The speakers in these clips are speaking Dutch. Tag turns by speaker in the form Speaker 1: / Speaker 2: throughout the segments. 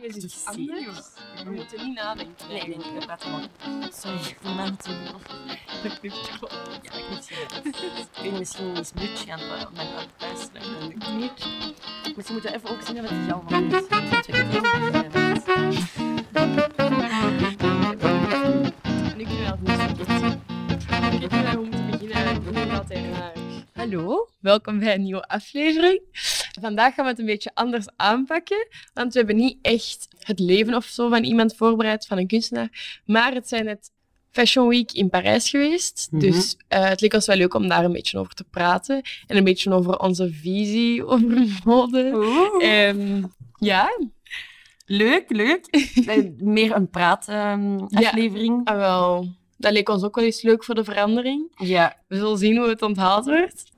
Speaker 1: is
Speaker 2: te
Speaker 1: iets
Speaker 2: zien.
Speaker 1: anders. We moeten niet nadenken.
Speaker 2: Nee, nee, nee.
Speaker 1: We praten gewoon.
Speaker 2: Sorry, voor mij moet je nog.
Speaker 1: Dat klinkt wel.
Speaker 2: Ja, ik moet je. Ik ben misschien eens mutje aan het op mijn aan het luisteren. En ik- Misschien moeten we even ook zien wat het jou van is. Dat we het heel erg vinden.
Speaker 1: En ik ben wel goed. Ik weet niet waar we moeten beginnen. Ik ben altijd raar. Hallo, welkom bij een nieuwe aflevering. Vandaag gaan we het een beetje anders aanpakken, want we hebben niet echt het leven of zo van iemand voorbereid, van een kunstenaar, maar het zijn het Fashion Week in Parijs geweest.
Speaker 2: Mhm.
Speaker 1: Dus eh, het leek ons wel leuk om daar een beetje over te praten en een beetje over onze visie over mode.
Speaker 2: Eh,
Speaker 1: Ehm, ja,
Speaker 2: leuk, leuk. Eh, Meer een ehm,
Speaker 1: Ja.
Speaker 2: praataflevering.
Speaker 1: ah, wel. Dat leek ons ook wel eens leuk voor de verandering.
Speaker 2: ja,
Speaker 1: We zullen zien hoe het onthaald wordt.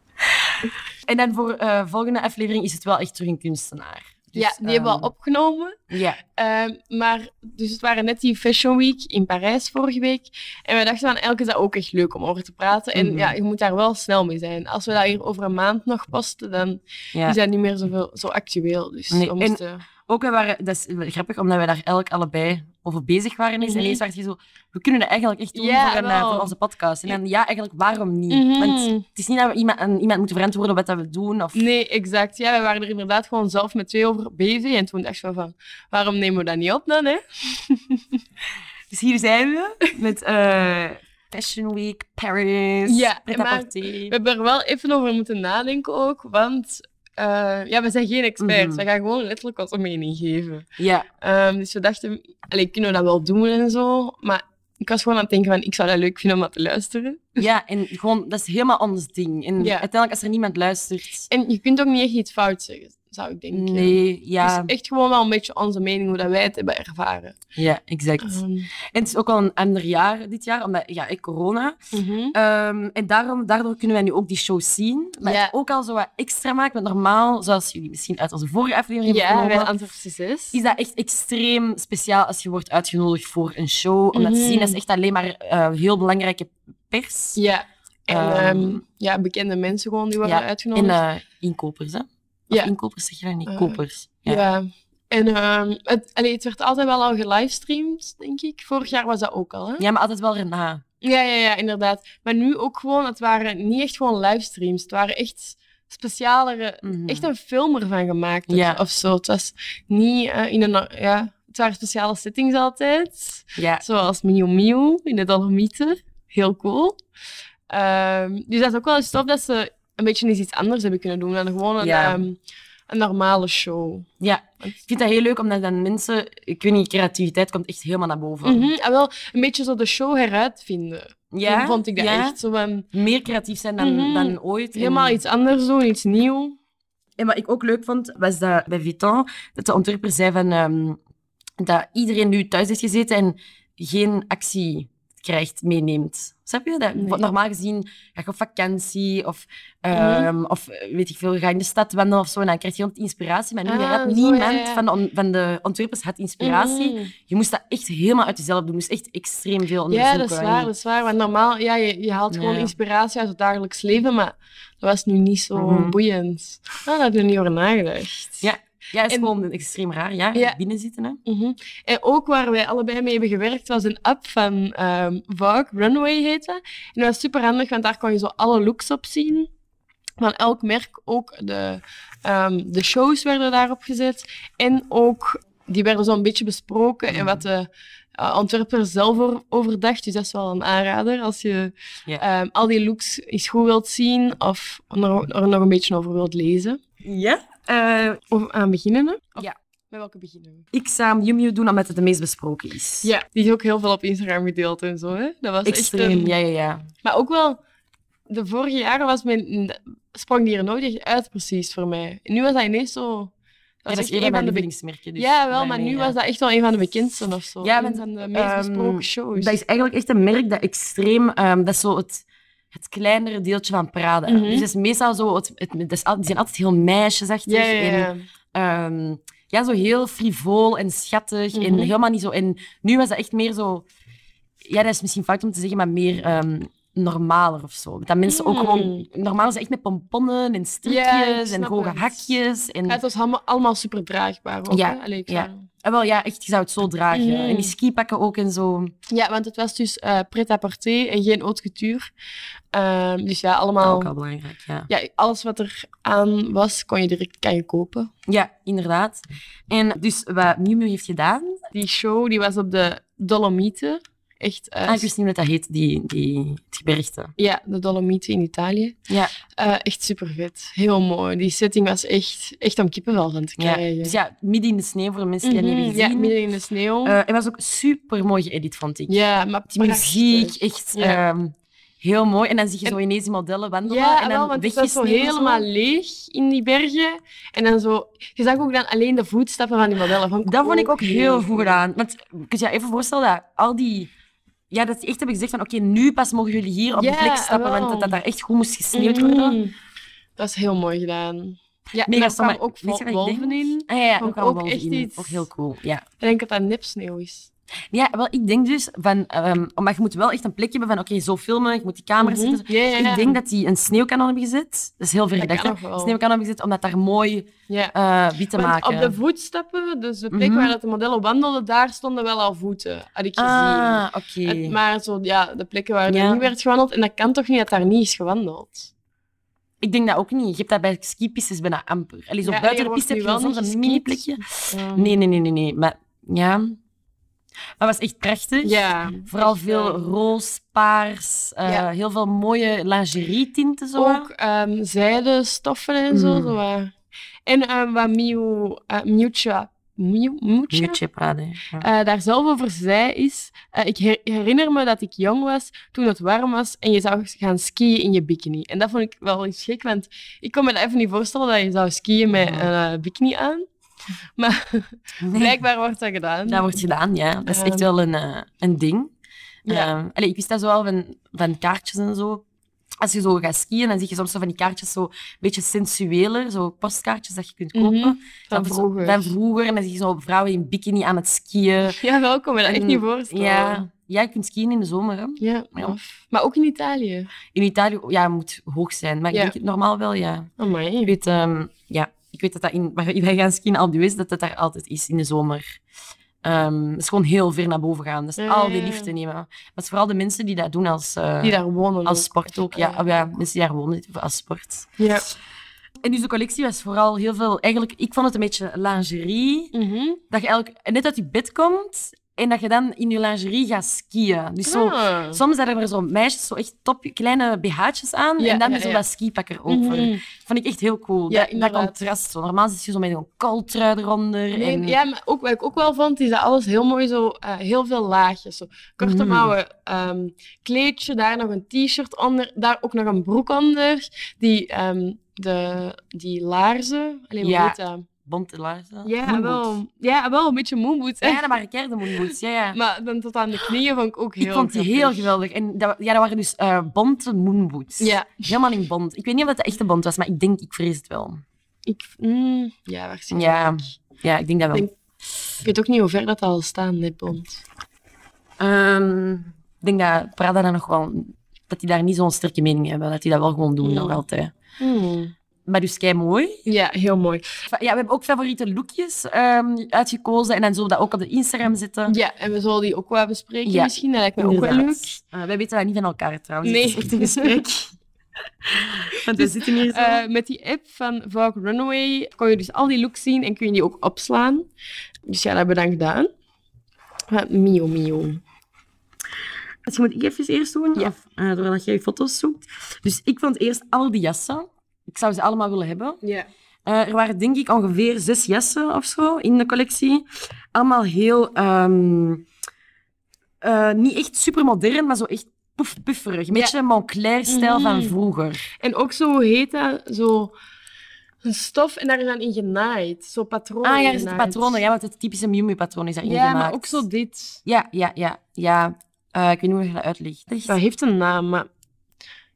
Speaker 2: En dan voor de volgende aflevering is het wel echt terug een kunstenaar. Dus,
Speaker 1: ja, die hebben we
Speaker 2: ehm,
Speaker 1: al opgenomen.
Speaker 2: Ja.
Speaker 1: Ehm, maar dus het waren net die Fashion Week in Parijs vorige week. En we dachten van eigenlijk is dat ook echt leuk om over te praten. En
Speaker 2: Mhm.
Speaker 1: ja, je moet daar wel snel mee zijn. Als we dat hier over een maand nog posten, dan
Speaker 2: ja.
Speaker 1: is dat niet meer zoveel, zo actueel. Dus
Speaker 2: Nee,
Speaker 1: we
Speaker 2: en-
Speaker 1: moesten-
Speaker 2: Ook wij waren, dat is wel grappig, omdat wij daar elk allebei over bezig waren. Eens. En
Speaker 1: Mhm.
Speaker 2: eens dacht je zo, we kunnen dat eigenlijk echt doen
Speaker 1: Ja,
Speaker 2: voor, een, eh,
Speaker 1: wel.
Speaker 2: voor onze podcast. En dan, ja, eigenlijk waarom niet?
Speaker 1: Mhm.
Speaker 2: Want het is niet dat we iemand, aan iemand moeten verantwoorden wat dat we doen. Of...
Speaker 1: Nee, exact. Ja, we waren er inderdaad gewoon zelf met twee over bezig. En toen dacht ik van, waarom nemen we dat niet op dan, hè?
Speaker 2: Dus hier zijn we met eh, Fashion Week Paris.
Speaker 1: Ja,
Speaker 2: Pret
Speaker 1: maar- We hebben er wel even over moeten nadenken ook, want eh, ja, we zijn geen experts. We
Speaker 2: Mhm.
Speaker 1: gaan gewoon letterlijk onze mening geven.
Speaker 2: Ja,
Speaker 1: Ehm, dus we dachten, allee, kunnen we dat wel doen en zo. Maar ik was gewoon aan het denken van, ik zou dat leuk vinden om dat te luisteren.
Speaker 2: ja, en gewoon, dat is helemaal ons ding. En
Speaker 1: Ja.
Speaker 2: uiteindelijk, als er niemand luistert...
Speaker 1: En je kunt ook niet echt iets fout zeggen, zou ik denken.
Speaker 2: Nee, ja,
Speaker 1: Dus echt gewoon wel een beetje onze mening, hoe dat wij het hebben ervaren.
Speaker 2: ja, exact.
Speaker 1: Ehm,
Speaker 2: En het is ook al een ander jaar dit jaar, omdat ja, ik corona.
Speaker 1: mhm.
Speaker 2: Ehm, en daarom, daardoor kunnen wij nu ook die shows zien. Maar
Speaker 1: Ja.
Speaker 2: het ook al zo wat extra maakt. Want normaal, zoals jullie misschien uit onze vorige aflevering hebben
Speaker 1: Ja, wij
Speaker 2: vernomen,
Speaker 1: antwoord is zes.
Speaker 2: is dat echt extreem speciaal als je wordt uitgenodigd voor een show. Om dat te
Speaker 1: Mhm.
Speaker 2: zien, dat is echt alleen maar eh, heel belangrijke pers.
Speaker 1: Ja. En
Speaker 2: Ehm,
Speaker 1: ehm, ja, bekende mensen gewoon die worden
Speaker 2: ja, En
Speaker 1: uitgenodigd.
Speaker 2: eh, inkopers, hè? Of
Speaker 1: Ja.
Speaker 2: inkopers zeg je dan niet?
Speaker 1: Eh,
Speaker 2: Kopers.
Speaker 1: Ja.
Speaker 2: Ja.
Speaker 1: En ehm, het, allee, het werd altijd wel al gelivestreamd, denk ik. Vorig jaar was dat ook al, hè?
Speaker 2: Ja, maar altijd wel erna.
Speaker 1: Ja, ja, ja, inderdaad. Maar nu ook gewoon, het waren niet echt gewoon livestreams. Het waren echt specialere...
Speaker 2: Mhm.
Speaker 1: Echt een film ervan gemaakt of,
Speaker 2: Ja.
Speaker 1: of zo. Het was niet eh, in een... Ja, het waren speciale settings altijd.
Speaker 2: Ja.
Speaker 1: Zoals Mio Mio in de Dolomieten. Heel cool. Ehm, dus dat is ook wel eens tof dat ze een beetje eens iets anders hebben kunnen doen. Dan gewoon een,
Speaker 2: Ja.
Speaker 1: ehm, een normale show.
Speaker 2: ja.
Speaker 1: Want-
Speaker 2: Ik vind dat heel leuk, omdat dan mensen... Ik weet niet, creativiteit komt echt helemaal naar boven.
Speaker 1: Mhm, en wel een beetje zo de show heruitvinden.
Speaker 2: Ja,
Speaker 1: vond ik dat
Speaker 2: ja.
Speaker 1: echt. Zo van,
Speaker 2: meer creatief zijn dan,
Speaker 1: Mhm.
Speaker 2: dan ooit. En-
Speaker 1: helemaal iets anders doen, iets nieuw.
Speaker 2: En wat ik ook leuk vond, was dat bij Vuitton, dat de ontwerper zei van, ehm, dat iedereen nu thuis heeft gezeten en geen actie krijgt, meeneemt. Snap je? Dat,
Speaker 1: Nee. Mhm.
Speaker 2: want Normaal gezien ga je op vakantie of, ehm, of eh, weet ik veel, ga in de stad wandelen of zo en dan krijg je inspiratie. Maar nu
Speaker 1: Ah,
Speaker 2: had
Speaker 1: zo, ja,
Speaker 2: niemand
Speaker 1: ja.
Speaker 2: Van, de, on- van de ontwerpers had inspiratie.
Speaker 1: Mhm.
Speaker 2: Je moest dat echt helemaal uit jezelf doen. Je moest echt extreem veel onderzoeken.
Speaker 1: Ja, dat is waar, dat is waar. Want normaal, ja, je, je haalt gewoon
Speaker 2: Ja.
Speaker 1: inspiratie uit het dagelijks leven, maar dat was nu niet zo
Speaker 2: Mhm.
Speaker 1: boeiend. Ah, daar heb ik niet over nagedacht.
Speaker 2: Ja. Ja, is
Speaker 1: En-
Speaker 2: gewoon extreem raar. Ja,
Speaker 1: Ja.
Speaker 2: binnen zitten, hè.
Speaker 1: Mhm. En ook waar wij allebei mee hebben gewerkt, was een app van ehm Vogue, Runway heet dat. En dat was super handig, want daar kon je zo alle looks op zien. Van elk merk, ook de, ehm, de shows werden daarop gezet. En ook, die werden zo'n beetje besproken en wat de eh, ontwerper zelf over, over dacht. Dus dat is wel een aanrader als je
Speaker 2: Ja.
Speaker 1: ehm, al die looks eens goed wilt zien of er, er nog een beetje over wilt lezen.
Speaker 2: Ja.
Speaker 1: Of aan beginnen, hè? Of-
Speaker 2: Ja.
Speaker 1: Met welke beginnen we?
Speaker 2: ik zou hem Yum Yum doen omdat het de meest besproken is.
Speaker 1: Ja, die is ook heel veel op Instagram gedeeld en zo. Hè? Dat was
Speaker 2: Extreem,
Speaker 1: echt. een-
Speaker 2: ja, ja, ja.
Speaker 1: Maar ook wel, de vorige jaren was mijn, sprong die er nooit echt uit, precies voor mij. En nu was hij ineens zo. Dat was
Speaker 2: Dat is
Speaker 1: echt
Speaker 2: eerder
Speaker 1: een
Speaker 2: mijn
Speaker 1: van de be-
Speaker 2: lievelingsmerken. Dus
Speaker 1: Ja, wel, maar
Speaker 2: daarmee,
Speaker 1: nu
Speaker 2: ja.
Speaker 1: was dat echt wel een van de bekendsten of zo.
Speaker 2: Ja,
Speaker 1: Een
Speaker 2: want,
Speaker 1: van de meest
Speaker 2: ehm,
Speaker 1: besproken shows.
Speaker 2: Dat is eigenlijk echt een merk dat extreem... ehm, dat is zo het, het kleinere deeltje van Prada.
Speaker 1: Mhm.
Speaker 2: Dus dat is meestal zo... Het, het, dat is al- die zijn altijd heel meisjesachtig.
Speaker 1: ja, ja, ja.
Speaker 2: En, ehm, ja, zo heel frivol en schattig. En
Speaker 1: Mhm.
Speaker 2: helemaal niet zo... En nu was dat echt meer zo... Ja, dat is misschien fout om te zeggen, maar meer... ehm, normaler of zo. Dat mensen ook
Speaker 1: Mm.
Speaker 2: gewoon... Normaal is dat echt met pomponnen en strikjes en
Speaker 1: snap
Speaker 2: hoge
Speaker 1: het.
Speaker 2: hakjes. En...
Speaker 1: Ja, Het was allemaal, allemaal super draagbaar. Ook,
Speaker 2: Ja,
Speaker 1: hè? Allee, ik
Speaker 2: ja.
Speaker 1: zou-
Speaker 2: En Ah, wel, ja, echt, je zou het zo dragen.
Speaker 1: Mm.
Speaker 2: En die skipakken ook en zo.
Speaker 1: Ja, want het was dus eh pret-à-porter en geen haute couture. Ehm, dus ja,
Speaker 2: Ook
Speaker 1: allemaal...
Speaker 2: al belangrijk, ja.
Speaker 1: Ja, alles wat er aan was, kon je direct kan je kopen.
Speaker 2: Ja, inderdaad. En dus wat Miu Miu heeft gedaan...
Speaker 1: Die show die was op de Dolomieten. Echt... eh,
Speaker 2: Ah, ik wist niet hoe dat heet, die, die, het gebergte.
Speaker 1: Ja, de Dolomieten in Italië.
Speaker 2: Ja.
Speaker 1: Eh, echt super vet. Heel mooi. Die setting was echt, echt om kippenvel van te
Speaker 2: Ja.
Speaker 1: krijgen.
Speaker 2: Dus ja, midden in de sneeuw voor de mensen die dat niet
Speaker 1: Mhm,
Speaker 2: hebben gezien.
Speaker 1: ja, midden in de sneeuw.
Speaker 2: Eh, het was ook super mooi geëdit, vond ik.
Speaker 1: ja, maar
Speaker 2: Die muziek,
Speaker 1: prachtig.
Speaker 2: echt
Speaker 1: Ja.
Speaker 2: ehm, heel mooi. En dan zie je zo
Speaker 1: En-
Speaker 2: ineens die modellen wandelen.
Speaker 1: Ja,
Speaker 2: en
Speaker 1: wel,
Speaker 2: dan
Speaker 1: want het
Speaker 2: weg
Speaker 1: was zo helemaal leeg in die bergen. En dan zo... Je zag ook dan alleen de voetstappen van die modellen.
Speaker 2: Dat vond ik ook heel goed gedaan. Want je kunt je even voorstellen dat al die... Ja, dat ze echt hebben gezegd van oké, nu pas mogen jullie hier op
Speaker 1: Ja,
Speaker 2: de plek stappen,
Speaker 1: wel.
Speaker 2: want dat, dat daar echt goed moest gesneeuwd
Speaker 1: Mm.
Speaker 2: worden.
Speaker 1: Dat is heel mooi gedaan. Ja, en
Speaker 2: Mega
Speaker 1: daar kwamen
Speaker 2: stommer.
Speaker 1: ook
Speaker 2: Weet je wat ik
Speaker 1: wolven in.
Speaker 2: Ah, ja, ja,
Speaker 1: Vond ik
Speaker 2: ook, ook
Speaker 1: ook echt iets.
Speaker 2: Ook heel cool, ja.
Speaker 1: Ik denk dat dat nipsneeuw is.
Speaker 2: Ja, wel, ik denk dus van... ehm, maar je moet wel echt een plekje hebben van oké, zo filmen, ik moet die camera
Speaker 1: Mhm.
Speaker 2: zetten.
Speaker 1: Ja, ja, ja.
Speaker 2: dus Ik denk dat die een sneeuwkanon hebben gezet. Dat is heel ver
Speaker 1: Dat
Speaker 2: gedacht.
Speaker 1: kan
Speaker 2: hè.
Speaker 1: nog wel.
Speaker 2: Een sneeuwkanon hebben gezet om dat daar mooi
Speaker 1: Ja.
Speaker 2: eh, wit te
Speaker 1: Want
Speaker 2: maken.
Speaker 1: op de voetstappen, dus de plek
Speaker 2: Mhm.
Speaker 1: waar dat de modellen wandelden, daar stonden wel al voeten, had ik gezien.
Speaker 2: ah, oké.
Speaker 1: Het- maar zo, ja, de plekken waar
Speaker 2: Ja.
Speaker 1: er niet werd gewandeld, en dat kan toch niet dat daar niet is gewandeld?
Speaker 2: Ik denk dat ook niet. Je hebt dat bij skipistes bijna amper. Allee, zo
Speaker 1: Ja,
Speaker 2: buiten
Speaker 1: er
Speaker 2: de
Speaker 1: wordt
Speaker 2: piste
Speaker 1: nu
Speaker 2: heb je wel
Speaker 1: wel
Speaker 2: soms
Speaker 1: niet
Speaker 2: een
Speaker 1: geskiet.
Speaker 2: mini-plekje. Nee, nee, nee, nee, nee. Maar ja. Maar het was echt prachtig.
Speaker 1: Ja.
Speaker 2: Vooral
Speaker 1: echt,
Speaker 2: veel
Speaker 1: eh,
Speaker 2: roze, paars, eh,
Speaker 1: Ja.
Speaker 2: heel veel mooie lingerie-tinten. Zo.
Speaker 1: Ook ehm zijde stoffen en zo.
Speaker 2: Mm.
Speaker 1: zo wat. En ehm wat Miu, eh Miucha, Miu, Mucha,
Speaker 2: Muutje praten. Ja.
Speaker 1: eh, daar zelf over zei is... eh, ik her- herinner me dat ik jong was toen het warm was en je zou gaan skiën in je bikini. En dat vond ik wel eens gek, want ik kon me dat even niet voorstellen dat je zou skiën met een
Speaker 2: Ja.
Speaker 1: eh, bikini aan. Maar
Speaker 2: Nee,
Speaker 1: blijkbaar wordt dat gedaan.
Speaker 2: Dat wordt gedaan, ja. Dat is echt
Speaker 1: Ehm.
Speaker 2: wel een, eh, een ding.
Speaker 1: Ja.
Speaker 2: Ehm, allee, ik wist dat zo wel van, van kaartjes en zo. Als je zo gaat skiën, dan zie je soms zo van die kaartjes zo een beetje sensueler. Zo postkaartjes dat je kunt kopen.
Speaker 1: Mhm. Van
Speaker 2: Dan zo-
Speaker 1: vroeger.
Speaker 2: Van vroeger. En dan zie je zo vrouwen in bikini aan het skiën.
Speaker 1: Ja, welkom. Ik dat echt
Speaker 2: En-
Speaker 1: niet voorstellen.
Speaker 2: Mm, Ja, ja, je kunt skiën in de zomer. Hè.
Speaker 1: Ja,
Speaker 2: Ja.
Speaker 1: maf. Maar ook in Italië.
Speaker 2: In Italië ja, moet hoog zijn, maar ik
Speaker 1: Ja.
Speaker 2: denk het normaal wel, ja. Ik
Speaker 1: Amai.
Speaker 2: weet, ehm, ja, ik weet dat dat in, waar wij gaan skiën al US, dat dat daar altijd is in de zomer. Ehm, het is gewoon heel ver naar boven gaan, dus
Speaker 1: Ja,
Speaker 2: al
Speaker 1: ja,
Speaker 2: die
Speaker 1: ja.
Speaker 2: liefde nemen. Maar het is vooral de mensen die dat doen als, eh,
Speaker 1: Die daar wonen.
Speaker 2: als
Speaker 1: ook.
Speaker 2: sport ook. Ja,
Speaker 1: Ah,
Speaker 2: oh ja, mensen die daar wonen als sport.
Speaker 1: Ja.
Speaker 2: En dus de collectie was vooral heel veel... Eigenlijk, ik vond het een beetje lingerie.
Speaker 1: Mhm.
Speaker 2: Dat je eigenlijk net uit je bed komt en dat je dan in je lingerie gaat skiën. Dus zo,
Speaker 1: Ah.
Speaker 2: soms hadden er zo meisjes zo echt top, kleine BH'tjes aan
Speaker 1: Ja,
Speaker 2: en dan
Speaker 1: ja,
Speaker 2: met zo
Speaker 1: ja.
Speaker 2: dat skipak erover.
Speaker 1: Mhm.
Speaker 2: Vond ik echt heel cool.
Speaker 1: Ja,
Speaker 2: Dat- dat,
Speaker 1: inderdaad.
Speaker 2: contrast. Zo. Normaal zit je zo met een kooltrui eronder.
Speaker 1: Nee,
Speaker 2: en...
Speaker 1: ja, maar ook, wat ik ook wel vond, is dat alles heel mooi zo, eh, heel veel laagjes. Zo. Korte
Speaker 2: Mhm.
Speaker 1: mouwen ehm, kleedje, daar nog een t-shirt onder, daar ook nog een broek onder. Die, ehm, de, die laarzen, alleen
Speaker 2: Ja.
Speaker 1: hoe heet dat?
Speaker 2: Bonte laarzen.
Speaker 1: Ja,
Speaker 2: Moonboots.
Speaker 1: wel, ja, wel een beetje moonboots. hè.
Speaker 2: Ja, dat waren kerde moonboots. Ja, ja.
Speaker 1: Maar dan tot aan de knieën vond ik ook heel
Speaker 2: ik vond die
Speaker 1: grappig.
Speaker 2: heel geweldig. En dat, ja, dat waren dus eh bonte moonboots.
Speaker 1: Ja,
Speaker 2: Helemaal in bont. Ik weet niet of dat de echte bont was, maar ik denk, ik vrees het wel.
Speaker 1: ik, mm, ja, waarschijnlijk.
Speaker 2: Ja, ja ik denk dat wel.
Speaker 1: Denk- Ik weet ook niet hoe ver dat al staat, dit bond.
Speaker 2: Ehm, ik denk dat Prada daar nog wel... Dat die daar niet zo'n sterke mening hebben. Dat die dat wel gewoon doen,
Speaker 1: Mm.
Speaker 2: nog altijd.
Speaker 1: Hmm.
Speaker 2: Maar dus kei mooi.
Speaker 1: Ja, heel mooi.
Speaker 2: Ja, we hebben ook favoriete lookjes ehm, uitgekozen. En dan zullen we dat ook op de Instagram zetten.
Speaker 1: Ja, en we zullen die ook wel bespreken
Speaker 2: Ja,
Speaker 1: misschien. Dat lijkt me ook wel leuk.
Speaker 2: Inderdaad. Eh, wij weten dat niet van elkaar trouwens.
Speaker 1: Nee.
Speaker 2: Het is echt een gesprek. Want we zitten hier zo.
Speaker 1: Eh, met die app van Vogue Runaway kon je dus al die looks zien en kun je die ook opslaan. Dus ja, dat hebben we dan gedaan. Eh, mio, mio.
Speaker 2: dus je moet ik even eerst doen,
Speaker 1: Ja.
Speaker 2: of, eh, doordat jij foto's zoekt. Dus ik vond eerst al die jassen. Ik zou ze allemaal willen hebben.
Speaker 1: Ja.
Speaker 2: Eh, er waren denk ik ongeveer zes jassen of zo in de collectie. Allemaal heel... ehm, eh, niet echt super modern, maar zo echt puff, pufferig. Een
Speaker 1: Ja.
Speaker 2: beetje Montclair-stijl van
Speaker 1: Mhm.
Speaker 2: vroeger.
Speaker 1: En ook zo hoe heet dat, zo een stof en daar is dan in genaaid. Zo patronen
Speaker 2: Ah ja, er zitten
Speaker 1: genaaid.
Speaker 2: patronen. Ja, want het typische Miu Miu patroon is daarin
Speaker 1: Ja,
Speaker 2: gemaakt.
Speaker 1: maar ook zo dit.
Speaker 2: Ja, ja, ja, ja. Eh, ik weet niet hoe je dat uitlegt.
Speaker 1: Dat heeft een naam, maar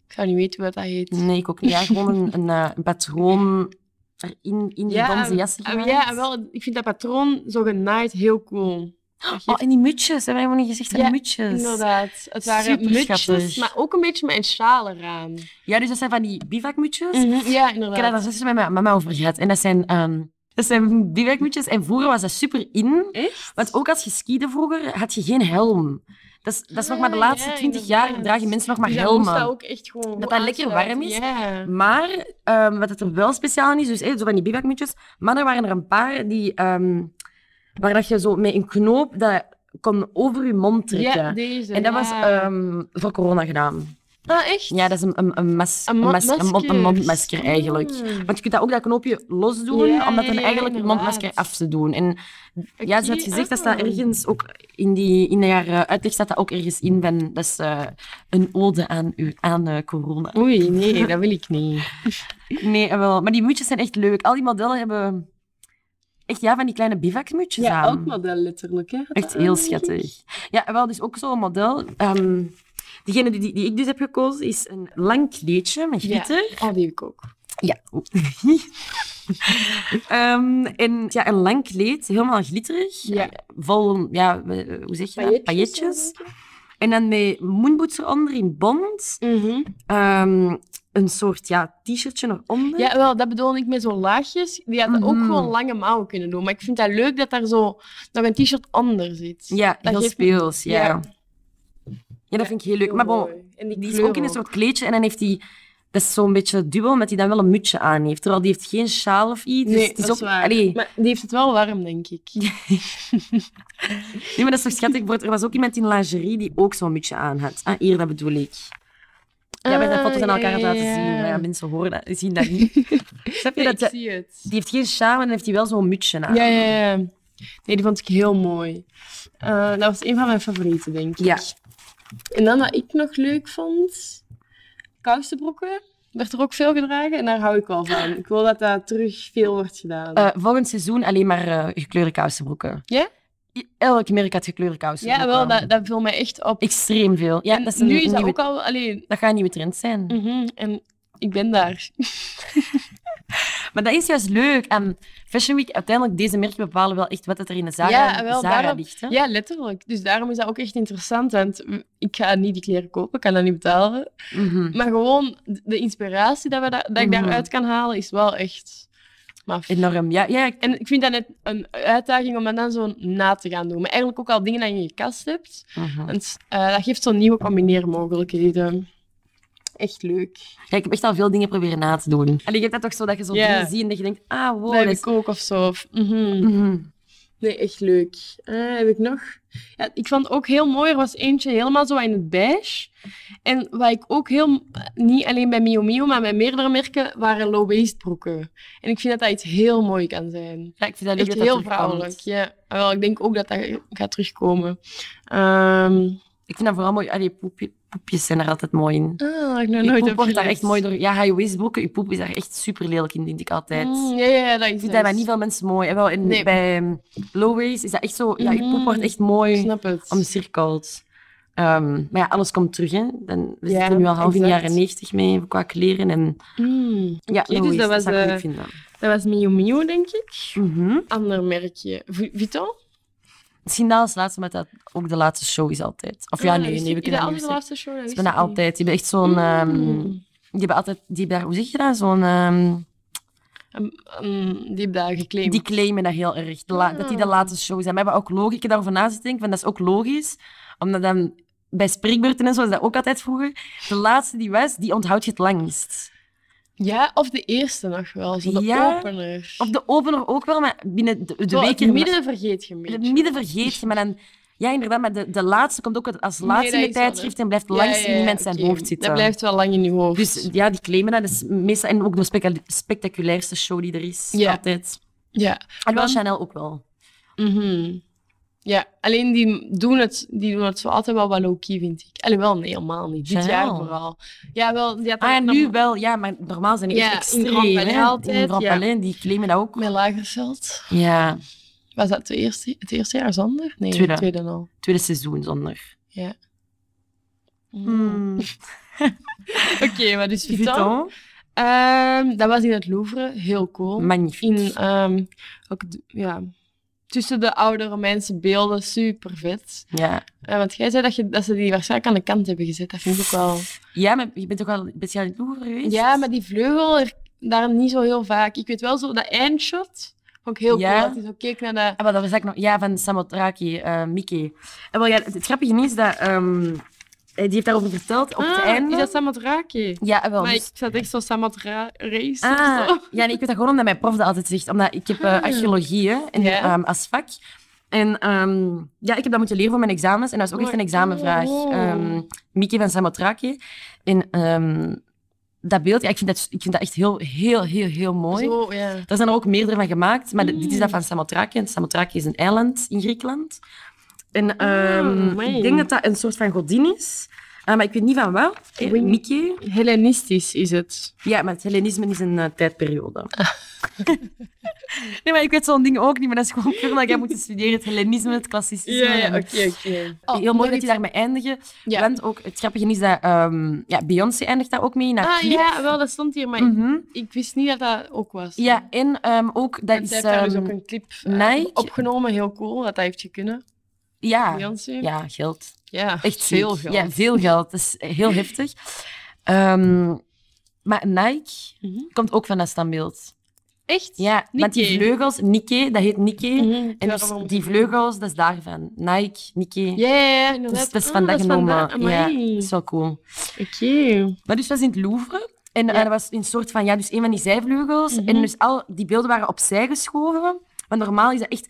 Speaker 1: ik zou niet weten wat dat heet.
Speaker 2: Nee, ik ook niet. Ja, gewoon een, een, eh, een patroon erin, in die
Speaker 1: Ja,
Speaker 2: bonzen jassen
Speaker 1: Ah,
Speaker 2: gemaakt.
Speaker 1: ja, wel, ik vind dat patroon zo genaaid heel cool. Dat
Speaker 2: Oh,
Speaker 1: geeft-
Speaker 2: en die mutsjes. Hebben we helemaal niet gezegd? van die
Speaker 1: Ja,
Speaker 2: mutsjes.
Speaker 1: Inderdaad. Het waren
Speaker 2: Superschattig.
Speaker 1: mutjes, maar ook een beetje met een sjaal eraan.
Speaker 2: Ja, dus dat zijn van die bivakmutsjes.
Speaker 1: Mhm, Ja,
Speaker 2: Ik heb daar
Speaker 1: Mm, inderdaad.
Speaker 2: straks met mijn mama over gehad. En dat zijn ehm, Dat zijn bivakmutsjes. En vroeger was dat super in.
Speaker 3: Echt?
Speaker 2: Want ook als je skiede vroeger, had je geen helm. Dat is, dat is nog maar de
Speaker 1: Ah,
Speaker 2: laatste
Speaker 1: ja,
Speaker 2: twintig jaar
Speaker 1: inderdaad.
Speaker 2: dragen mensen nog maar
Speaker 1: Dus
Speaker 2: helmen.
Speaker 1: Dat moest ook echt gewoon goed
Speaker 2: Dat dat lekker
Speaker 1: aansluiten.
Speaker 2: warm is.
Speaker 1: Ja.
Speaker 2: Maar ehm, wat het er wel speciaal aan is, dus eh, zo van die bivakmutsjes, maar er waren er een paar die, ehm, waar dat je zo met een knoop dat kon over je mond trekken.
Speaker 1: Ja, deze.
Speaker 2: en dat
Speaker 1: ja.
Speaker 2: was ehm, voor corona gedaan.
Speaker 1: Ah, echt?
Speaker 2: Ja, dat is een, een, een, mes,
Speaker 1: Een mo-
Speaker 2: een, mes- een mond- een
Speaker 1: masker.
Speaker 2: mondmasker eigenlijk.
Speaker 1: Mm.
Speaker 2: Want je kunt dat ook dat knoopje losdoen,
Speaker 1: Ja,
Speaker 2: omdat
Speaker 1: ja,
Speaker 2: dan
Speaker 1: ja,
Speaker 2: eigenlijk je
Speaker 1: inderdaad.
Speaker 2: mondmasker af te doen. En
Speaker 1: Ik
Speaker 2: ja, ze had
Speaker 1: zie-
Speaker 2: gezegd, dat staat
Speaker 1: ah.
Speaker 2: ergens ook in, die, in haar eh, uitleg staat dat ook ergens in. Van, dat is eh, een ode aan, u, aan eh, corona.
Speaker 1: Oei, nee, dat wil ik niet.
Speaker 2: Nee, eh, wel. Maar die muutjes zijn echt leuk. Al die modellen hebben echt ja, van die kleine bivakmuutjes
Speaker 3: Ja,
Speaker 2: aan.
Speaker 3: elk model letterlijk. Hè,
Speaker 2: Echt
Speaker 1: Ah,
Speaker 2: heel schattig. Ja, wel, dus ook zo'n model. Ehm diegene die, die, die ik dus heb gekozen is een lang kleedje met
Speaker 1: Ja.
Speaker 2: glitter.
Speaker 1: Oh, die heb ik ook.
Speaker 2: Ja. Ehm, en ja, een lang kleed, helemaal glitterig.
Speaker 1: Ja.
Speaker 2: Vol, ja, eh, hoe zeg je dat? Pailletjes. En dan met moonboots eronder in bond.
Speaker 1: Mhm.
Speaker 2: Ehm, een soort ja, t-shirtje eronder.
Speaker 1: Ja, wel, dat bedoel ik met zo'n laagjes. Die hadden ook
Speaker 2: Mhm.
Speaker 1: gewoon lange mouwen kunnen doen. Maar ik vind dat leuk dat daar zo nog een t-shirt onder zit.
Speaker 2: Ja,
Speaker 1: Dat
Speaker 2: heel
Speaker 1: geeft-
Speaker 2: speels, ja.
Speaker 1: ja.
Speaker 2: Ja, dat vind ik heel leuk. Maar bon,
Speaker 1: en
Speaker 2: die is ook in een soort kleedje en dan heeft hij... Dat is zo'n beetje dubbel, omdat hij dan wel een mutsje aan heeft. Terwijl die heeft geen sjaal of iets. dus
Speaker 1: Nee,
Speaker 2: het is
Speaker 1: dat is
Speaker 2: ook,
Speaker 1: waar.
Speaker 2: Allee,
Speaker 1: Maar die heeft het wel warm, denk ik.
Speaker 2: nee, maar dat is toch schattig. Bijvoorbeeld, Er was ook iemand in lingerie die ook zo'n mutsje aan had. Ah, hier, dat bedoel ik. Ja, wij zijn
Speaker 1: Ah,
Speaker 2: foto's aan
Speaker 1: ja,
Speaker 2: elkaar aan het laten
Speaker 1: ja,
Speaker 2: zien.
Speaker 1: ja.
Speaker 2: Maar ja, mensen horen dat, zien dat niet. Snap je
Speaker 1: Nee,
Speaker 2: dat?
Speaker 1: ik zie het.
Speaker 2: Die heeft geen sjaal en dan heeft hij wel zo'n mutsje aan.
Speaker 1: Ja, ja, ja. Nee, die vond ik heel mooi. Eh, dat was een van mijn favorieten, denk ik.
Speaker 2: Ja.
Speaker 1: En dan wat ik nog leuk vond... Kousenbroeken. Werd er ook veel gedragen en daar hou ik wel van. Ik wil dat dat terug veel wordt gedaan.
Speaker 2: Eh, volgend seizoen alleen maar eh, gekleurde kousenbroeken.
Speaker 1: Ja?
Speaker 2: I- Elk merk had gekleurde
Speaker 1: ja,
Speaker 2: kousenbroeken.
Speaker 1: wel, dat, dat viel mij echt op.
Speaker 2: Extreem veel. Ja,
Speaker 1: En
Speaker 2: dat is een
Speaker 1: nu is dat
Speaker 2: nieuwe-
Speaker 1: ook al... Allee,
Speaker 2: dat gaat een nieuwe trend zijn.
Speaker 1: mhm, en ik ben daar.
Speaker 2: Maar dat is juist leuk. En Fashion Week, uiteindelijk, deze merken bepalen wel echt wat het er in de Zara,
Speaker 1: Ja, wel,
Speaker 2: Zara
Speaker 1: daarom-
Speaker 2: ligt. Hè?
Speaker 1: Ja, letterlijk. Dus daarom is dat ook echt interessant. Want ik ga niet die kleren kopen, ik kan dat niet betalen.
Speaker 2: Mhm.
Speaker 1: Maar gewoon de inspiratie dat, we da- dat ik
Speaker 2: Mhm.
Speaker 1: daaruit kan halen, is wel echt... maf.
Speaker 2: Enorm. Ja, ja, ik-
Speaker 1: En ik vind dat net een uitdaging om dat dan zo na te gaan doen. Maar eigenlijk ook al dingen die je in je kast hebt.
Speaker 2: mhm.
Speaker 1: Want eh, dat geeft zo nieuwe combineermogelijkheden. Echt leuk.
Speaker 2: Ja, ik heb echt al veel dingen proberen na te doen. En je hebt dat toch zo dat je zo
Speaker 1: Ja.
Speaker 2: dingen ziet en dat je denkt, ah, wow.
Speaker 1: dat heb
Speaker 2: dat is-
Speaker 1: ik ook of zo. Of- mhm.
Speaker 2: Mhm.
Speaker 1: Nee, echt leuk. Eh, heb ik nog? Ja, ik vond ook heel mooi, er was eentje helemaal zo in het beige. En wat ik ook heel, niet alleen bij Mio Mio, maar bij meerdere merken, waren low-waist broeken. En ik vind dat dat iets heel mooi kan zijn.
Speaker 2: Ja, ik vind dat leuk
Speaker 1: Echt
Speaker 2: dat dat
Speaker 1: heel
Speaker 2: terugkomt.
Speaker 1: vrouwelijk, ja. Ah, Wel, ik denk ook dat dat gaat terugkomen. Ehm,
Speaker 2: Ik vind dat vooral mooi. Allee, poepje- poepjes zijn er altijd mooi in.
Speaker 1: ah, ik heb nooit
Speaker 2: Je poep wordt daar
Speaker 1: opgelet.
Speaker 2: echt mooi door. Ja, high waist broeken, je poep is daar echt super lelijk in, vind ik altijd.
Speaker 1: Mm, ja, ja, ja, dat is
Speaker 2: Ik vind dat bij niet veel mensen mooi. En wel, en
Speaker 1: Nee.
Speaker 2: bij ehm, low waist is dat echt zo... Ja, je poep
Speaker 1: Mhm.
Speaker 2: wordt echt mooi.
Speaker 1: Ik snap het.
Speaker 2: omcirkeld. Ehm maar ja, alles komt terug. Hè. Dan, we
Speaker 1: Ja,
Speaker 2: zitten nu al half in de
Speaker 1: exact.
Speaker 2: jaren negentig mee qua kleren. En,
Speaker 1: Mm.
Speaker 2: ja,
Speaker 1: Oké,
Speaker 2: nou
Speaker 1: dus
Speaker 2: is-
Speaker 1: dat was,
Speaker 2: zou ik
Speaker 1: eh,
Speaker 2: leuk vinden.
Speaker 1: Dat was Mio Mio, denk ik.
Speaker 2: Mhm.
Speaker 1: Ander merkje. V- Vuitton?
Speaker 2: Misschien dat als laatste, maar dat ook de laatste show is altijd. Of ja,
Speaker 1: Ah,
Speaker 2: nee,
Speaker 1: is
Speaker 2: nee, we
Speaker 1: die-
Speaker 2: kunnen
Speaker 1: de
Speaker 2: dat niet
Speaker 1: andere
Speaker 2: zeggen.
Speaker 1: laatste show, dat
Speaker 2: Het is
Speaker 1: wist
Speaker 2: bijna
Speaker 1: ik niet.
Speaker 2: altijd. Die hebben echt zo'n... ehm,
Speaker 1: Mm.
Speaker 2: die hebben altijd... Die hebben daar, hoe zeg je dat? Zo'n... ehm,
Speaker 1: Mm, die hebben daar geclaimd.
Speaker 2: die claimen dat heel erg. de la- Dat die de
Speaker 1: Ah.
Speaker 2: laatste show zijn. Maar we hebben ook logisch. Ik heb daarover na zitten denken, van dat is ook logisch. Omdat dan... Bij spreekbeurten en zo is dat ook altijd vroeger. De laatste die was, die onthoud je het langst.
Speaker 1: Ja, of de eerste nog wel. Zo de
Speaker 2: Ja,
Speaker 1: opener.
Speaker 2: Op de opener ook wel, maar binnen de, de
Speaker 1: Zo,
Speaker 2: week
Speaker 1: het
Speaker 2: erna-
Speaker 1: midden vergeet je een beetje.
Speaker 2: Het midden vergeet je, maar dan... Ja, inderdaad, maar de, de laatste komt ook als
Speaker 1: Nee,
Speaker 2: laatste
Speaker 1: dat
Speaker 2: in
Speaker 1: is
Speaker 2: de
Speaker 1: wel
Speaker 2: tijdschrift en blijft
Speaker 1: Ja,
Speaker 2: langs
Speaker 1: ja,
Speaker 2: in
Speaker 1: ja,
Speaker 2: iemand zijn
Speaker 1: oké.
Speaker 2: hoofd zitten.
Speaker 1: Dat blijft wel lang in je hoofd.
Speaker 2: Dus ja, die claimen dat. dat is meestal, en ook de speca- spectaculairste show die er is.
Speaker 1: Ja.
Speaker 2: Altijd.
Speaker 1: Ja.
Speaker 2: En wel
Speaker 1: Want-
Speaker 2: Chanel ook wel.
Speaker 1: mhm. Ja, alleen die doen het, die doen het zo altijd wel wat low-key, vind ik. Allee, wel, nee, helemaal niet. Dit
Speaker 2: Chanel.
Speaker 1: jaar vooral. Ja, wel. Die had
Speaker 2: Ah,
Speaker 1: ook
Speaker 2: en
Speaker 1: nog-
Speaker 2: nu wel. Ja, maar normaal zijn die
Speaker 1: Ja,
Speaker 2: echt
Speaker 1: in
Speaker 2: extreem.
Speaker 1: Grand Palais
Speaker 2: hè.
Speaker 1: altijd,
Speaker 2: in Grand
Speaker 1: ja.
Speaker 2: Palais, die claimen dat ook.
Speaker 1: Met Lagerveld.
Speaker 2: Ja,
Speaker 1: Was dat het eerste, het eerste jaar zonder? Nee,
Speaker 2: Tweede.
Speaker 1: het tweede al.
Speaker 2: tweede seizoen zonder. Hmm.
Speaker 1: Oké, maar dus Vuitton.
Speaker 2: Vuitton.
Speaker 1: Ehm, dat was in het Louvre. Heel cool.
Speaker 2: Magnifiek.
Speaker 1: in, ehm, ook, d- ja, tussen de oude Romeinse beelden, super vet. Eh,
Speaker 2: Ja.
Speaker 1: want jij zei dat, je, dat ze die waarschijnlijk aan de kant hebben gezet. Dat vind ik ook wel.
Speaker 2: ja, maar je bent toch al speciaal in het Louvre geweest?
Speaker 1: Ja, maar die vleugel er- daar niet zo heel vaak. Ik weet wel zo dat eindshot Vond ik heel
Speaker 2: Ja.
Speaker 1: cool dat hij zo keek naar de...
Speaker 2: Ah, maar dat was ik nog... Ja, van Samotraki, eh Mickey. En wel, ja, het, het grappige is dat... ehm, eh, die heeft daarover verteld op het
Speaker 1: Ah,
Speaker 2: einde.
Speaker 1: Is dat Samatraki?
Speaker 2: Ja, eh, wel.
Speaker 1: Maar ik
Speaker 2: dus-
Speaker 1: zat echt zo Samatra race of
Speaker 2: Ah,
Speaker 1: zo.
Speaker 2: ja, nee, ik weet dat gewoon omdat mijn prof dat altijd zegt. Omdat ik heb eh,
Speaker 1: Ah.
Speaker 2: archeologie hè, en,
Speaker 1: Ja.
Speaker 2: ehm, als vak. En ehm, ja, ik heb dat moeten leren voor mijn examens. En dat is ook echt een
Speaker 1: Mooi.
Speaker 2: examenvraag.
Speaker 1: Oh.
Speaker 2: Ehm Mickey van Samotraki. En ehm, dat beeld, ja, ik, vind dat, ik vind dat echt heel, heel, heel, heel mooi.
Speaker 1: Zo, ja.
Speaker 2: Er zijn er ook meerdere van gemaakt, maar dit- dit is dat
Speaker 1: Mm.
Speaker 2: van Samothraki. En Samothraki is een eiland in Griekenland. En ehm,
Speaker 1: amai.
Speaker 2: ik denk dat dat een soort van godin is, eh, maar ik weet niet van wat. Eh,
Speaker 1: Wing-
Speaker 2: Mickey?
Speaker 1: Hellenistisch is het.
Speaker 2: Ja, maar het Hellenisme is een eh, tijdperiode. nee, maar ik weet zo'n ding ook niet, maar dat is gewoon puur dat jij moet studeren. Het Hellenisme, het klassicisme. Oh,
Speaker 1: oké.
Speaker 2: Heel mooi dat je daarmee eindigen.
Speaker 1: Ja.
Speaker 2: Want ook het grappige is dat ehm, ja, Beyoncé eindigt daar ook mee in haar
Speaker 1: Ah
Speaker 2: clip.
Speaker 1: ja, wel, dat stond hier, maar ik-
Speaker 2: Mhm.
Speaker 1: ik wist niet dat dat ook was.
Speaker 2: Ja, en ehm, ook dat
Speaker 1: Dat
Speaker 2: is...
Speaker 1: heeft daar dus
Speaker 2: ehm,
Speaker 1: ook een clip eh,
Speaker 2: Nike.
Speaker 1: opgenomen, heel cool, dat hij heeft gekunnen.
Speaker 2: ja,
Speaker 1: Beyoncé.
Speaker 2: ja, geld.
Speaker 1: Ja,
Speaker 2: Echt
Speaker 1: veel
Speaker 2: ziek.
Speaker 1: geld.
Speaker 2: Ja, veel geld. Dat is heel heftig. Ehm, maar Nike
Speaker 1: Mhm.
Speaker 2: komt ook van dat standbeeld.
Speaker 1: Echt?
Speaker 2: Ja, want die
Speaker 1: Nike.
Speaker 2: vleugels, Nike, dat heet Nike.
Speaker 1: Mhm,
Speaker 2: En dus
Speaker 1: daarom.
Speaker 2: die vleugels, dat is daarvan. Nike, Nike.
Speaker 1: Ja, ja, ja,
Speaker 2: Dus
Speaker 1: inderdaad.
Speaker 2: dat is
Speaker 1: Ah,
Speaker 2: vandaag
Speaker 1: vandaar.
Speaker 2: genomen. Ja, Dus-
Speaker 1: Amai.
Speaker 2: dat is wel cool.
Speaker 1: Oké.
Speaker 2: Maar dus, dat was in het Louvre. En
Speaker 1: Ja.
Speaker 2: eh, dat was een soort van, ja, dus een van die zijvleugels.
Speaker 1: Mhm.
Speaker 2: En dus al die beelden waren opzij geschoven. Want normaal is dat echt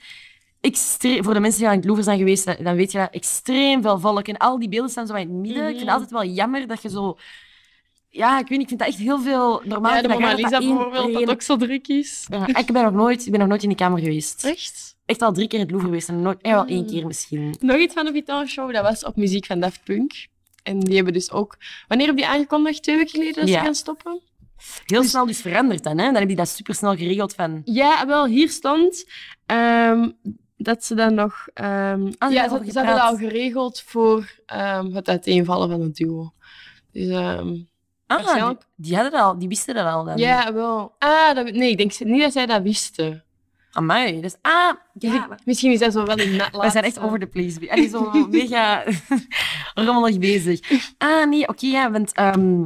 Speaker 2: extreem... Voor de mensen die aan het Louvre zijn geweest, dan dan weet je dat extreem veel volk. En al die beelden staan zo in het midden. Ik vind
Speaker 1: Mhm.
Speaker 2: het altijd wel jammer dat je zo... Ja, ik weet niet, ik vind dat echt heel veel... Normaal
Speaker 1: Ja,
Speaker 2: is
Speaker 1: de
Speaker 2: dat
Speaker 1: Mona
Speaker 2: raar dat
Speaker 1: Lisa
Speaker 2: dat één
Speaker 1: bijvoorbeeld,
Speaker 2: reële-
Speaker 1: dat ook zo druk is.
Speaker 2: Ja, ik, ben nog nooit, ik ben nog nooit in die kamer geweest.
Speaker 1: Echt?
Speaker 2: Echt al drie keer in het Louvre geweest en nooit, eh, wel één
Speaker 1: Mm.
Speaker 2: keer misschien.
Speaker 1: Nog iets van de Vitan Show, dat was op muziek van Daft Punk. En die hebben dus ook... Wanneer heb die aangekondigd? Twee weken geleden dat
Speaker 2: Ja.
Speaker 1: ze gaan stoppen?
Speaker 2: Heel snel dus veranderd dan, hè? Dan heb je dat supersnel geregeld van...
Speaker 1: Ja, wel, hier stond ehm, dat ze dan nog... ehm,
Speaker 2: Ah, ze
Speaker 1: ja, ze,
Speaker 2: hebben
Speaker 1: ze
Speaker 2: al
Speaker 1: hadden dat
Speaker 2: gepraat.
Speaker 1: al geregeld voor ehm, het uiteenvallen van het duo. Dus ehm,
Speaker 2: Ah, die,
Speaker 1: Waarschijnlijk.
Speaker 2: die hadden dat al, die wisten dat al dan.
Speaker 1: ja, wel. Ah, dat, nee, ik denk niet dat zij dat wisten.
Speaker 2: Amai, dus... Ah,
Speaker 1: Dus
Speaker 2: ja,
Speaker 1: ik- misschien is dat zo wel in
Speaker 2: we zijn echt over de place. En is zo mega rommelig bezig. Ah, nee, oké, ja, want... ehm,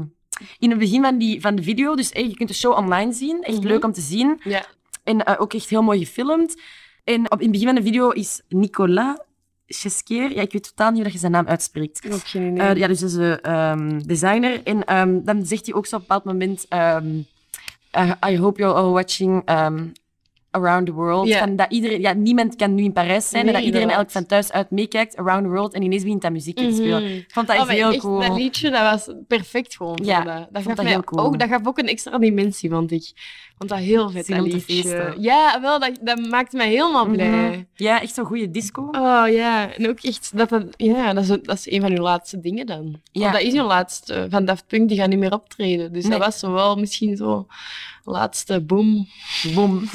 Speaker 2: in het begin van, die, van de video, dus eh, je kunt de show online zien. Echt
Speaker 1: Mhm.
Speaker 2: leuk om te zien.
Speaker 1: Ja.
Speaker 2: En eh, ook echt heel mooi gefilmd. En op, in het begin van de video is Nicolas Chesquier. Ja, ik weet totaal niet hoe dat je zijn naam uitspreekt.
Speaker 1: Ook geen idee.
Speaker 2: Eh, ja, dus is een ehm, designer. En ehm, dan zegt hij ook zo op een bepaald moment... ehm, I- I hope you're all watching ehm, around the world.
Speaker 1: Ja.
Speaker 2: Van dat iedereen, ja, niemand kan nu in Parijs zijn.
Speaker 1: Nee,
Speaker 2: en dat iedereen eigenlijk
Speaker 1: inderdaad.
Speaker 2: van thuis uit meekijkt around the world. En ineens begint dat muziekje te spelen.
Speaker 1: Mhm.
Speaker 2: Ik vond dat
Speaker 1: Oh,
Speaker 2: echt
Speaker 1: maar
Speaker 2: heel
Speaker 1: echt,
Speaker 2: cool.
Speaker 1: Dat liedje dat was perfect gewoon.
Speaker 2: Ja,
Speaker 1: voor dat. dat, gaf
Speaker 2: dat
Speaker 1: mij
Speaker 2: heel cool.
Speaker 1: ook, dat gaf ook een extra dimensie, vond ik. Ik Vond dat heel vet,
Speaker 2: Zin
Speaker 1: dat
Speaker 2: om te
Speaker 1: liedje.
Speaker 2: feesten.
Speaker 1: Ja, wel, dat, dat maakte mij helemaal
Speaker 2: Mhm.
Speaker 1: blij.
Speaker 2: Ja, echt zo'n goede disco.
Speaker 1: Oh ja, en ook echt, dat, dat, ja, dat, is, dat is een van uw laatste dingen dan.
Speaker 2: Ja.
Speaker 1: Want dat is uw laatste. Van Daft Punk, die gaan niet meer optreden. Dus
Speaker 2: Nee.
Speaker 1: dat was zo wel misschien zo laatste boom.
Speaker 2: Bom.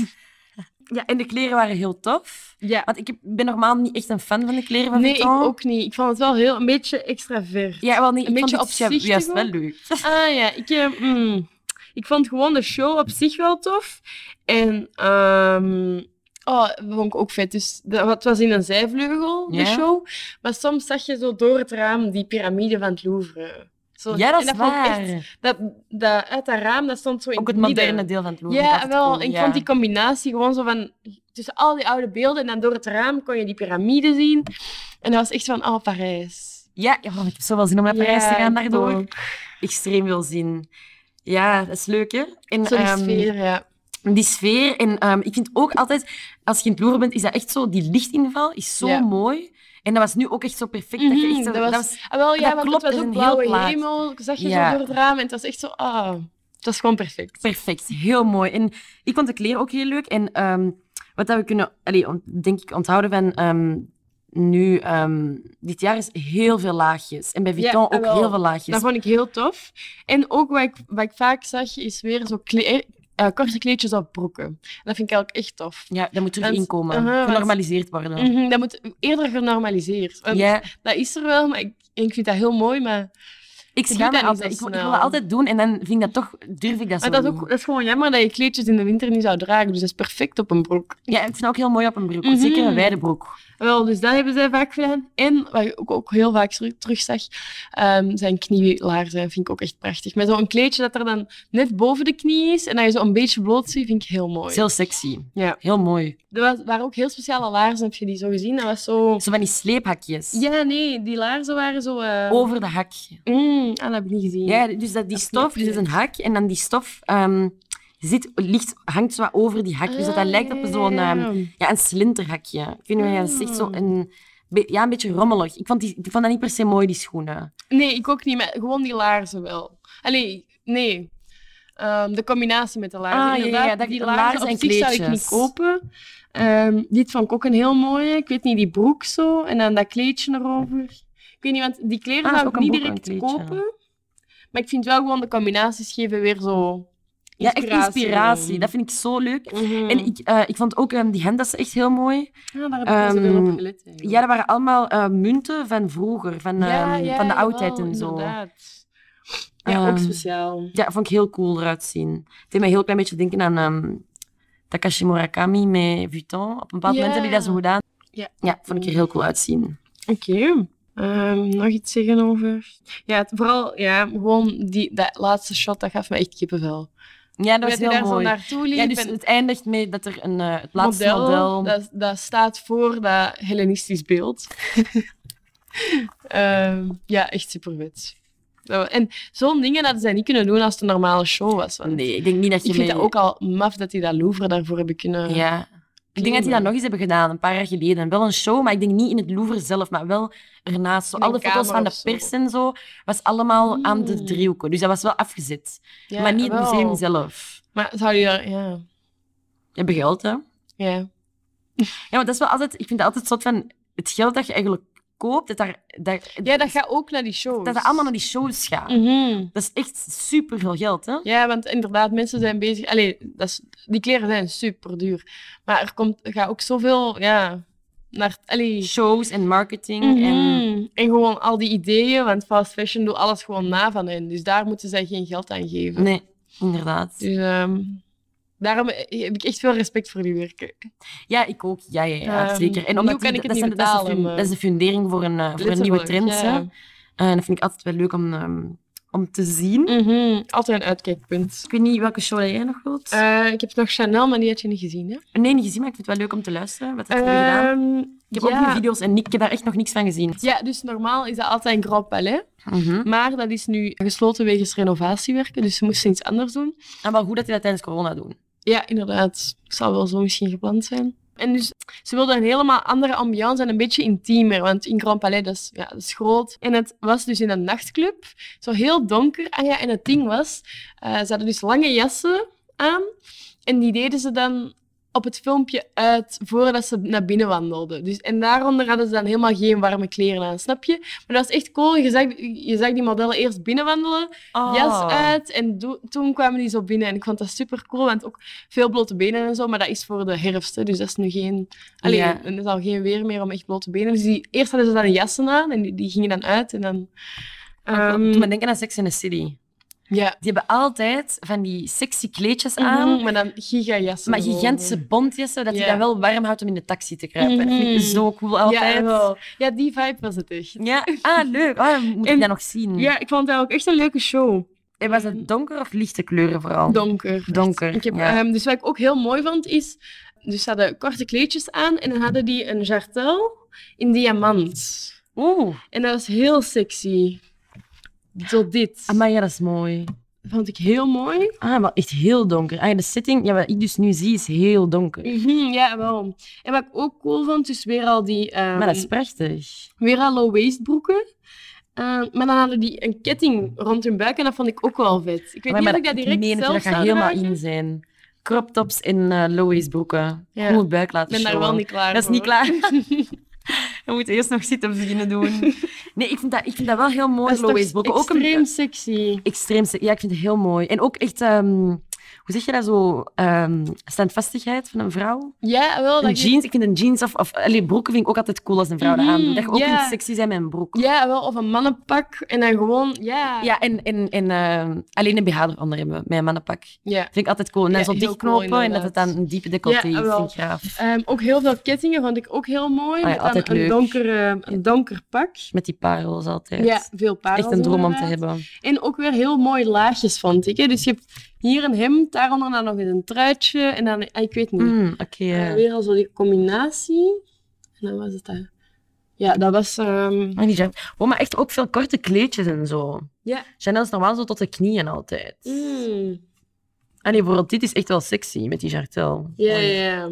Speaker 2: Ja, en de kleren waren heel tof.
Speaker 1: Ja.
Speaker 2: Want ik heb- ben normaal niet echt een fan van de kleren van
Speaker 1: Nee, ik
Speaker 2: Vuitton.
Speaker 1: ook niet. Ik vond het wel heel, een beetje extravert.
Speaker 2: Ja, wel niet.
Speaker 1: Een
Speaker 2: ik vond
Speaker 1: beetje
Speaker 2: het ju-
Speaker 1: opzichtig
Speaker 2: juist wel
Speaker 1: ook.
Speaker 2: leuk.
Speaker 1: Ah ja, ik, eh, mm, ik vond gewoon de show op zich wel tof. En ehm oh, dat vond ik ook vet. Dus dat, het was in een zijvleugel,
Speaker 2: Ja.
Speaker 1: de show. Maar soms zag je zo door het raam die piramide van het Louvre. Zo,
Speaker 2: Ja, dat
Speaker 1: en
Speaker 2: is
Speaker 1: vond ik
Speaker 2: waar.
Speaker 1: echt- dat, dat, uit dat raam, dat stond zo in
Speaker 2: Ook het
Speaker 1: het midden.
Speaker 2: moderne deel van het Louvre.
Speaker 1: Ja,
Speaker 2: dat
Speaker 1: wel.
Speaker 2: cool,
Speaker 1: en ik
Speaker 2: ja.
Speaker 1: vond die combinatie gewoon zo van... Tussen al die oude beelden en dan door het raam kon je die piramide zien. En dat was echt van, oh, Parijs.
Speaker 2: Ja, ja, oh, ik heb zoveel zin om naar Parijs
Speaker 1: Ja,
Speaker 2: te gaan
Speaker 1: ik
Speaker 2: daardoor.
Speaker 1: ook.
Speaker 2: Extreem veel zin. Ja, dat is leuk, hè? En,
Speaker 1: Zo die
Speaker 2: ehm,
Speaker 1: sfeer, ja.
Speaker 2: die sfeer. En ehm, ik vind ook altijd, als je in het Louvre bent, is dat echt zo... Die lichtinval is zo
Speaker 1: Ja.
Speaker 2: mooi. En dat was nu ook echt zo perfect. dat je
Speaker 1: Mhm,
Speaker 2: echt zo-
Speaker 1: dat was- Ah, wel, ja,
Speaker 2: dat
Speaker 1: want
Speaker 2: klopt,
Speaker 1: het
Speaker 2: dat
Speaker 1: was
Speaker 2: is
Speaker 1: ook
Speaker 2: een heel
Speaker 1: blauwe
Speaker 2: plaat.
Speaker 1: hemel. Zag je
Speaker 2: Ja.
Speaker 1: zo door het raam en het was echt zo... Ah, het was gewoon perfect.
Speaker 2: perfect. Heel mooi. En ik vond de kleren ook heel leuk. En ehm, wat dat we kunnen, allee, ont- denk ik, onthouden van ehm, nu, ehm, dit jaar is heel veel laagjes. En bij
Speaker 1: Ja,
Speaker 2: Vuitton ook
Speaker 1: jawel.
Speaker 2: heel veel laagjes.
Speaker 1: Dat vond ik heel tof. En ook wat ik, wat ik vaak zag, is weer zo kle- eh, korte kleedjes op broeken. En dat vind ik eigenlijk echt tof.
Speaker 2: Ja, dat moet terug
Speaker 1: Want-
Speaker 2: inkomen.
Speaker 1: Aha, want-
Speaker 2: Genormaliseerd worden.
Speaker 1: Mhm, dat moet eerder genormaliseerd. eh, Want
Speaker 2: Ja,
Speaker 1: Dat is er wel, maar ik, en ik vind dat heel mooi, maar
Speaker 2: Ik
Speaker 1: doe
Speaker 2: schaam me
Speaker 1: dat niet
Speaker 2: altijd. Ik,
Speaker 1: zo
Speaker 2: ik wil
Speaker 1: snel.
Speaker 2: dat altijd doen en dan vind ik dat toch, durf ik dat zo
Speaker 1: Maar dat is,
Speaker 2: niet.
Speaker 1: ook, dat is gewoon jammer dat je kleedjes in de winter niet zou dragen. Dus dat is perfect op een broek.
Speaker 2: Ja, ik vind het ook heel mooi op een broek.
Speaker 1: Mhm.
Speaker 2: Zeker een wijde broek.
Speaker 1: Wel, dus dat hebben zij vaak gedaan. En wat ik ook, ook heel vaak teru- terugzag, ehm, zijn knielaarzen vind ik ook echt prachtig. Met zo'n kleedje dat er dan net boven de knie is en dat je zo een beetje bloot ziet, vind ik heel
Speaker 2: Het is
Speaker 1: mooi.
Speaker 2: heel sexy.
Speaker 1: Ja.
Speaker 2: Heel mooi.
Speaker 1: Er was, waren ook heel speciale laarzen, heb je die zo gezien? Dat was zo...
Speaker 2: Zo van die sleephakjes.
Speaker 1: Ja, nee, die laarzen waren zo... eh,
Speaker 2: Over de hak.
Speaker 1: Mm, ah, dat heb ik niet gezien.
Speaker 2: Oh. Ja, dus dat, die
Speaker 1: Dat
Speaker 2: stof, dus dat is een hak. En dan die stof ehm, zit, ligt, hangt zo wat over die hak. Dus dat, dat
Speaker 1: Ah,
Speaker 2: lijkt op
Speaker 1: ja,
Speaker 2: zo'n
Speaker 1: ja,
Speaker 2: ehm,
Speaker 1: ja. Ah.
Speaker 2: ja, een slinterhakje. Ik vind het is echt zo een, be- ja, een beetje rommelig. Ik vond, die, ik vond dat niet per se mooi, die schoenen.
Speaker 1: Nee, ik ook niet. Maar gewoon die laarzen wel. Allee, nee. Ehm, de combinatie met de laarzen.
Speaker 2: Ah, ja, ja,
Speaker 1: Inderdaad,
Speaker 2: dat-
Speaker 1: die
Speaker 2: de
Speaker 1: laarzen,
Speaker 2: laarzen
Speaker 1: op
Speaker 2: en
Speaker 1: zich zou ik
Speaker 2: kleedjes.
Speaker 1: niet kopen. Ehm, dit vond ik ook een heel mooie. Ik weet niet, die broek zo. En dan dat kleedje erover. Ik weet niet, want die kleren
Speaker 2: Ah,
Speaker 1: zou ik
Speaker 2: ook een
Speaker 1: niet
Speaker 2: broek en een
Speaker 1: direct
Speaker 2: kleedje.
Speaker 1: kopen. Maar ik vind wel gewoon de combinaties geven weer zo...
Speaker 2: Ja, echt inspiratie. Dat vind ik zo leuk.
Speaker 1: Mhm.
Speaker 2: En ik, eh, ik vond ook ehm, die hendassen echt heel mooi.
Speaker 1: Ja, daar heb ik wel zoveel
Speaker 2: Ehm,
Speaker 1: op gelet. eigenlijk.
Speaker 2: Ja, dat waren allemaal eh, munten van vroeger, van,
Speaker 1: Ja,
Speaker 2: ehm,
Speaker 1: ja,
Speaker 2: van de
Speaker 1: jawel,
Speaker 2: oudheid en zo.
Speaker 1: inderdaad. Ja, ook
Speaker 2: Ehm,
Speaker 1: speciaal.
Speaker 2: Ja, vond ik heel cool eruit zien. Het deed mij heel klein beetje denken aan ehm, Takashi Murakami met Vuitton. Op een bepaald
Speaker 1: Ja.
Speaker 2: moment heb ik dat zo gedaan.
Speaker 1: Ja.
Speaker 2: ja, vond ik er heel cool uitzien.
Speaker 1: Oké. Ehm, nog iets zeggen over? Ja, het- vooral ja, gewoon die, dat laatste shot, dat gaf me echt kippenvel.
Speaker 2: Ja, dat
Speaker 1: Hoe
Speaker 2: was
Speaker 1: je
Speaker 2: heel
Speaker 1: daar zo
Speaker 2: mooi.
Speaker 1: naartoe liep.
Speaker 2: Ja, dus
Speaker 1: en
Speaker 2: het eindigt mee dat er een, eh, het laatste
Speaker 1: model,
Speaker 2: model...
Speaker 1: Dat, dat staat voor dat Hellenistisch beeld. Ehm, ja, echt super vet. En zo'n dingen hadden zij niet kunnen doen als het een normale show was. want
Speaker 2: Nee, ik denk niet dat je
Speaker 1: Ik vind
Speaker 2: mee-
Speaker 1: dat ook al maf dat die dat Louvre daarvoor hebben kunnen...
Speaker 2: Ja. Ik denk dat die dat nog eens hebben gedaan, een paar jaar geleden. Wel een show, maar ik denk niet in het Louvre zelf, maar wel ernaast. Zo,
Speaker 1: In een
Speaker 2: alle foto's
Speaker 1: kamer
Speaker 2: van
Speaker 1: of
Speaker 2: de
Speaker 1: zo.
Speaker 2: pers en zo, was allemaal aan de
Speaker 1: Mm.
Speaker 2: driehoeken. Dus dat was wel afgezet.
Speaker 1: Ja,
Speaker 2: maar niet het
Speaker 1: wel.
Speaker 2: museum zelf.
Speaker 1: Maar zou je daar... Ja.
Speaker 2: Je hebt geld, hè?
Speaker 1: ja.
Speaker 2: Ja, maar dat is wel altijd... Ik vind het altijd soort van... Het geld dat je eigenlijk koopt, dat daar, daar,
Speaker 1: ja, dat gaat ook naar die shows.
Speaker 2: dat dat allemaal naar die shows gaat.
Speaker 1: Mhm.
Speaker 2: Dat is echt superveel geld, hè?
Speaker 1: Ja, want inderdaad, mensen zijn bezig. Allee, dat is, die kleren zijn super duur. Maar er komt, er gaat ook zoveel ja, naar. Allee,
Speaker 2: Shows en marketing en...
Speaker 1: Mhm. En gewoon al die ideeën, want fast fashion doet alles gewoon na van hen. Dus daar moeten zij geen geld aan geven.
Speaker 2: Nee, inderdaad.
Speaker 1: Dus ehm, daarom heb ik echt veel respect voor die werken.
Speaker 2: Ja, ik ook. Ja, ja, ja
Speaker 1: Ehm,
Speaker 2: zeker. En
Speaker 1: nu
Speaker 2: omdat
Speaker 1: kan
Speaker 2: die-
Speaker 1: ik het
Speaker 2: dat,
Speaker 1: niet
Speaker 2: zijn- dat is de
Speaker 1: betalen,
Speaker 2: fun-
Speaker 1: maar-
Speaker 2: dat is de fundering voor een, eh, voor een nieuwe trend.
Speaker 1: Letterlijk,
Speaker 2: hè.
Speaker 1: ja.
Speaker 2: Eh, dat vind ik altijd wel leuk om, ehm, om te zien.
Speaker 1: Mhm. Altijd een uitkijkpunt.
Speaker 2: Ik weet niet welke show dat jij nog wilt. Eh,
Speaker 1: Eh, ik heb nog Chanel, maar die had je niet gezien, hè?
Speaker 2: nee, niet gezien, maar ik vind het wel leuk om te luisteren. Wat heb je gedaan?
Speaker 1: Ehm,
Speaker 2: Ik heb
Speaker 1: ja.
Speaker 2: ook die video's en ik heb daar echt nog niks van gezien.
Speaker 1: Ja, dus normaal is dat altijd een Grand Palais.
Speaker 2: Mhm.
Speaker 1: Maar dat is nu gesloten wegens renovatiewerken, dus ze moesten iets anders doen.
Speaker 2: En wel goed dat die dat tijdens corona doen.
Speaker 1: Ja, inderdaad. Zal wel zo misschien gepland zijn. En dus, ze wilden een helemaal andere ambiance en een beetje intiemer. Want in Grand Palais, dat is, ja, dat is groot. En het was dus in een nachtclub. Zo heel donker. Ah ja, en het ding was, eh, ze hadden dus lange jassen aan. En die deden ze dan op het filmpje uit voordat ze naar binnen wandelden. Dus, en daaronder hadden ze dan helemaal geen warme kleren aan, snap je? Maar dat was echt cool. Je zag, je zag die modellen eerst binnenwandelen
Speaker 2: Oh.
Speaker 1: jas
Speaker 2: eh,
Speaker 1: uit. En do- toen kwamen die zo binnen. En ik vond dat super cool, want ook veel blote benen en zo. Maar dat is voor de herfst, hè, dus dat is nu geen... Alleen,
Speaker 2: Ja.
Speaker 1: er is al geen weer meer om echt blote benen. Dus die, eerst hadden ze dan jassen aan en die, die gingen dan uit. En dan...
Speaker 2: Ik
Speaker 1: ehm,
Speaker 2: moet me denken aan Sex in the City.
Speaker 1: ja.
Speaker 2: Die hebben altijd van die sexy kleedjes aan.
Speaker 1: Mhm, maar dan gigajassen.
Speaker 2: Maar
Speaker 1: gewoon.
Speaker 2: gigantische bontjessen, dat die
Speaker 1: Ja.
Speaker 2: dan wel warm houdt om in de taxi te kruipen. Dat vind ik
Speaker 1: Mhm.
Speaker 2: zo cool
Speaker 1: Ja,
Speaker 2: altijd.
Speaker 1: jawel. ja, die vibe was het echt.
Speaker 2: Ja, ah, leuk. Oh, moet
Speaker 1: En-
Speaker 2: ik dat nog zien?
Speaker 1: Ja, ik vond dat ook echt een leuke show.
Speaker 2: En was het donker of lichte kleuren vooral?
Speaker 1: Donker.
Speaker 2: Donker,
Speaker 1: Ik heb,
Speaker 2: ja.
Speaker 1: ehm, dus wat ik ook heel mooi vond is, dus ze hadden korte kleedjes aan en dan hadden die een jartel in diamant.
Speaker 2: Oeh,
Speaker 1: En dat was heel sexy. Tot dit.
Speaker 2: Ah, maar ja, dat is mooi.
Speaker 1: Vond ik heel mooi.
Speaker 2: Ah, maar echt heel donker. Ah, de setting, ja, wat ik dus nu zie, is heel donker.
Speaker 1: Mhm, ja, wel. En wat ik ook cool vond, dus weer al die... ehm,
Speaker 2: Maar dat is prachtig.
Speaker 1: Weer al low-waist broeken. Eh, maar dan hadden die een ketting rond hun buik en dat vond ik ook wel vet. Ik weet
Speaker 2: maar,
Speaker 1: niet
Speaker 2: maar
Speaker 1: of ik dat direct
Speaker 2: meen het,
Speaker 1: zelf
Speaker 2: dat gaat
Speaker 1: zou
Speaker 2: helemaal
Speaker 1: dragen.
Speaker 2: in zijn. Crop tops en eh, low-waist broeken.
Speaker 1: Ja.
Speaker 2: Cool buik
Speaker 1: Ik
Speaker 2: laten
Speaker 1: ben daar
Speaker 2: showen.
Speaker 1: wel niet klaar
Speaker 2: Dat is niet
Speaker 1: voor.
Speaker 2: klaar. We moeten eerst nog sit-ups beginnen doen. Nee, ik vind dat, ik vind dat wel heel mooi,
Speaker 1: Dat is
Speaker 2: low-waist
Speaker 1: toch
Speaker 2: broeken. Ook
Speaker 1: extreem
Speaker 2: een
Speaker 1: sexy.
Speaker 2: extreem... se- Ja, ik vind het heel mooi. En ook echt... ehm, hoe zeg je dat zo, ehm, standvastigheid van een vrouw.
Speaker 1: Ja, wel.
Speaker 2: Een
Speaker 1: Dat je-
Speaker 2: jeans, ik vind een jeans of, of allee, broeken vind ik ook altijd cool als een vrouw dat
Speaker 1: Mhm,
Speaker 2: aandoet. Dat je ook
Speaker 1: ja.
Speaker 2: kunt sexy zijn met een broek.
Speaker 1: Ja, wel. Of een mannenpak. En dan gewoon, ja.
Speaker 2: Ja, en, en, en ehm, alleen een BH eronder hebben met een mannenpak.
Speaker 1: ja.
Speaker 2: Vind ik altijd cool. En dan
Speaker 1: Ja,
Speaker 2: zo
Speaker 1: heel cool,
Speaker 2: dichtknopen en dat
Speaker 1: inderdaad.
Speaker 2: het dan een diepe decolleté
Speaker 1: Ja,
Speaker 2: is.
Speaker 1: wel.
Speaker 2: Vind ik graaf.
Speaker 1: Ehm, ook heel veel kettingen vond ik ook heel mooi.
Speaker 2: Ah ja,
Speaker 1: met dan
Speaker 2: altijd
Speaker 1: een,
Speaker 2: leuk.
Speaker 1: donkere, een donker pak.
Speaker 2: Met die parels altijd.
Speaker 1: Ja, veel parels.
Speaker 2: Echt een droom om te
Speaker 1: inderdaad.
Speaker 2: hebben.
Speaker 1: En ook weer heel mooi laagjes, vond ik. Hè. Dus je hebt hier een hemd, daaronder dan nog eens een truitje. En dan, ah, ik weet niet.
Speaker 2: Mm, Oké.
Speaker 1: Eh, weer al zo die combinatie. En dan was het dat. Ja, dat was... ehm,
Speaker 2: Maar die Jan- Oh, maar echt ook veel korte kleedjes en zo.
Speaker 1: Ja.
Speaker 2: Chanel is normaal zo tot de knieën altijd.
Speaker 1: mm,
Speaker 2: Ah nee, bijvoorbeeld dit is echt wel sexy met die jartel.
Speaker 1: ja, ja, ja.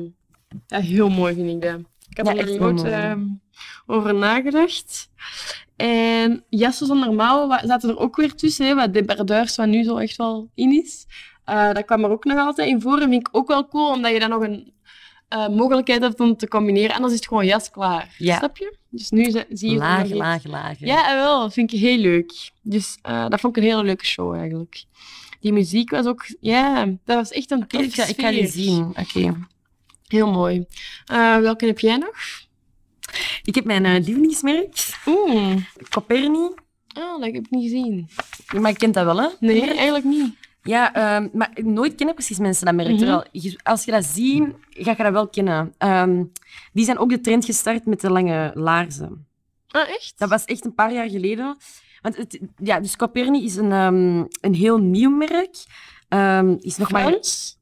Speaker 1: Ja, heel mooi vind ik dat. Ik heb
Speaker 2: Ja,
Speaker 1: er
Speaker 2: echt
Speaker 1: nog
Speaker 2: heel
Speaker 1: nooit
Speaker 2: mooi.
Speaker 1: ehm, over nagedacht. En jassen zonder mouwen wa- zaten er ook weer tussen. Hè, wat debardeurs wat nu zo echt wel in is. Eh, dat kwam er ook nog altijd in voor. En vind ik ook wel cool, omdat je dan nog een eh, mogelijkheid hebt om te combineren. Anders is het gewoon jas klaar.
Speaker 2: Ja.
Speaker 1: Snap je? Dus nu ze- zie je... er nog
Speaker 2: Laag,
Speaker 1: iets.
Speaker 2: laag, laag.
Speaker 1: Ja, eh, wel. Vind ik heel leuk. Dus eh, dat vond ik een hele leuke show eigenlijk. Die muziek was ook, ja, dat was echt een toffe
Speaker 2: Ik ga, ik ga
Speaker 1: sfeer.
Speaker 2: die zien. Oké.
Speaker 1: Heel mooi. Eh, welke heb jij nog?
Speaker 2: Ik heb mijn eh, lievelingsmerk,
Speaker 1: Oeh,
Speaker 2: Coperni.
Speaker 1: oh, dat heb ik niet gezien.
Speaker 2: Maar je kent dat wel, hè?
Speaker 1: Nee, eigenlijk niet.
Speaker 2: Ja, ehm, maar nooit kennen precies mensen dat merk.
Speaker 1: Mhm.
Speaker 2: Terwijl, je- als je dat ziet, ga je dat wel kennen. Ehm, die zijn ook de trend gestart met de lange laarzen.
Speaker 1: Ah, echt?
Speaker 2: Dat was echt een paar jaar geleden. Want het, ja, dus Coperni is een, ehm, een heel nieuw merk. Ehm, is nog maar...
Speaker 1: Frans?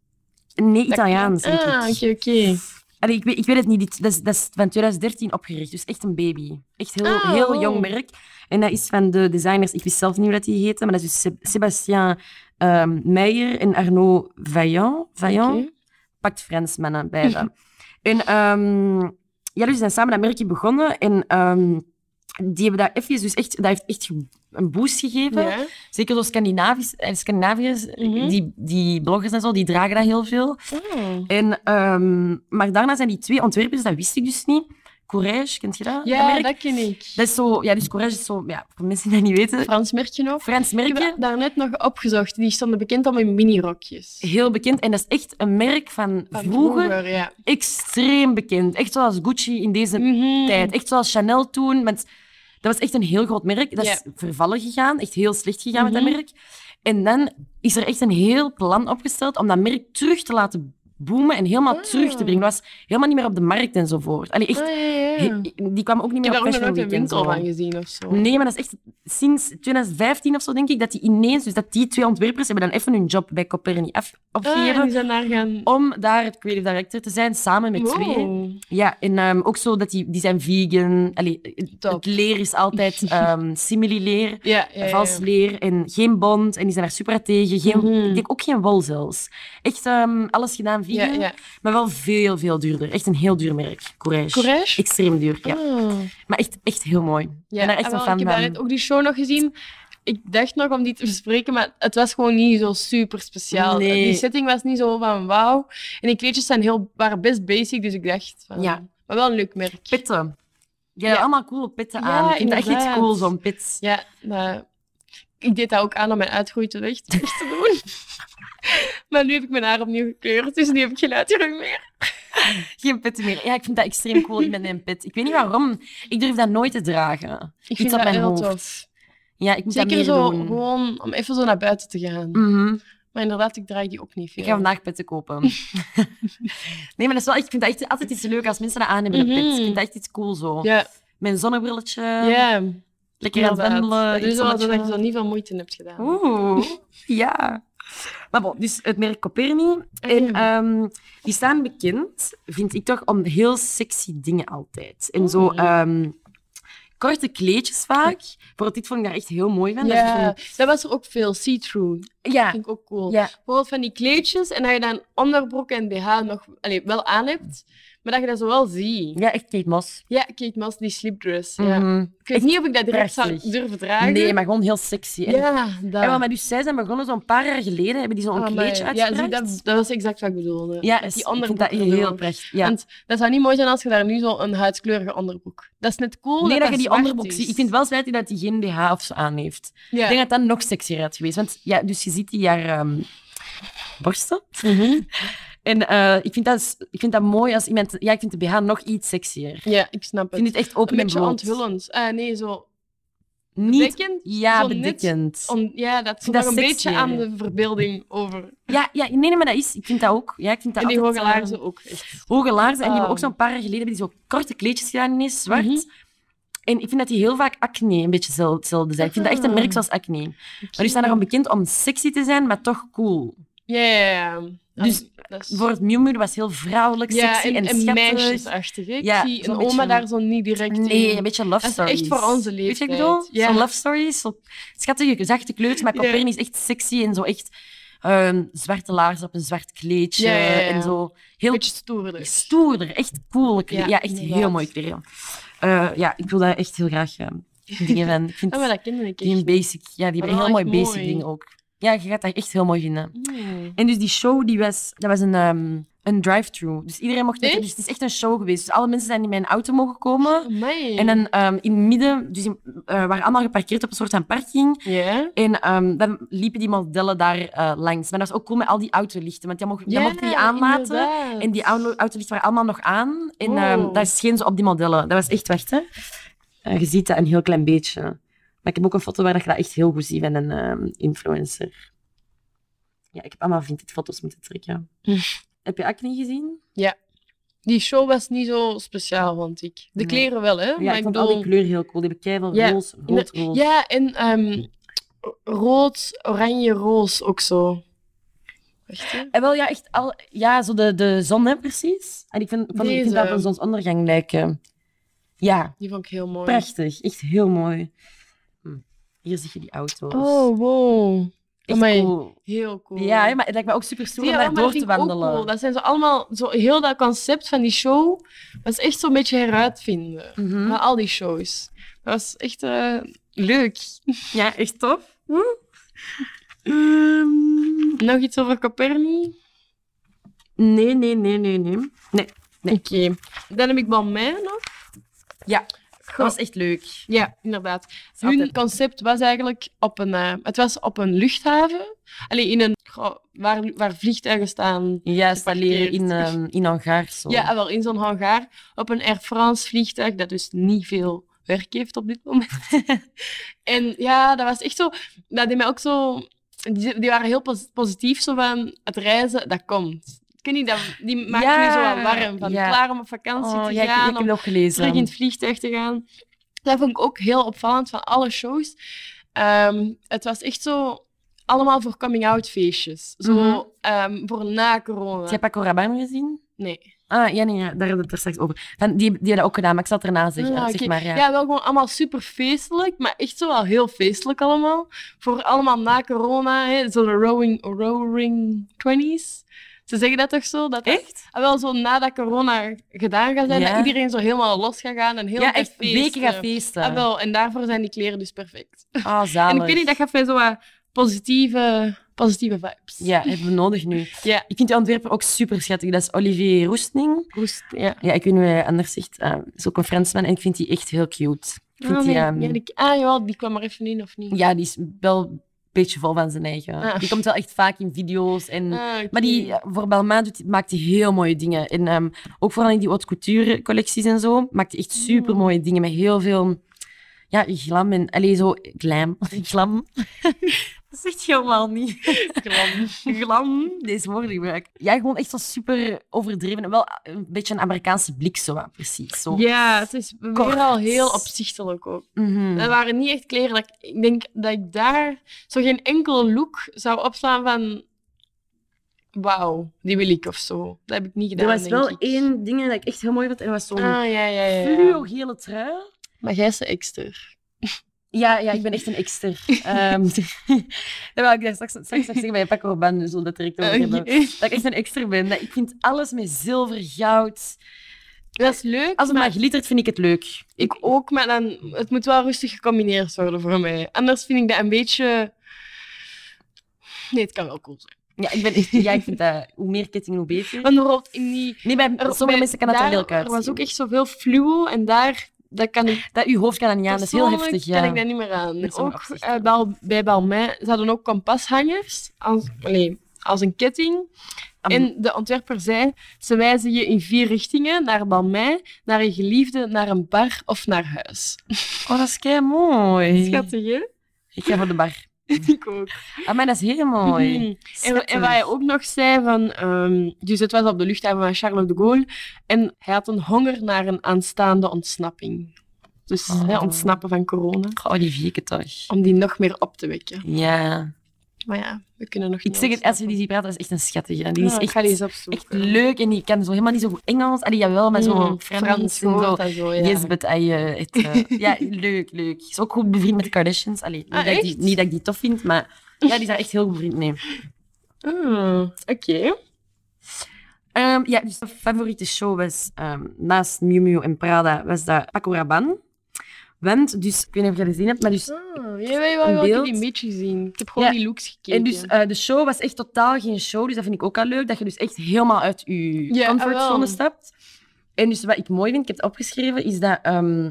Speaker 2: Nee, Italiaans, denk ik.
Speaker 1: Ah, oké, oké.
Speaker 2: Allee, ik, weet, ik weet het niet. Dit- Dat is, dat is van 2013 opgericht, dus echt een baby. Echt heel,
Speaker 1: Ah,
Speaker 2: heel
Speaker 1: wow.
Speaker 2: jong merk. En dat is van de designers, ik wist zelf niet hoe dat die heette, maar dat is dus Seb- Sébastien ehm, Meijer en Arnaud Vaillant. Vaillant?
Speaker 1: Oké.
Speaker 2: pakt Frans mannen beide. en ehm, ja, dus we zijn samen dat merkje begonnen en ehm, die hebben dat even, dus echt, dat heeft echt ge- een boost gegeven.
Speaker 1: Ja.
Speaker 2: Zeker door Scandinavisch, eh, Scandinaviërs,
Speaker 1: Mhm.
Speaker 2: die, die bloggers en zo, die dragen dat heel veel.
Speaker 1: Oh.
Speaker 2: En, ehm, maar daarna zijn die twee ontwerpers, dat wist ik dus niet. Courage, kent je dat? dat,
Speaker 1: Ja,
Speaker 2: merk?
Speaker 1: dat ken ik.
Speaker 2: Dat is zo, ja, dus Courage is zo, ja, voor mensen die dat niet weten,
Speaker 1: Frans merkje nog.
Speaker 2: Frans
Speaker 1: Ik heb
Speaker 2: merkje.
Speaker 1: dat daarnet nog opgezocht. Die stonden bekend om hun minirokjes.
Speaker 2: Heel bekend en dat is echt een merk van,
Speaker 1: Van
Speaker 2: vroeger,
Speaker 1: ja.
Speaker 2: extreem bekend. Echt zoals Gucci in deze
Speaker 1: Mhm.
Speaker 2: tijd. Echt zoals Chanel toen. Want dat was echt een heel groot merk. Dat is vervallen gegaan. Echt heel slecht gegaan met
Speaker 1: Mhm.
Speaker 2: dat merk. En dan is er echt een heel plan opgesteld om dat merk terug te laten boomen en helemaal
Speaker 1: Ah.
Speaker 2: terug te brengen. Dat was helemaal niet meer op de markt enzovoort. Allee, echt,
Speaker 1: Ah, ja, ja, ja.
Speaker 2: he- die kwam ook niet
Speaker 1: Ik heb daar
Speaker 2: meer op
Speaker 1: ook nog
Speaker 2: Fashion
Speaker 1: nooit een
Speaker 2: Week en
Speaker 1: winkel
Speaker 2: zo.
Speaker 1: van gezien of zo.
Speaker 2: Nee, maar dat is echt sinds 2015 of zo, denk ik, dat die ineens... Dus dat die twee ontwerpers hebben dan even hun job bij Coperni af-
Speaker 1: Ah, en
Speaker 2: opgegeven.
Speaker 1: die zijn daar gaan...
Speaker 2: Om daar het creative director te zijn, samen met twee.
Speaker 1: Wow.
Speaker 2: Ja, en ehm, ook zo dat die, die zijn vegan. Allee, het-
Speaker 1: Top.
Speaker 2: het leer is altijd ehm simili-leer,
Speaker 1: Ja, ja, ja.
Speaker 2: vals leer en geen bond. En die zijn daar super hard tegen. Geen,
Speaker 1: Mhm.
Speaker 2: Ik denk ook geen wol zelfs. Echt ehm, alles gedaan
Speaker 1: Ja,
Speaker 2: vegan,
Speaker 1: ja.
Speaker 2: maar wel veel, veel duurder. Echt een heel duur merk, Courage.
Speaker 1: Courage?
Speaker 2: Extreem duur, ja.
Speaker 1: Ah.
Speaker 2: Maar echt, echt heel mooi. Ik
Speaker 1: Ja,
Speaker 2: ben daar echt
Speaker 1: ah,
Speaker 2: een
Speaker 1: wel,
Speaker 2: fan
Speaker 1: ik heb
Speaker 2: van.
Speaker 1: daarnet ook die show nog gezien. Ik dacht nog om die te bespreken, maar het was gewoon niet zo super speciaal.
Speaker 2: Nee.
Speaker 1: Die setting was niet zo van wauw. En die kleedjes zijn heel, waren best basic, dus ik dacht van...
Speaker 2: Ja.
Speaker 1: Maar wel een leuk merk.
Speaker 2: Pitten. Die hebben
Speaker 1: Ja.
Speaker 2: allemaal coole pitten
Speaker 1: Ja,
Speaker 2: aan. Ik vind dat echt iets
Speaker 1: inderdaad.
Speaker 2: cool, zo'n pit.
Speaker 1: Ja, maar ik deed dat ook aan om mijn uitgroei terecht terecht te doen. maar nu heb ik mijn haar opnieuw gekleurd, dus nu heb ik geen uitgroei meer.
Speaker 2: Geen pitten meer. Ja, ik vind dat extreem cool. Ik ben een pit. Ik weet niet waarom. Ik durf dat nooit te dragen.
Speaker 1: Ik
Speaker 2: Iets
Speaker 1: vind
Speaker 2: op
Speaker 1: dat
Speaker 2: mijn
Speaker 1: heel
Speaker 2: hoofd.
Speaker 1: tof.
Speaker 2: Ja, ik moet dat
Speaker 1: Zeker
Speaker 2: meer
Speaker 1: zo
Speaker 2: doen.
Speaker 1: gewoon om even zo naar buiten te gaan.
Speaker 2: Mhm.
Speaker 1: Maar inderdaad, ik draai die ook niet veel.
Speaker 2: Ik ga vandaag petten kopen. nee, maar dat is wel, echt- ik vind dat echt altijd iets leuk als mensen dat aan hebben, een pet.
Speaker 1: Mhm.
Speaker 2: Ik vind dat echt iets cool zo.
Speaker 1: Ja,
Speaker 2: Mijn zonnebrilletje,
Speaker 1: ja.
Speaker 2: lekker aan het wandelen.
Speaker 1: Dus
Speaker 2: eh, iets
Speaker 1: wel dat je
Speaker 2: zonnetje.
Speaker 1: zo niet veel moeite in hebt gedaan.
Speaker 2: Oeh, ja. Maar bon, dus het merk Coperni.
Speaker 1: Mhm.
Speaker 2: En ehm, die staan bekend, vind ik toch, om heel sexy dingen altijd. En zo
Speaker 1: Oh.
Speaker 2: ehm, korte kleedjes vaak. Voor dit vond ik daar echt heel mooi van. Dat is
Speaker 1: Ja,
Speaker 2: zo'n-
Speaker 1: dat was er ook veel. See-through.
Speaker 2: ja,
Speaker 1: Vind ik ook cool.
Speaker 2: ja,
Speaker 1: Bijvoorbeeld van die kleedjes en dat je dan onderbroek en BH nog allee, wel aan hebt, maar dat je dat zo wel ziet.
Speaker 2: ja, echt Kate Moss.
Speaker 1: Ja, Kate Moss, die sleepdress. Ja.
Speaker 2: Mhm.
Speaker 1: Ik weet niet of ik dat direct
Speaker 2: prachtig.
Speaker 1: zou durven dragen.
Speaker 2: Nee, maar gewoon heel sexy. En
Speaker 1: Ja, dat.
Speaker 2: Ja, maar dus zij zijn begonnen zo'n paar jaar geleden, hebben die zo'n
Speaker 1: Amai.
Speaker 2: kleedje
Speaker 1: Ja,
Speaker 2: uitgebracht.
Speaker 1: zie, dat, dat was exact wat ik bedoelde.
Speaker 2: Ja,
Speaker 1: Met
Speaker 2: is-
Speaker 1: die
Speaker 2: ik vind
Speaker 1: onderbroek
Speaker 2: dat heel
Speaker 1: erdoor.
Speaker 2: prachtig. Ja.
Speaker 1: Want dat zou niet mooi zijn als je daar nu zo'n huidskleurige onderbroek... Dat is net cool
Speaker 2: nee, dat,
Speaker 1: dat
Speaker 2: je die
Speaker 1: zwart
Speaker 2: onderbroek
Speaker 1: is.
Speaker 2: ziet. Ik vind wel spijtig dat hij geen BH of zo aan heeft.
Speaker 1: Ja.
Speaker 2: Ik denk dat dat nog sexier had geweest. Want ja, dus je ziet die haar... ehm, borsten. En eh, ik, vind dat, is- ik vind dat mooi als iemand... Ja, ik vind de BH nog iets sexier. Ik
Speaker 1: Ja, ik snap
Speaker 2: vind
Speaker 1: het.
Speaker 2: het echt
Speaker 1: Een
Speaker 2: open en
Speaker 1: beetje
Speaker 2: bloot.
Speaker 1: onthullend. Eh, nee, zo
Speaker 2: Niet...
Speaker 1: dekkend.
Speaker 2: Ja,
Speaker 1: zo net
Speaker 2: bedekkend.
Speaker 1: Om- ja, dat zit
Speaker 2: Dat
Speaker 1: nog een
Speaker 2: is
Speaker 1: beetje
Speaker 2: sexier.
Speaker 1: aan de verbeelding over.
Speaker 2: Ja, ja, nee, nee, maar dat is... Ik vind dat ook. Ja, ik vind dat
Speaker 1: en die
Speaker 2: altijd,
Speaker 1: hoge
Speaker 2: eh,
Speaker 1: laarzen ook. Echt.
Speaker 2: hoge laarzen. En die hebben ook
Speaker 1: Ah.
Speaker 2: zo'n paar jaar geleden hebben die zo korte kleedjes gedaan ineens, zwart.
Speaker 1: Mhm.
Speaker 2: En ik vind dat die heel vaak acne een beetje zel- hetzelfde zijn. Ik vind dat echt een
Speaker 1: Ah.
Speaker 2: merk zoals acne. Maar die staan erom bekend om sexy te zijn, maar toch cool.
Speaker 1: Ja, ja, ja. Dat
Speaker 2: Dus
Speaker 1: is- dat is-
Speaker 2: Bijvoorbeeld Miu Miu was heel vrouwelijk,
Speaker 1: ja,
Speaker 2: sexy en,
Speaker 1: en, en
Speaker 2: schattig.
Speaker 1: meisjesachtig. hè. Ik
Speaker 2: Ja,
Speaker 1: zie
Speaker 2: zo'n
Speaker 1: een
Speaker 2: beetje-
Speaker 1: oma daar zo niet direct
Speaker 2: Nee, een
Speaker 1: in.
Speaker 2: beetje love
Speaker 1: Dat is
Speaker 2: stories.
Speaker 1: echt voor onze
Speaker 2: Weet je wat ik
Speaker 1: leeftijd.
Speaker 2: bedoel?
Speaker 1: Ja.
Speaker 2: Zo'n love stories, zo schattige, zachte kleurtjes, maar
Speaker 1: Ja.
Speaker 2: Popperin is echt sexy en zo echt ehm, zwarte laars op een zwart kleedje
Speaker 1: Ja, ja, ja.
Speaker 2: en zo heel
Speaker 1: beetje stoerder.
Speaker 2: stoerder, echt cool. kleren. Ja,
Speaker 1: Ja,
Speaker 2: echt heel
Speaker 1: inderdaad.
Speaker 2: mooi kleren. Eh, ja, ik wil daar echt heel graag eh, dingen van. Ik vind
Speaker 1: Ja, Oh, maar dat kende ik
Speaker 2: die
Speaker 1: echt.
Speaker 2: basic, ja, die
Speaker 1: Maar
Speaker 2: hebben heel
Speaker 1: wel
Speaker 2: mooi
Speaker 1: echt
Speaker 2: basic
Speaker 1: mooi.
Speaker 2: dingen ook. Ja, je gaat dat echt heel mooi vinden.
Speaker 1: Mm.
Speaker 2: En dus die show, die was, dat was een, ehm, een drive-thru. Dus iedereen mocht met,
Speaker 1: Echt?
Speaker 2: dus het is echt een show geweest. Dus alle mensen zijn in mijn auto mogen komen.
Speaker 1: Oh, Amai.
Speaker 2: En dan ehm, in het midden, dus in, eh, waren allemaal geparkeerd op een soort van parking.
Speaker 1: Ja?
Speaker 2: En ehm, dan liepen die modellen daar eh, langs. Maar dat was ook cool met al die autolichten, want die mocht, dat
Speaker 1: Ja,
Speaker 2: mocht je niet aanlaten.
Speaker 1: inderdaad. Oh.
Speaker 2: En die auto- autolichten waren allemaal nog aan. En
Speaker 1: Wow.
Speaker 2: ehm, daar scheen ze op die modellen. Dat was echt, wacht hè. Eh, je ziet dat een heel klein beetje. Maar ik heb ook een foto waar dat je dat echt heel goed ziet van een ehm, influencer. Ja, ik heb allemaal vintage foto's moeten trekken.
Speaker 1: Hm.
Speaker 2: Heb je acne gezien?
Speaker 1: Die show was niet zo speciaal, vond ik. De
Speaker 2: Nee.
Speaker 1: kleren wel, hè?
Speaker 2: Ja,
Speaker 1: maar
Speaker 2: ik
Speaker 1: ik
Speaker 2: vond al die
Speaker 1: bedoel...
Speaker 2: kleuren heel cool. Die hebben keiveel
Speaker 1: Oh Ja,
Speaker 2: roze, rood, roze.
Speaker 1: Ja, en ehm, rood, oranje, roos ook zo. Wacht, hè.
Speaker 2: En wel, ja, echt al, ja, zo de, de zon, hè, precies. En ik vind, ik vond- ik vind
Speaker 1: Deze.
Speaker 2: dat op een zonsondergang lijken. Ja,
Speaker 1: Die vond ik heel mooi.
Speaker 2: prachtig. Echt heel mooi. Hm. Hier zie je die auto's.
Speaker 1: Oh, wow.
Speaker 2: Echt
Speaker 1: amai.
Speaker 2: cool.
Speaker 1: Heel cool.
Speaker 2: Ja, hè, maar het lijkt me ook super stoer om
Speaker 1: Ja,
Speaker 2: daar
Speaker 1: oh, maar dat
Speaker 2: door
Speaker 1: vind
Speaker 2: te
Speaker 1: ik ook
Speaker 2: wandelen.
Speaker 1: cool. Dat zijn zo allemaal, zo, heel dat concept van die show was echt zo'n beetje heruitvinden.
Speaker 2: Mhm.
Speaker 1: Van al die shows. Dat was echt eh, leuk.
Speaker 2: Ja, echt tof.
Speaker 1: Hm?
Speaker 2: Ehm,
Speaker 1: Nog iets over Coperni?
Speaker 2: nee, nee, nee, nee, nee. Nee, Nee.
Speaker 1: Oké. Dan heb ik Balmain nog.
Speaker 2: Ja.
Speaker 1: Goh,
Speaker 2: dat was echt leuk.
Speaker 1: Ja, inderdaad.
Speaker 2: is
Speaker 1: Hun
Speaker 2: altijd-
Speaker 1: concept was eigenlijk op een, eh, het was op een luchthaven. Allee, in een, goh, waar, waar vliegtuigen staan.
Speaker 2: Ja, stalleren in,
Speaker 1: Geparkeerd.
Speaker 2: ehm in hangar. Zo.
Speaker 1: Ja, wel in zo'n hangar. Op een Air France vliegtuig dat dus niet veel werk heeft op dit moment. en ja, dat was echt zo. Dat deed mij ook zo. Die, die waren heel pos- positief zo van het reizen, dat komt. Ik weet niet, dat, die maken
Speaker 2: Ja,
Speaker 1: nu zo wat warm. Van
Speaker 2: ja.
Speaker 1: klaar om op vakantie
Speaker 2: Oh,
Speaker 1: te
Speaker 2: ja, ik, ik
Speaker 1: gaan,
Speaker 2: heb
Speaker 1: om
Speaker 2: dat ook gelezen.
Speaker 1: terug in het vliegtuig te gaan. Dat vond ik ook heel opvallend van alle shows. Ehm, het was echt zo allemaal voor coming-out feestjes. Zo
Speaker 2: Mhm.
Speaker 1: ehm, voor na corona.
Speaker 2: Heb je Paco Rabanne gezien?
Speaker 1: Nee.
Speaker 2: Ah, ja, nee, ja, daar hadden we het er straks over. Van, die, die hebben dat ook gedaan, maar ik zal het erna zeggen.
Speaker 1: Ah,
Speaker 2: zeg
Speaker 1: oké.
Speaker 2: maar, ja.
Speaker 1: Ja. wel gewoon allemaal super feestelijk, maar echt zo wel heel feestelijk allemaal. Voor allemaal na corona, hè, zo de roaring, roaring 20s. Ze zeggen dat toch zo? Dat dat-
Speaker 2: Echt?
Speaker 1: Ah, wel zo nadat corona gedaan gaat zijn,
Speaker 2: Ja.
Speaker 1: dat iedereen zo helemaal los gaat gaan en heel
Speaker 2: ja,
Speaker 1: veel
Speaker 2: echt weken gaan
Speaker 1: feesten.
Speaker 2: feesten.
Speaker 1: Ah, wel, en daarvoor zijn die kleren dus perfect.
Speaker 2: Ah, zalig.
Speaker 1: En ik weet niet, dat gaf mij zo wat positieve, positieve vibes.
Speaker 2: Ja, hebben we nodig nu.
Speaker 1: Ja.
Speaker 2: Ik vind die ontwerper ook super schattig. Dat is Olivier Roestning.
Speaker 1: Roest, ja.
Speaker 2: Ja, ik weet niet hoe hij anders zegt. Eh, is ook een Fransman en ik vind die echt heel cute. Ik vind
Speaker 1: Ah,
Speaker 2: die,
Speaker 1: nee.
Speaker 2: ehm,
Speaker 1: ja, die, ah, jawel, die kwam er even in, of niet?
Speaker 2: ja, die is wel een beetje vol van zijn eigen.
Speaker 1: Ah.
Speaker 2: Die komt wel echt vaak in video's. En,
Speaker 1: Ah, oké.
Speaker 2: Maar die, eh, voor Balmain doet, maakt hij heel mooie dingen. En ehm, ook vooral in die haute couture collecties en zo, maakt hij echt
Speaker 1: Mm.
Speaker 2: super mooie dingen met heel veel ja, glam en allee, zo glam. glam. Dat zegt je helemaal niet.
Speaker 1: Klam.
Speaker 2: Glam, deze woorden gebruik. Ja, gewoon echt zo super overdreven. En wel eh, een beetje een Amerikaanse blik, zo wat, precies. Zo.
Speaker 1: Ja, het is
Speaker 2: Kort.
Speaker 1: weer al heel opzichtelijk ook.
Speaker 2: Mhm.
Speaker 1: Dat waren niet echt kleren dat ik, ik denk dat ik daar zo geen enkel look zou opslaan van wauw, die wil ik of zo. Dat heb ik niet
Speaker 2: Er
Speaker 1: gedaan,
Speaker 2: was
Speaker 1: denk
Speaker 2: wel
Speaker 1: ik.
Speaker 2: één ding dat ik echt heel mooi vond. En dat was zo'n
Speaker 1: Ah, ja, ja, ja. ja.
Speaker 2: fluogele trui.
Speaker 1: Maar jij is de ekster.
Speaker 2: Ja, ja, ik ben echt een ekster. Ehm dat wil ik daar straks, straks nog zeggen bij Paco Rabanne, we zullen dat direct over hebben.
Speaker 1: Oké.
Speaker 2: Dat ik echt een ekster ben. Dat ik vind alles met zilver, goud...
Speaker 1: Dat is leuk,
Speaker 2: Als het maar
Speaker 1: maar
Speaker 2: glittert, vind ik het leuk.
Speaker 1: ik ook, maar dan, het moet wel rustig gecombineerd worden voor mij. Anders vind ik dat een beetje... Nee, het kan wel cool zijn.
Speaker 2: Ja, ik, ben, echt- ja, ik vind dat... Hoe meer ketting, hoe beter.
Speaker 1: Want bijvoorbeeld in die...
Speaker 2: Nee, bij sommige
Speaker 1: bij-
Speaker 2: mensen kan dat er
Speaker 1: daar-
Speaker 2: lelijk uit.
Speaker 1: Er was ook echt zoveel fluo en daar... Dat kan ik
Speaker 2: Dat je hoofd kan aan ja, dat is heel
Speaker 1: Persoonlijk
Speaker 2: heftig. Ja.
Speaker 1: kan ik daar niet meer aan.
Speaker 2: Met zo'n
Speaker 1: Ook
Speaker 2: opzicht,
Speaker 1: eh,
Speaker 2: ja.
Speaker 1: Bal- bij Balmain, ze hadden ook kompashangers. Als, allee, als een ketting.
Speaker 2: Am-
Speaker 1: En de ontwerper zei, ze wijzen je in vier richtingen. Naar Balmain, naar je geliefde, naar een bar of naar huis.
Speaker 2: Oh, dat is kei mooi.
Speaker 1: Schattig, hè?
Speaker 2: Ik ga voor de bar. Ah,
Speaker 1: Ik ook.
Speaker 2: Maar dat is heel mooi.
Speaker 1: Mhm. En, en wat hij ook nog zei, van, ehm, dus het was op de luchthaven van Charles de Gaulle. En hij had een honger naar een aanstaande ontsnapping. Dus
Speaker 2: Oh.
Speaker 1: hè, ontsnappen van corona.
Speaker 2: Oh, die vieke toch.
Speaker 1: Om die nog meer op te wekken.
Speaker 2: Ja.
Speaker 1: Maar ja, we kunnen nog
Speaker 2: Ik
Speaker 1: niet
Speaker 2: zeg het, als je
Speaker 1: ontsnappen.
Speaker 2: die ziet praten, dat is echt een schattige. En Die is
Speaker 1: Ja, Ah, ik
Speaker 2: echt,
Speaker 1: ga die eens
Speaker 2: echt
Speaker 1: opzoeken.
Speaker 2: leuk en die kan zo helemaal niet zo goed Engels. Allee, jawel, maar zo
Speaker 1: Mm,
Speaker 2: Frans, en
Speaker 1: woord
Speaker 2: zo.
Speaker 1: en zo, ja.
Speaker 2: Lisbeth, en je, het, eh, ja, leuk, leuk. Is ook goed bevriend met de Kardashians. Allee, niet,
Speaker 1: Ah,
Speaker 2: dat ik die,
Speaker 1: echt?
Speaker 2: niet dat ik die tof vind, maar ja, die zijn echt heel goed bevriend mee.
Speaker 1: Ah, Oké.
Speaker 2: Ehm, ja, dus mijn favoriete show was, ehm, naast Miu Miu en Prada, was dat Paco Rabanne. Want, dus, ik weet niet of je dat gezien hebt, maar dus
Speaker 1: Ah, jij weet wel
Speaker 2: Een
Speaker 1: wat ik
Speaker 2: beeld.
Speaker 1: die beetje zien. Ik heb gewoon
Speaker 2: Ja.
Speaker 1: die looks gekeken.
Speaker 2: En dus eh, de show was echt totaal geen show, dus dat vind ik ook al leuk. Dat je dus echt helemaal uit je
Speaker 1: Ja,
Speaker 2: comfortzone
Speaker 1: jawel.
Speaker 2: stapt. En dus wat ik mooi vind, ik heb het opgeschreven, is dat... ehm,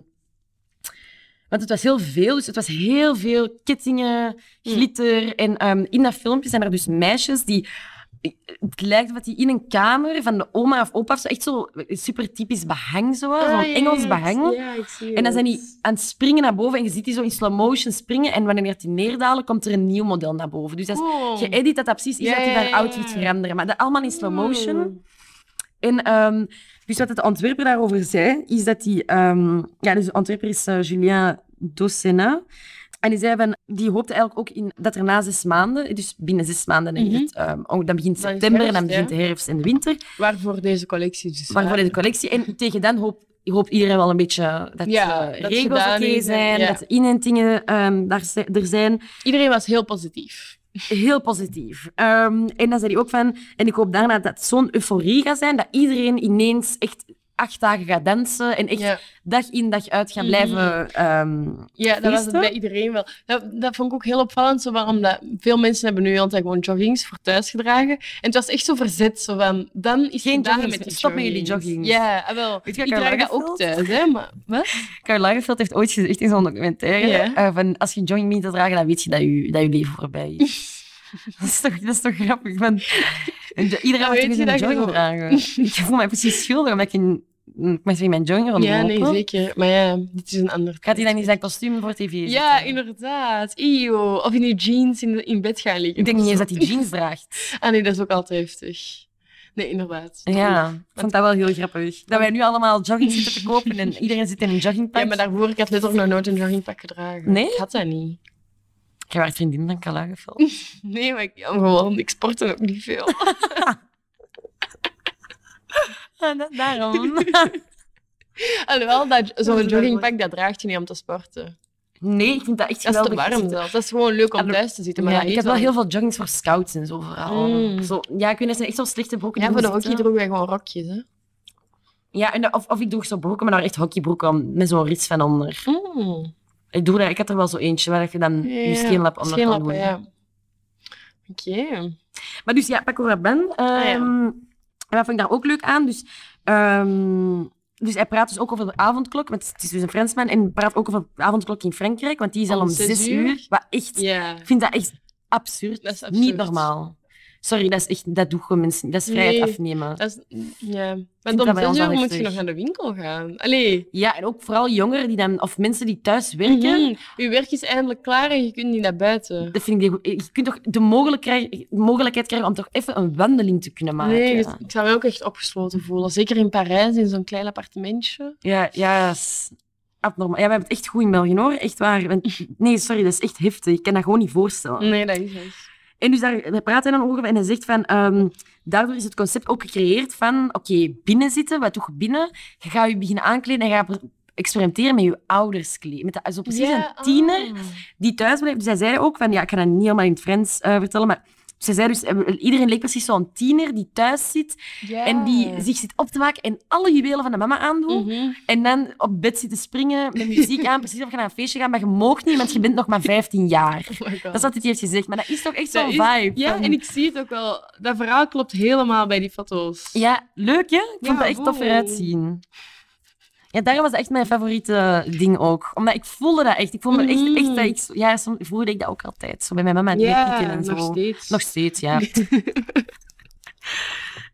Speaker 2: want het was heel veel, dus het was heel veel kettingen,
Speaker 1: Hm.
Speaker 2: glitter. En ehm, in dat filmpje zijn er dus meisjes die... Het lijkt wat die in een kamer van de oma of opa of zo, echt zo super typisch behang zo,
Speaker 1: Ah, ja,
Speaker 2: zo'n
Speaker 1: ja,
Speaker 2: Engels
Speaker 1: ja,
Speaker 2: behang.
Speaker 1: Ja, ik zie
Speaker 2: En dan zijn
Speaker 1: het.
Speaker 2: die aan het springen naar boven en je ziet die zo in slow motion springen. En wanneer die neerdalen, komt er een nieuw model naar boven. Dus dat is
Speaker 1: Cool.
Speaker 2: geëdit dat dat precies is
Speaker 1: Ja,
Speaker 2: dat die
Speaker 1: ja,
Speaker 2: van
Speaker 1: ja,
Speaker 2: outfit
Speaker 1: ja.
Speaker 2: veranderen. Maar dat allemaal in slow motion.
Speaker 1: Mm.
Speaker 2: En ehm, dus wat de ontwerper daarover zei, is dat die... ehm, ja, dus de ontwerper is eh, Julien Dossena. En die zei van, die hoopte eigenlijk ook in dat er na zes maanden, dus binnen zes maanden, dan,
Speaker 1: Mhm.
Speaker 2: is het, ehm, oh, dan begint
Speaker 1: Dan is
Speaker 2: september en dan
Speaker 1: herfst,
Speaker 2: begint de herfst en de winter.
Speaker 1: Waarvoor deze collectie dus.
Speaker 2: Waarvoor in de collectie. En tegen dan hoop, hoopt iedereen wel een beetje dat
Speaker 1: Ja,
Speaker 2: eh,
Speaker 1: dat ze
Speaker 2: regels
Speaker 1: daar
Speaker 2: oké
Speaker 1: nu zijn,
Speaker 2: zijn,
Speaker 1: ja.
Speaker 2: dat de inentingen ehm, daar, zi- er zijn.
Speaker 1: Iedereen was heel positief.
Speaker 2: Heel positief. Ehm, en dan zei hij ook van, en ik hoop daarna dat het zo'n euforie gaat zijn, dat iedereen ineens echt acht dagen gaat dansen en echt
Speaker 1: ja.
Speaker 2: dag in dag uit gaat
Speaker 1: Mhm.
Speaker 2: blijven. ehm,
Speaker 1: Ja, dat was het
Speaker 2: feesten.
Speaker 1: bij iedereen wel. Dat, dat vond ik ook heel opvallend, zo, van, omdat veel mensen hebben nu altijd gewoon joggings voor thuis gedragen. En het was echt zo verzet, zo van, dan is
Speaker 2: Geen
Speaker 1: het gedaan
Speaker 2: joggings
Speaker 1: met die
Speaker 2: meer. Stop met jullie joggings.
Speaker 1: Ja, ah, wel.
Speaker 2: Weet
Speaker 1: Ik
Speaker 2: je wat
Speaker 1: draag
Speaker 2: Karel
Speaker 1: dat ook
Speaker 2: Lagerfeld?
Speaker 1: thuis, hè. Maar, wat?
Speaker 2: Karl Lagerfeld heeft ooit gezegd in zo'n documentaire
Speaker 1: Ja.
Speaker 2: eh, van als je jogging niet te dragen, dan weet je dat je, dat je leven voorbij is. dat, is toch, dat is toch grappig? Van, en jo-
Speaker 1: Dan
Speaker 2: iedereen
Speaker 1: weet
Speaker 2: moet toch eens
Speaker 1: je
Speaker 2: een
Speaker 1: dat je
Speaker 2: jogging
Speaker 1: zo-
Speaker 2: dragen. ik voel mij precies schuldig omdat ik, in, ik met mijn jogging rondloop.
Speaker 1: Ja, nee, zeker. Maar ja, dit is een ander
Speaker 2: Gaat hij dan in zijn kostuum voor tv zitten?
Speaker 1: Ja, inderdaad. Eeuw. Of in je jeans in, in bed gaan liggen.
Speaker 2: Ik denk niet eens
Speaker 1: of
Speaker 2: dat
Speaker 1: zo.
Speaker 2: hij jeans draagt.
Speaker 1: Ah nee, dat is ook altijd heftig. Nee, inderdaad.
Speaker 2: Ja, ik vond dat wel heel grappig. Dat wij nu allemaal jogging zitten te kopen en iedereen zit in een joggingpak.
Speaker 1: Ja, maar daarvoor, ik had letterlijk nog nooit een joggingpak gedragen.
Speaker 2: Nee?
Speaker 1: Ik had dat niet.
Speaker 2: Jij werd vriendin van Karl Lagerfeld.
Speaker 1: Nee, maar ik, ja, gewoon, ik sportte ook niet veel.
Speaker 2: Ah, dat- daarom.
Speaker 1: Alhoewel, dat-
Speaker 2: Dat is
Speaker 1: zo'n
Speaker 2: wel
Speaker 1: joggingpak, dat draagt je niet om te sporten.
Speaker 2: nee, ik vind dat echt
Speaker 1: Dat is te
Speaker 2: geweldig.
Speaker 1: warm zelfs. Dat is gewoon leuk om
Speaker 2: Hallo-
Speaker 1: thuis te zitten. Maar
Speaker 2: ja,
Speaker 1: dat
Speaker 2: ik heb
Speaker 1: heet
Speaker 2: wel heel veel joggings voor scouts en zo vooral.
Speaker 1: Mm.
Speaker 2: Zo, ja, ik weet, dat zijn echt zo slechte broeken.
Speaker 1: Ja,
Speaker 2: die
Speaker 1: voor de
Speaker 2: goed
Speaker 1: hockey
Speaker 2: zitten.
Speaker 1: droegen wij gewoon rokjes, hè.
Speaker 2: Ja, en, of, of ik droeg zo broeken, maar dan echt hockeybroeken om- met zo'n rits van onder. Mm. Ik, doe dat, ik had er wel zo eentje, waar je dan je
Speaker 1: Ja,
Speaker 2: scheenlap onder kan
Speaker 1: Scheenlappen,
Speaker 2: doen.
Speaker 1: ja. Oké.
Speaker 2: Maar dus ja, Paco Rabanne.
Speaker 1: Ah, ja.
Speaker 2: ehm, En dat vond ik daar ook leuk aan. Dus, ehm, dus hij praat dus ook over de avondklok, want het is dus een Fransman. En praat ook over de avondklok in Frankrijk, want die is al
Speaker 1: Om
Speaker 2: om
Speaker 1: zes
Speaker 2: zes
Speaker 1: uur.
Speaker 2: uur. Wat echt,
Speaker 1: Ja.
Speaker 2: ik vind dat echt absurd.
Speaker 1: Dat is
Speaker 2: Niet
Speaker 1: absurd.
Speaker 2: normaal. Sorry, dat, is echt, dat doe gewoon mensen. niet. Dat is vrijheid
Speaker 1: Nee.
Speaker 2: afnemen.
Speaker 1: Dat is, ja.
Speaker 2: dat
Speaker 1: Want om
Speaker 2: bij ons
Speaker 1: zes
Speaker 2: al
Speaker 1: uur moet
Speaker 2: heftig.
Speaker 1: je nog naar de winkel gaan. Allee.
Speaker 2: Ja, en ook vooral jongeren die dan, of mensen die thuis werken.
Speaker 1: Mhm. Uw werk is eindelijk klaar en je kunt niet naar buiten.
Speaker 2: Dat vind ik heel goed. Je kunt toch de mogelijk krijgen- mogelijkheid krijgen om toch even een wandeling te kunnen maken.
Speaker 1: Nee, dus ik zou me ook echt opgesloten voelen. Zeker in Parijs, in zo'n klein appartementje.
Speaker 2: Ja, ja, is abnormaal. Ja, we hebben het echt goed in België hoor, echt waar. Want- Nee, sorry, dat is echt heftig. Ik kan dat gewoon niet voorstellen.
Speaker 1: Nee, dat is echt.
Speaker 2: En dus daar, daar praat hij dan over en hij zegt van, ehm, daardoor is het concept ook gecreëerd van, oké, binnen zitten, wat doe je binnen? Je gaat je beginnen aankleden en je gaat pro- experimenteren met je ouders kleden. Met dat, zo precies
Speaker 1: ah.
Speaker 2: een tiener die thuis blijft. Dus hij zei ook van, ja, ik kan dat niet helemaal in het Frans eh, vertellen, maar ze zei dus, eh, iedereen leek precies zo'n tiener die thuis zit en
Speaker 1: Ah.
Speaker 2: die zich zit op te maken en alle juwelen van de mama aandoet.
Speaker 1: Mhm. Oh
Speaker 2: En dan op bed zitten springen, met muziek aan, precies of je naar een feestje gaat, maar je mag niet, want je bent nog maar 15 jaar. Dat is wat hij heeft gezegd, maar dat is toch echt
Speaker 1: Dat
Speaker 2: zo'n
Speaker 1: is-
Speaker 2: vibe.
Speaker 1: Ja,
Speaker 2: van-
Speaker 1: en ik zie het ook wel. Dat verhaal klopt helemaal bij die foto's.
Speaker 2: ja, leuk hè? Ik
Speaker 1: Ja,
Speaker 2: vond dat echt tof
Speaker 1: wow.
Speaker 2: eruit zien. Ja, daarom was dat echt mijn favoriete ding ook. Omdat ik voelde dat echt. Ik voelde me echt, echt dat ik... zo- Ja, soms voelde ik dat ook altijd. Zo bij mijn mama en
Speaker 1: Ja,
Speaker 2: en zo.
Speaker 1: nog steeds.
Speaker 2: Nog steeds, ja.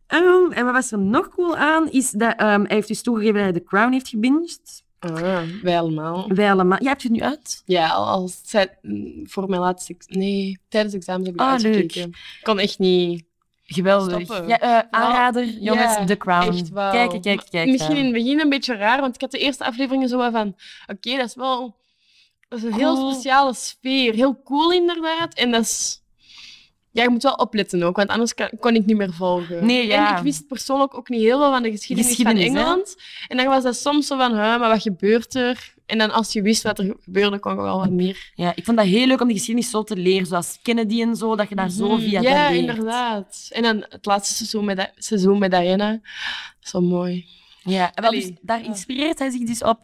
Speaker 2: Ehm, en wat was er nog cool aan, is dat ehm, hij heeft dus toegegeven dat hij The Crown heeft gebinged.
Speaker 1: Ah, wij allemaal.
Speaker 2: Wij allemaal... Jij hebt het nu uit?
Speaker 1: Ja, al- als zij- mm, voor mijn laatste... ex- Nee, tijdens examens heb ik
Speaker 2: Ah,
Speaker 1: het uitgekeken. Ik kon echt niet...
Speaker 2: Geweldig.
Speaker 1: Stoppen.
Speaker 2: Ja, eh, aanrader, jongens,
Speaker 1: ja,
Speaker 2: The Crown.
Speaker 1: Echt wel.
Speaker 2: Kijk, kijk, kijk.
Speaker 1: Misschien
Speaker 2: eh.
Speaker 1: in het begin een beetje raar, want ik had de eerste afleveringen zo wat van... Oké, dat is wel... Dat is een heel
Speaker 2: Cool.
Speaker 1: speciale sfeer. Heel cool, inderdaad. En dat is... Ja, je moet wel opletten ook, want anders kan- kon ik niet meer volgen.
Speaker 2: Nee,
Speaker 1: En
Speaker 2: ja.
Speaker 1: ik wist persoonlijk ook niet heel veel van de geschiedenis,
Speaker 2: Geschiedenis,
Speaker 1: van
Speaker 2: hè?
Speaker 1: Engeland. En dan was dat soms zo van, huh, maar wat gebeurt er? En dan als je wist wat er gebeurde, kon je wel wat meer...
Speaker 2: Ja, ik vond dat heel leuk om die geschiedenis zo te leren, zoals Kennedy en zo, dat je daar zo
Speaker 1: Mhm.
Speaker 2: via dat
Speaker 1: Ja,
Speaker 2: leert.
Speaker 1: inderdaad. En dan het laatste seizoen met, Da- seizoen met Diana. Zo mooi.
Speaker 2: Ja, en wel,
Speaker 1: Allee,
Speaker 2: dus daar
Speaker 1: ja.
Speaker 2: inspireert hij zich dus op.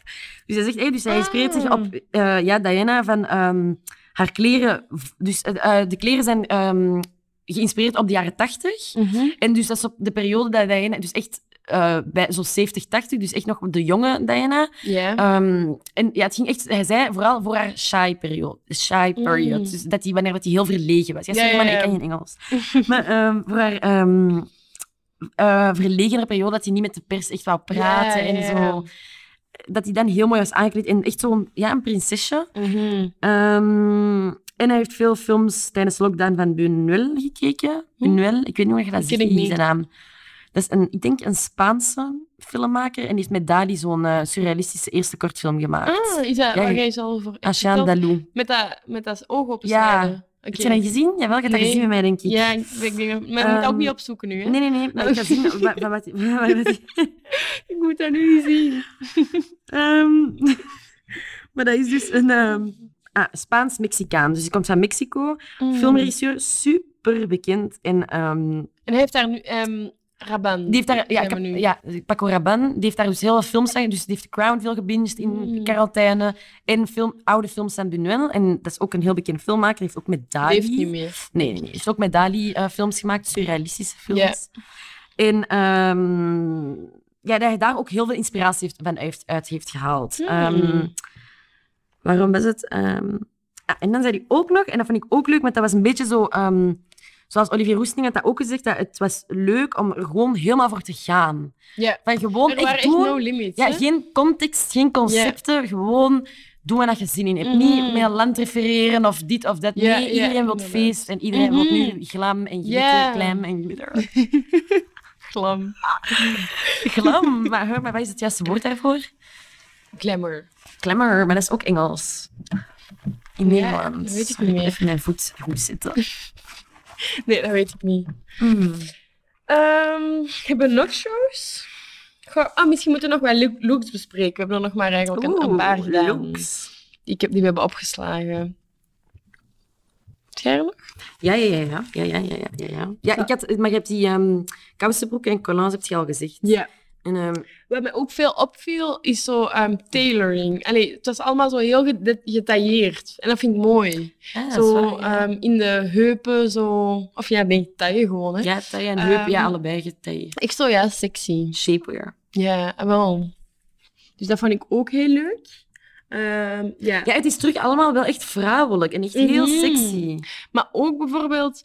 Speaker 2: Dus hij zegt, hey, dus hij inspireert zich
Speaker 1: Ah.
Speaker 2: op eh, ja, Diana van ehm, haar kleren. v- Dus eh, eh, de kleren zijn ehm, geïnspireerd op de jaren 80. En dus dat is op de periode dat Diana, dus echt eh, bij zo'n 70, 80, dus echt nog de jonge Diana.
Speaker 1: Ja.
Speaker 2: Ehm, en ja, het ging echt, hij zei vooral voor haar shy period. Shy period.
Speaker 1: Mm.
Speaker 2: Dus dat die, wanneer dat die heel verlegen was. Ja,
Speaker 1: Ja,
Speaker 2: sorry,
Speaker 1: ja,
Speaker 2: maar ik
Speaker 1: ja.
Speaker 2: kan geen Engels. maar ehm, voor haar ehm eh verlegenere periode, dat hij niet met de pers echt wou praten
Speaker 1: Ja,
Speaker 2: en
Speaker 1: ja,
Speaker 2: zo. Dat hij dan heel mooi was aangekleed en echt zo'n ja, een prinsesje.
Speaker 1: Mhm.
Speaker 2: mm-hmm. Ehm, en hij heeft veel films tijdens lockdown van Buñuel gekeken. Buñuel, ik weet niet hoe je dat
Speaker 1: Hm? Ken
Speaker 2: zegt,
Speaker 1: ik
Speaker 2: niet
Speaker 1: niet.
Speaker 2: zijn naam. Dat is een, ik denk een Spaanse filmmaker en die heeft met Dali zo'n eh, surrealistische eerste kortfilm gemaakt.
Speaker 1: Ah, is dat
Speaker 2: Ja,
Speaker 1: waar
Speaker 2: je-
Speaker 1: jij zo al voor hebt
Speaker 2: Ashaan
Speaker 1: verteld?
Speaker 2: Dalou.
Speaker 1: met dat, met dat oog op
Speaker 2: Ja. Heb
Speaker 1: Oké.
Speaker 2: je dat gezien? Jawel, je hebt dat
Speaker 1: Nee.
Speaker 2: gezien bij mij, denk ik.
Speaker 1: Ja, ik, ik Oh. denk, dat- maar je moet dat ook
Speaker 2: Ehm,
Speaker 1: niet opzoeken nu, hè?
Speaker 2: Nee, nee, nee. Maar ik ga zien wa- wa- wat... wa- wat-
Speaker 1: Ik moet dat nu niet zien.
Speaker 2: Ehm, maar dat is dus een ehm, ah, Spaans-Mexicaan. Dus die komt van Mexico.
Speaker 1: Mm. Hmm.
Speaker 2: Filmregisseur, super bekend. En ehm,
Speaker 1: En hij heeft daar nu ehm Raban.
Speaker 2: die heeft daar... Ja,
Speaker 1: zijn
Speaker 2: ik
Speaker 1: we
Speaker 2: heb-
Speaker 1: nu.
Speaker 2: ja, Paco Rabanne. Die heeft daar dus heel veel films aan. Dus die heeft The Crown veel gebinged in
Speaker 1: Mm.
Speaker 2: quarantaine. En film, oude films van Buñuel. En dat is ook een heel bekend filmmaker. Die heeft ook met
Speaker 1: Die
Speaker 2: Dali...
Speaker 1: leeft niet meer.
Speaker 2: Nee, nee, nee. Hij heeft ook met Dali eh, films gemaakt, surrealistische films.
Speaker 1: Ja.
Speaker 2: En ehm, ja, dat hij daar ook heel veel inspiratie heeft, van heeft, uit heeft gehaald.
Speaker 1: Hmm.
Speaker 2: Ehm, waarom was het? Ehm, ah, en dan zei hij ook nog, en dat vond ik ook leuk, want dat was een beetje zo... ehm, zoals Olivier Roesting had dat ook gezegd, dat het was leuk om er gewoon helemaal voor te gaan.
Speaker 1: Ja.
Speaker 2: Van gewoon
Speaker 1: Er
Speaker 2: echt
Speaker 1: waren echt
Speaker 2: doen-
Speaker 1: no limits,
Speaker 2: ja,
Speaker 1: hè?
Speaker 2: geen context, geen concepten. Gewoon doen wat je zin in hebt.
Speaker 1: Mhm.
Speaker 2: Niet met land refereren of dit of dat.
Speaker 1: Ja,
Speaker 2: nee,
Speaker 1: ja,
Speaker 2: iedereen wil
Speaker 1: inderdaad.
Speaker 2: feest en iedereen wil
Speaker 1: Mhm.
Speaker 2: nu glam en glitter,
Speaker 1: Ja.
Speaker 2: glam en glitter.
Speaker 1: Glam.
Speaker 2: glam, maar, hè, maar wat is het juiste woord daarvoor?
Speaker 1: Glamour.
Speaker 2: Glamour, maar dat is ook Engels.
Speaker 1: Ja,
Speaker 2: In Nederland.
Speaker 1: dat weet ik
Speaker 2: Sorry,
Speaker 1: niet meer.
Speaker 2: Even mijn voet goed zitten.
Speaker 1: Nee, dat weet ik niet. Mhm. Ehm hebben we nog shows? Goh, ah, misschien moeten we nog wel look- looks bespreken. We hebben er nog maar eigenlijk een, een paar
Speaker 2: Oeh,
Speaker 1: gedaan.
Speaker 2: looks.
Speaker 1: Die, ik heb, die we hebben opgeslagen. Scherm?
Speaker 2: Ja, ja, ja. ja. ja, ja, ja, ja, ja, ja. ja ik had, maar je hebt die ehm kousenbroeken en collants heb je al gezegd.
Speaker 1: Ja.
Speaker 2: En, ehm,
Speaker 1: Wat mij ook veel opviel, is zo ehm, tailoring. Allee, het was allemaal zo heel gede- getailleerd. En dat vind ik mooi.
Speaker 2: ah, dat is
Speaker 1: zo
Speaker 2: waar, ja.
Speaker 1: ehm, in de heupen, zo... Of ja, nee, taille gewoon, hè.
Speaker 2: Ja, taille en heup, ja,
Speaker 1: Ehm,
Speaker 2: allebei getaille.
Speaker 1: Ik zo, ja, sexy.
Speaker 2: Shapewear.
Speaker 1: Ja, ah, wel. Dus dat vond ik ook heel leuk. Ehm, ja.
Speaker 2: Ja, het is terug allemaal wel echt vrouwelijk en echt heel
Speaker 1: Mhm.
Speaker 2: sexy.
Speaker 1: Maar ook bijvoorbeeld...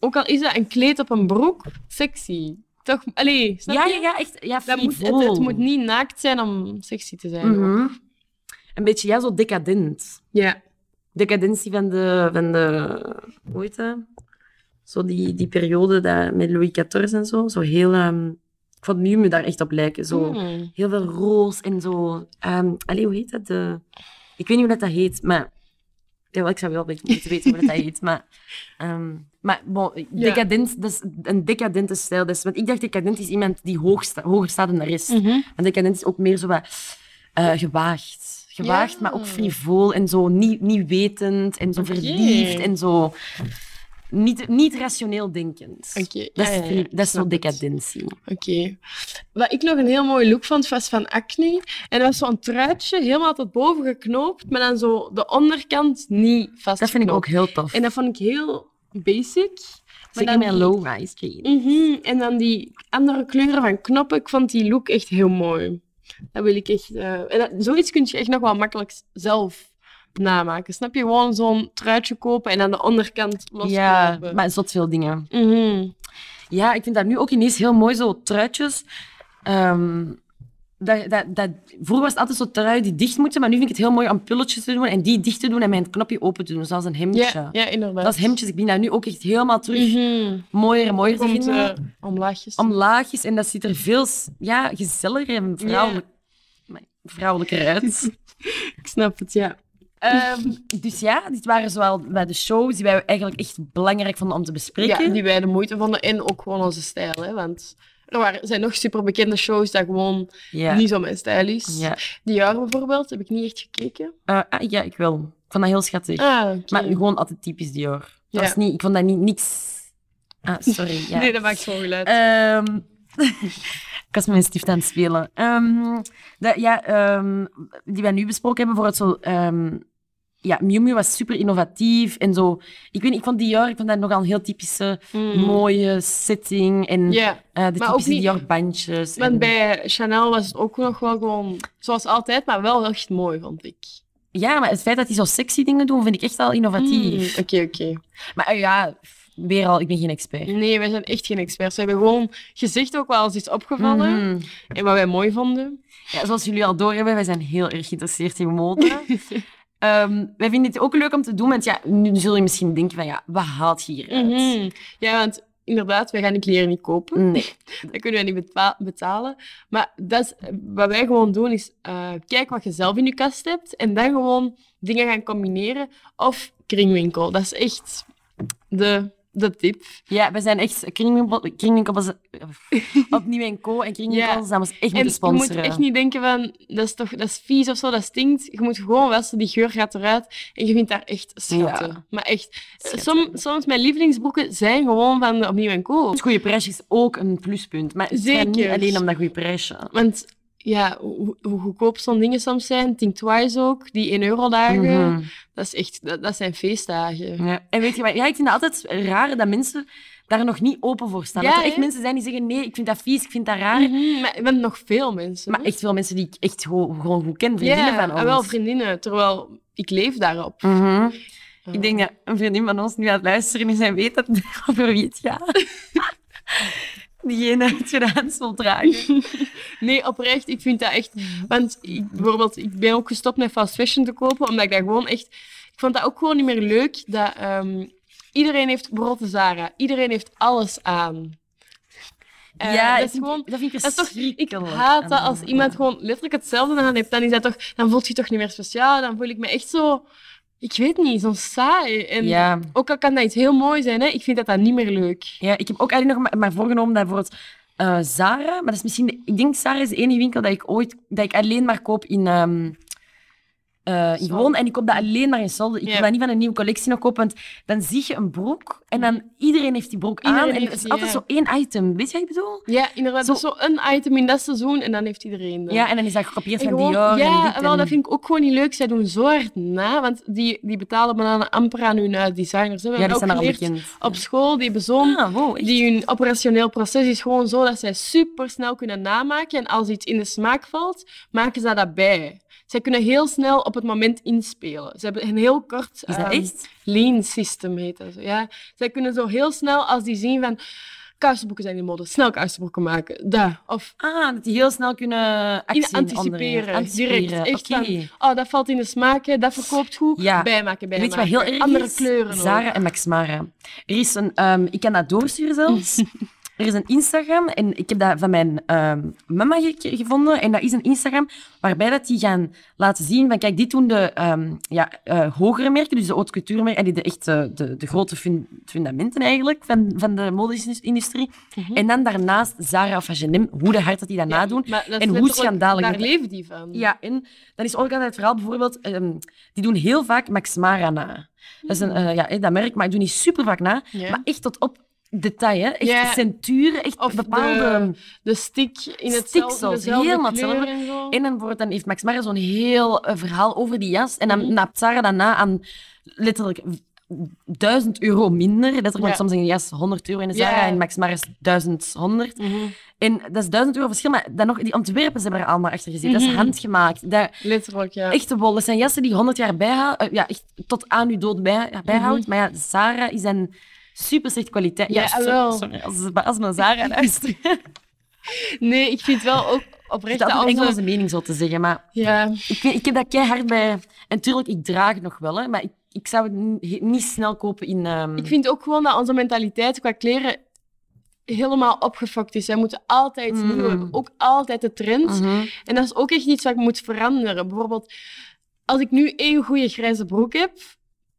Speaker 1: Ook al is dat een kleed op een broek, sexy. Toch? Allee, snap
Speaker 2: Ja,
Speaker 1: je?
Speaker 2: ja, ja, echt ja,
Speaker 1: Dat moet, het,
Speaker 2: frivool.
Speaker 1: het moet niet naakt zijn om sexy te zijn.
Speaker 2: Mhm. Een beetje, ja, zo decadent.
Speaker 1: Ja.
Speaker 2: Decadentie van de, van de hoe heet dat? Zo die, die periode dat, met Louis XIV en zo. Zo heel, ehm, ik vond nu me daar echt op lijken. Zo
Speaker 1: Mm.
Speaker 2: heel veel roos en zo. ehm allee, hoe heet dat? De, ik weet niet hoe dat, dat heet, maar... Jawel, ik zou wel be- moeten weten hoe dat, dat heet, maar... ehm, maar bon, decadent, dat is een decadente stijl. Dus, want ik dacht decadent is iemand die hoog sta- hoger staat dan de rest.
Speaker 1: Mhm.
Speaker 2: Maar decadent is ook meer zo wat eh, gewaagd. Gewaagd,
Speaker 1: Ja.
Speaker 2: maar ook frivol en zo niet, niet wetend en zo
Speaker 1: Oké.
Speaker 2: verliefd en zo... Niet, niet rationeel denkend.
Speaker 1: Oké,
Speaker 2: Dat,
Speaker 1: ja,
Speaker 2: is,
Speaker 1: ja, ja,
Speaker 2: fri-
Speaker 1: ik
Speaker 2: dat is
Speaker 1: snap het.
Speaker 2: zo decadentie.
Speaker 1: Oké. Wat ik nog een heel mooi look vond, was van Acne. En dat was zo'n truitje, helemaal tot boven geknoopt, maar dan zo de onderkant niet vastgeknoopt.
Speaker 2: Dat vind ik ook heel tof.
Speaker 1: En dat vond ik heel basic. Maar
Speaker 2: Zeker
Speaker 1: dan
Speaker 2: met
Speaker 1: die-
Speaker 2: low-rise jeans.
Speaker 1: Mhm, En dan die andere kleuren van knoppen, ik vond die look echt heel mooi. Dat wil ik echt... eh, en dat- zoiets kun je echt nog wel makkelijk s- zelf namaken. Snap je? Gewoon zo'n truitje kopen en aan de onderkant losknopen.
Speaker 2: Ja, maar zot veel dingen.
Speaker 1: Mhm.
Speaker 2: Ja, ik vind dat nu ook ineens heel mooi, zo truitjes. Ehm, dat, dat, dat, vroeger was het altijd zo trui die dicht moeten, maar nu vind ik het heel mooi om pulletjes te doen en die dicht te doen en mijn knopje open te doen, zoals een hemdje.
Speaker 1: ja, ja, inderdaad.
Speaker 2: Dat is hemdjes, ik ben daar nu ook echt helemaal terug
Speaker 1: Mhm.
Speaker 2: mooier en mooier te
Speaker 1: Komt
Speaker 2: vinden.
Speaker 1: eh omlaagjes.
Speaker 2: Omlaagjes en dat ziet er veel s- ja, gezelliger en vrouwelijk, maar vrouwelijker uit.
Speaker 1: Ik snap het, ja.
Speaker 2: Ehm, dus ja, dit waren zowel bij de shows die wij eigenlijk echt belangrijk vonden om te bespreken.
Speaker 1: Ja, die wij de moeite vonden en ook gewoon onze stijl. Hè? Want er waren, zijn nog superbekende shows dat gewoon
Speaker 2: ja.
Speaker 1: niet zo mijn stijl is.
Speaker 2: Ja.
Speaker 1: Die jaar bijvoorbeeld heb ik niet echt gekeken.
Speaker 2: Eh, ah, ja, ik wel. Ik vond dat heel schattig.
Speaker 1: Ah, oké.
Speaker 2: Maar gewoon altijd typisch Dior. Dat
Speaker 1: Ja.
Speaker 2: was niet, ik vond dat niet niks. Ah, sorry. Ja.
Speaker 1: Nee, dat maakt gewoon geluid.
Speaker 2: Ehm, ik was met mijn stift aan het spelen. Ehm, dat- ja, ehm, die wij nu besproken hebben, bijvoorbeeld zo... ehm, ja, Miu Miu was super innovatief en zo. Ik weet niet, ik vond Dior, ik vond dat nogal een heel typische,
Speaker 1: Mm.
Speaker 2: mooie setting. En
Speaker 1: Ja,
Speaker 2: eh, de
Speaker 1: maar ook
Speaker 2: typische
Speaker 1: niet-
Speaker 2: Dior-bandjes. en-
Speaker 1: want bij Chanel was het ook nog wel gewoon zoals altijd, maar wel echt mooi, vond ik.
Speaker 2: Ja, maar het feit dat die zo sexy dingen doen, vind ik echt al
Speaker 1: Mm,
Speaker 2: innovatief.
Speaker 1: Oké, oké.
Speaker 2: Maar eh, ja, weer al, ik ben geen expert.
Speaker 1: Nee, wij zijn echt geen experts. We hebben gewoon gezicht ook wel eens iets opgevallen
Speaker 2: Mhm.
Speaker 1: en wat wij mooi vonden.
Speaker 2: Ja, zoals jullie al doorhebben, wij zijn heel erg geïnteresseerd in mode. Ehm, wij vinden het ook leuk om te doen, want ja, nu zul je misschien denken van ja, wat haalt je hieruit?
Speaker 1: Mhm. Ja, want inderdaad, wij gaan die kleren niet kopen.
Speaker 2: Nee.
Speaker 1: Dat kunnen wij niet betwa- betalen. Maar dat is, wat wij gewoon doen is eh kijken wat je zelf in je kast hebt en dan gewoon dingen gaan combineren. Of kringwinkel. Dat is echt de, de tip.
Speaker 2: Ja, wij zijn echt kringwinkel- kringwinkels eh, opnieuw en co en kringwinkels, dat was
Speaker 1: En
Speaker 2: echt moeten
Speaker 1: je moet
Speaker 2: sponsoren.
Speaker 1: echt niet denken van dat is toch dat is vies of zo, dat stinkt. Je moet gewoon wassen, die geur gaat eruit en je vindt daar echt schatten.
Speaker 2: Ja.
Speaker 1: Maar echt, eh,
Speaker 2: Schatten.
Speaker 1: som- soms mijn lievelingsbroeken zijn gewoon van de opnieuw en koop.
Speaker 2: Het Dus goede prijsje is ook een pluspunt, maar het gaat niet
Speaker 1: Zeker.
Speaker 2: alleen om dat goede prijsje.
Speaker 1: Want ja, hoe, hoe goedkoop zo'n dingen soms zijn, Think Twice ook, die 1 euro dagen,
Speaker 2: Mhm.
Speaker 1: dat, is echt, dat, dat zijn feestdagen.
Speaker 2: Ja. En weet je wat? Ja, ik vind het altijd raar dat mensen daar nog niet open voor staan.
Speaker 1: Ja,
Speaker 2: dat er echt
Speaker 1: hè?
Speaker 2: mensen zijn die zeggen nee, ik vind dat vies, ik vind dat raar.
Speaker 1: Mhm, maar, want nog veel mensen.
Speaker 2: Maar
Speaker 1: hè?
Speaker 2: echt veel mensen die ik echt gewoon, gewoon goed ken,
Speaker 1: ja,
Speaker 2: vriendinnen van ons.
Speaker 1: en wel vriendinnen, terwijl ik leef daarop.
Speaker 2: Mhm.
Speaker 1: Eh,
Speaker 2: Ik denk dat een vriendin van ons nu aan het luisteren is en weet dat over wie het gaat. Diegene uit tweedehands wil dragen.
Speaker 1: Nee, oprecht, ik vind dat echt...
Speaker 2: Mhm.
Speaker 1: Want ik, bijvoorbeeld, ik ben ook gestopt met fast fashion te kopen, omdat ik dat gewoon echt... Ik vond dat ook gewoon niet meer leuk, dat... ehm, iedereen heeft bijvoorbeeld de Zara. Iedereen heeft alles aan. Eh, dat is
Speaker 2: ik vind-
Speaker 1: gewoon...
Speaker 2: dat vind ik
Speaker 1: Dat is toch, ik
Speaker 2: verschrikkelijk.
Speaker 1: haat dat als
Speaker 2: Ja.
Speaker 1: iemand gewoon letterlijk hetzelfde aan heeft. Dan, is dat toch, dan voelt je toch niet meer speciaal. Dan voel ik me echt zo, ik weet niet, zo saai. En
Speaker 2: Ja.
Speaker 1: ook al kan dat iets heel mooi zijn, hè, ik vind dat dat niet meer leuk.
Speaker 2: ja, ik heb ook eigenlijk nog maar, maar voorgenomen dat bijvoorbeeld eh, Zara... Maar dat is misschien... de- ik denk Zara is de enige winkel dat ik ooit... Dat ik alleen maar koop in... ehm eh, in
Speaker 1: Solden.
Speaker 2: Woon. En ik koop dat alleen maar in Solden. Ik
Speaker 1: Ja.
Speaker 2: wil dat niet van een nieuwe collectie nog kopen, want dan zie je een broek en dan iedereen heeft die broek aan.
Speaker 1: Iedereen
Speaker 2: En
Speaker 1: heeft
Speaker 2: het is
Speaker 1: die,
Speaker 2: altijd
Speaker 1: ja.
Speaker 2: zo één item. Weet je wat ik bedoel?
Speaker 1: Ja, inderdaad.
Speaker 2: Zo-
Speaker 1: Dat is zo een item in dat seizoen en dan heeft iedereen dat.
Speaker 2: Ja, en dan is dat gekopieerd
Speaker 1: En
Speaker 2: van
Speaker 1: gewoon-
Speaker 2: Dior en
Speaker 1: ja,
Speaker 2: dit
Speaker 1: wel,
Speaker 2: en-
Speaker 1: dat vind ik ook gewoon niet leuk. Zij doen zo hard na, want die, die betalen bananen amper aan hun eh, designers. Hè. We
Speaker 2: Ja,
Speaker 1: hebben
Speaker 2: die
Speaker 1: ook
Speaker 2: zijn daar al
Speaker 1: geleerd
Speaker 2: bekend.
Speaker 1: op school, die hebben zo'n
Speaker 2: Ah, wow, echt?
Speaker 1: Die hun operationeel proces is gewoon zo dat zij super snel kunnen namaken. En als iets in de smaak valt, maken ze dat bij. Zij kunnen heel snel op het moment inspelen. Ze hebben een heel kort
Speaker 2: Is dat
Speaker 1: ehm,
Speaker 2: echt?
Speaker 1: lean system, heet dat zo. Ja? Zij kunnen zo heel snel, als die zien van kousenbroeken zijn in mode, snel kousenbroeken maken. Daar. Of
Speaker 2: Ah, dat die heel snel kunnen actie
Speaker 1: In- anticiperen, direct, echt
Speaker 2: Oké.
Speaker 1: van- oh, dat valt in de smaak, hè, dat verkoopt goed,
Speaker 2: Ja.
Speaker 1: bijmaken,
Speaker 2: Weet
Speaker 1: bijmaken.
Speaker 2: je wat heel erg
Speaker 1: Andere
Speaker 2: is?
Speaker 1: kleuren ook.
Speaker 2: Zara en Max Mara. Er is een... ehm, ik kan dat doorsturen zelfs. er is een Instagram en ik heb dat van mijn ehm, mama ge- gevonden. En dat is een Instagram waarbij dat die gaan laten zien van... Kijk, dit doen de ehm, ja, eh, hogere merken, dus de haute couture merken. En die de, echt de, de, de grote fun- fundamenten eigenlijk van, van de mode-industrie.
Speaker 1: Mhm.
Speaker 2: En dan daarnaast Zara of H&M, hoe de hard dat die dat
Speaker 1: Ja,
Speaker 2: nadoen.
Speaker 1: maar dat is
Speaker 2: en hoe
Speaker 1: letterlijk-
Speaker 2: schandalig
Speaker 1: Daar
Speaker 2: dat-
Speaker 1: leeft die van.
Speaker 2: Ja, en dan is ook altijd het verhaal bijvoorbeeld, ehm, die doen heel vaak Max Mara na. Dat is een, eh, ja, eh, dat merk, maar die doen die super vaak na.
Speaker 1: Hmm. Ja.
Speaker 2: Maar echt tot op detail, hè. Echt
Speaker 1: Ja.
Speaker 2: centuren, echt
Speaker 1: Of
Speaker 2: bepaalde...
Speaker 1: de stick in het
Speaker 2: Stiksels,
Speaker 1: dezelfde
Speaker 2: helemaal
Speaker 1: kleur
Speaker 2: hetzelfde.
Speaker 1: en zo.
Speaker 2: En dan, bijvoorbeeld, dan heeft Max Mara zo'n heel eh, verhaal over die jas. En dan
Speaker 1: Mhm.
Speaker 2: napt Sarah daarna aan letterlijk 1000 euro minder. Dat
Speaker 1: Ja.
Speaker 2: er gewoon soms een yes, 100 euro in de
Speaker 1: Ja. Hmm.
Speaker 2: Zara en Max Maris 1100.
Speaker 1: Mhm.
Speaker 2: En dat is 1000 euro verschil, maar dan nog, die ontwerpen ze hebben er allemaal achter gezeten. Dat
Speaker 1: Mhm.
Speaker 2: is handgemaakt. Dat,
Speaker 1: Letterlijk, ja.
Speaker 2: echte wol. Dat zijn jassen die 100 jaar bijhouden. ja, echt tot aan uw dood bij, ja, bijhoudt. Maar ja, Zara is een super slecht kwaliteit.
Speaker 1: Mhm. Ja,
Speaker 2: so-
Speaker 1: wel.
Speaker 2: Sorry, als, als mijn Zara luistert.
Speaker 1: Nee, ik vind wel ook
Speaker 2: Ik
Speaker 1: oprecht
Speaker 2: heb
Speaker 1: dat
Speaker 2: altijd
Speaker 1: onze...
Speaker 2: onze mening zo te zeggen. Maar
Speaker 1: Ja,
Speaker 2: ik, weet- ik heb dat keihard bij... En tuurlijk, ik draag het nog wel. Hè, maar ik, ik zou het ni- niet snel kopen in... ehm,
Speaker 1: ik vind ook gewoon dat onze mentaliteit qua kleren helemaal opgefokt is. Wij moeten altijd iets nieuw
Speaker 2: Mm.
Speaker 1: hebben. Ook altijd de trend.
Speaker 2: mhm.
Speaker 1: En dat is ook echt iets wat ik moet veranderen. Bijvoorbeeld, als ik nu één goede grijze broek heb,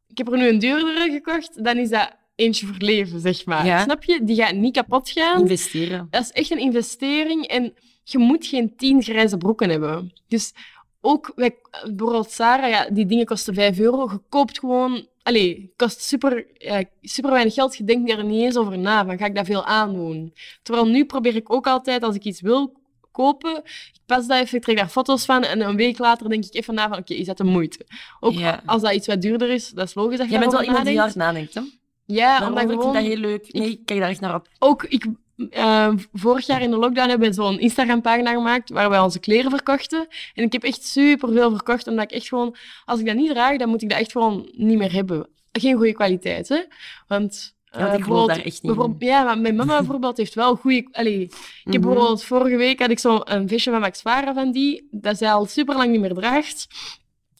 Speaker 1: ik heb er nu een duurdere gekocht, dan is dat eentje voor leven, zeg maar.
Speaker 2: Ja.
Speaker 1: Snap je? Die gaat niet kapot gaan.
Speaker 2: Investeren.
Speaker 1: Dat is echt een investering en je moet geen tien grijze broeken hebben. Dus ook, wij, bijvoorbeeld Sarah, ja, die dingen kosten 5 euro. Je koopt gewoon... Allee, kost super, eh, super weinig geld. Je denkt er niet eens over na, van ga ik dat veel aandoen? Terwijl nu probeer ik ook altijd, als ik iets wil kopen, ik pas dat even, ik trek daar foto's van en een week later denk ik even na van, oké, is dat de moeite? Ook
Speaker 2: Ja.
Speaker 1: als dat iets wat duurder is, dat is logisch dat je
Speaker 2: Jij bent wel
Speaker 1: daarover
Speaker 2: iemand die hard
Speaker 1: nadenkt.
Speaker 2: nadenkt, hè?
Speaker 1: Ja,
Speaker 2: Daarom,
Speaker 1: omdat
Speaker 2: ik
Speaker 1: gewoon-
Speaker 2: vind dat heel leuk. Nee, ik kijk daar echt naar op.
Speaker 1: ook ik, eh, vorig jaar in de lockdown hebben we zo'n Instagram-pagina gemaakt waar wij onze kleren verkochten. En ik heb echt superveel verkocht, omdat ik echt gewoon, als ik dat niet draag, dan moet ik dat echt gewoon niet meer hebben. Geen goede kwaliteit, hè? Want.
Speaker 2: Ja, want
Speaker 1: eh,
Speaker 2: ik geloof daar
Speaker 1: bijvoorbeeld-
Speaker 2: echt niet in.
Speaker 1: bijvoorbeeld- Ja, maar mijn mama bijvoorbeeld heeft wel goede... Allee, ik heb
Speaker 2: Mhm.
Speaker 1: bijvoorbeeld vorige week had ik zo'n visje van Max Vara van die, dat zij al super lang niet meer draagt.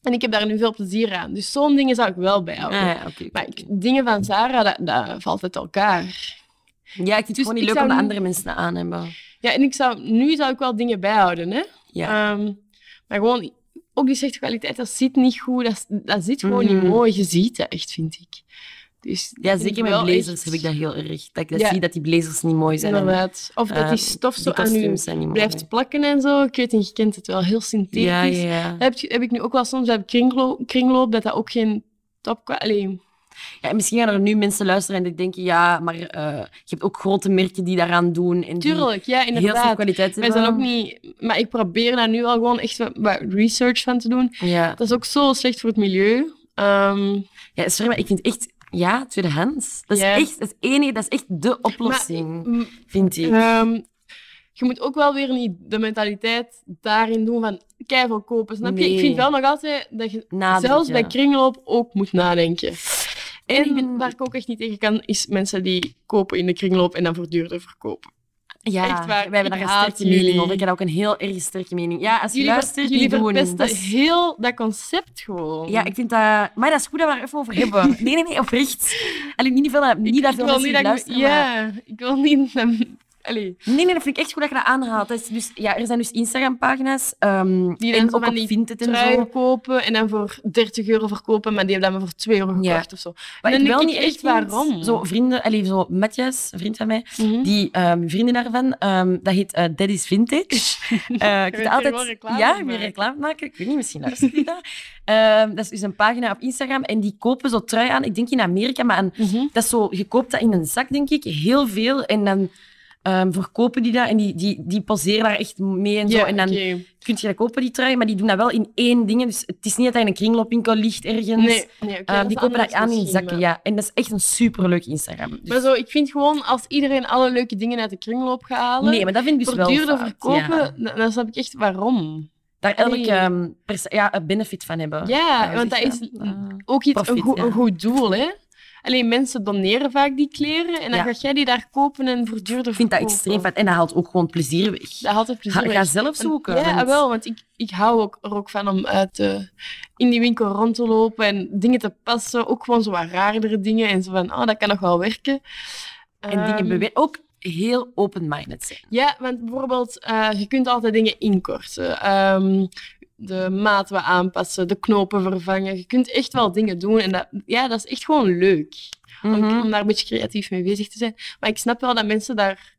Speaker 1: En ik heb daar nu veel plezier aan. Dus zo'n dingen zou ik wel bijhouden.
Speaker 2: Ah, ja, oké, oké,
Speaker 1: Maar
Speaker 2: oké.
Speaker 1: ik- dingen van Zara, dat, dat valt uit elkaar.
Speaker 2: Ja, ik vind het
Speaker 1: Dus
Speaker 2: gewoon
Speaker 1: ik
Speaker 2: niet leuk
Speaker 1: zou
Speaker 2: om de
Speaker 1: niet-
Speaker 2: andere mensen aan te hebben.
Speaker 1: Ja, en ik zou, nu zou ik wel dingen bijhouden, hè.
Speaker 2: Ja.
Speaker 1: Ehm, maar gewoon, ook die slechte kwaliteit, dat zit niet goed. Dat, dat zit gewoon
Speaker 2: Mhm.
Speaker 1: niet mooi. Je ziet dat echt, vind ik. Dus
Speaker 2: Ja,
Speaker 1: vind ik
Speaker 2: zeker met
Speaker 1: wel
Speaker 2: blazers
Speaker 1: echt-
Speaker 2: heb ik dat heel erg. Dat ik dat
Speaker 1: Ja.
Speaker 2: zie dat die blazers niet mooi zijn. en
Speaker 1: Inderdaad. Of dat
Speaker 2: Eh,
Speaker 1: die stof
Speaker 2: die
Speaker 1: zo aan je
Speaker 2: kostuums zijn niet mooi.
Speaker 1: blijft plakken en zo. Ik weet niet, je kent het wel. Heel synthetisch.
Speaker 2: Ja, ja, ja.
Speaker 1: Dat Heb, je- heb ik nu ook wel soms bij kringloop, kringloop dat dat ook geen top... Allee,
Speaker 2: Ja, en misschien gaan er nu mensen luisteren en die denken, ja, maar eh, je hebt ook grote merken die daaraan doen. En die
Speaker 1: tuurlijk, ja,
Speaker 2: heel veel
Speaker 1: inderdaad.
Speaker 2: kwaliteit
Speaker 1: Wij
Speaker 2: hebben.
Speaker 1: zijn ook niet... Maar ik probeer daar nu al gewoon echt wat- wat research van te doen.
Speaker 2: Ja.
Speaker 1: Dat is ook zo slecht voor het milieu. Ehm,
Speaker 2: ja, sorry, maar ik vind echt... Ja, tweedehands. Dat is
Speaker 1: Ja.
Speaker 2: echt het enige, dat is echt de oplossing,
Speaker 1: m-
Speaker 2: vind ik.
Speaker 1: Ehm, je moet ook wel weer niet de mentaliteit daarin doen van keiveel kopen, snap je? Ik
Speaker 2: Nee. Ah,
Speaker 1: vind wel nog altijd dat je
Speaker 2: Nadenken.
Speaker 1: zelfs bij kringloop ook moet nadenken. En,
Speaker 2: En-
Speaker 1: waar ik ook echt niet tegen kan, is mensen die kopen in de kringloop en dan voor duurder verkopen.
Speaker 2: Ja,
Speaker 1: echt waar,
Speaker 2: wij
Speaker 1: ik
Speaker 2: hebben daar een
Speaker 1: haat
Speaker 2: sterke
Speaker 1: jullie.
Speaker 2: mening over. Ik heb daar ook een heel erg sterke mening. Ja, als je
Speaker 1: Jullie, ver-
Speaker 2: luistert,
Speaker 1: jullie
Speaker 2: niet doen.
Speaker 1: verpesten
Speaker 2: Dat is-
Speaker 1: heel dat concept gewoon.
Speaker 2: Ja, ik vind dat... Maar dat is goed dat we er even over hebben. Nee, nee, nee, oprecht. Allee, niet, veel, eh, niet dat
Speaker 1: Ik wil
Speaker 2: veel mensen
Speaker 1: niet
Speaker 2: hier
Speaker 1: dat ik...
Speaker 2: luisteren, maar-
Speaker 1: Ja, ik wil niet... Allee.
Speaker 2: Nee, nee, dat vind ik echt goed dat je dat aanhaalt. Dat is dus, ja, er zijn dus Instagram-pagina's. ehm,
Speaker 1: Die dan
Speaker 2: en
Speaker 1: zo
Speaker 2: ook
Speaker 1: van
Speaker 2: op
Speaker 1: die
Speaker 2: Vinted en
Speaker 1: trui
Speaker 2: zo.
Speaker 1: kopen en dan voor 30 euro verkopen, maar die hebben dat maar voor 2 euro
Speaker 2: Ja.
Speaker 1: gekocht of zo.
Speaker 2: Maar
Speaker 1: dan
Speaker 2: ik wel
Speaker 1: denk
Speaker 2: niet
Speaker 1: ik echt
Speaker 2: echt vind,
Speaker 1: waarom.
Speaker 2: Zo vrienden, allee, zo Matthias, een vriend van mij,
Speaker 1: Mhm.
Speaker 2: die ehm, vrienden daarvan, ehm, dat heet eh Daddy's Vintage. Eh, ik
Speaker 1: Je
Speaker 2: vind
Speaker 1: bent
Speaker 2: altijd,
Speaker 1: gewoon reclame
Speaker 2: ja,
Speaker 1: aan
Speaker 2: ik
Speaker 1: het
Speaker 2: ben
Speaker 1: maken.
Speaker 2: reclame maken. Ik weet niet, misschien luistert die dat. Ehm, dat is dus een pagina op Instagram en die kopen zo trui aan. Ik denk in Amerika, maar aan
Speaker 1: Mhm.
Speaker 2: Dat is zo, je koopt dat in een zak, denk ik, heel veel. En dan ehm, verkopen die dat en die, die, die poseren daar echt mee en zo.
Speaker 1: Ja,
Speaker 2: en dan
Speaker 1: oké.
Speaker 2: kun je dat kopen, die trui, maar die doen dat wel in één ding. Dus het is niet dat hij in een kringloopwinkel ligt ergens.
Speaker 1: Nee, nee, oké,
Speaker 2: Ehm,
Speaker 1: dat is
Speaker 2: die kopen dat
Speaker 1: anders
Speaker 2: aan in
Speaker 1: misschien,
Speaker 2: zakken,
Speaker 1: maar-
Speaker 2: ja. En dat is echt een superleuk Instagram. Dus-
Speaker 1: Maar zo, ik vind gewoon, als iedereen alle leuke dingen uit de kringloop gaat halen,
Speaker 2: nee, maar dat vind ik dus
Speaker 1: voor
Speaker 2: wel
Speaker 1: duurder
Speaker 2: fout,
Speaker 1: verkopen,
Speaker 2: ja.
Speaker 1: dan, dan snap ik echt waarom.
Speaker 2: Daar elk
Speaker 1: Nee.
Speaker 2: ehm, pers- ja, een benefit van hebben.
Speaker 1: Ja,
Speaker 2: Eh,
Speaker 1: want dat
Speaker 2: zeg
Speaker 1: is
Speaker 2: je dat? Eh,
Speaker 1: ook iets, een,
Speaker 2: profit,
Speaker 1: goed,
Speaker 2: ja.
Speaker 1: een goed doel, hè. Alleen mensen doneren vaak die kleren en dan
Speaker 2: Ja.
Speaker 1: ga jij die daar kopen en voor duurder
Speaker 2: ik vind dat
Speaker 1: verkopen.
Speaker 2: extreem fijn. En dat haalt ook gewoon plezier
Speaker 1: Oh,
Speaker 2: weg.
Speaker 1: Dat dus haalt het
Speaker 2: Ga,
Speaker 1: plezier
Speaker 2: ga
Speaker 1: weg.
Speaker 2: zelf
Speaker 1: Want-
Speaker 2: zoeken.
Speaker 1: Ja,
Speaker 2: want-
Speaker 1: wel, want ik, ik hou ook, er ook van om uit, eh, in die winkel rond te lopen en dingen te passen. Ook gewoon zo wat raardere dingen en zo van, oh, dat kan nog wel werken.
Speaker 2: En
Speaker 1: Ehm,
Speaker 2: dingen beweren. Ook heel open-minded zijn.
Speaker 1: Ja, want bijvoorbeeld, eh, je kunt altijd dingen inkorten. Ehm, de maat wat aanpassen, de knopen vervangen. Je kunt echt wel dingen doen. En dat, ja, dat is echt gewoon leuk. Om,
Speaker 2: Mhm.
Speaker 1: om daar een beetje creatief mee bezig te zijn. Maar ik snap wel dat mensen daar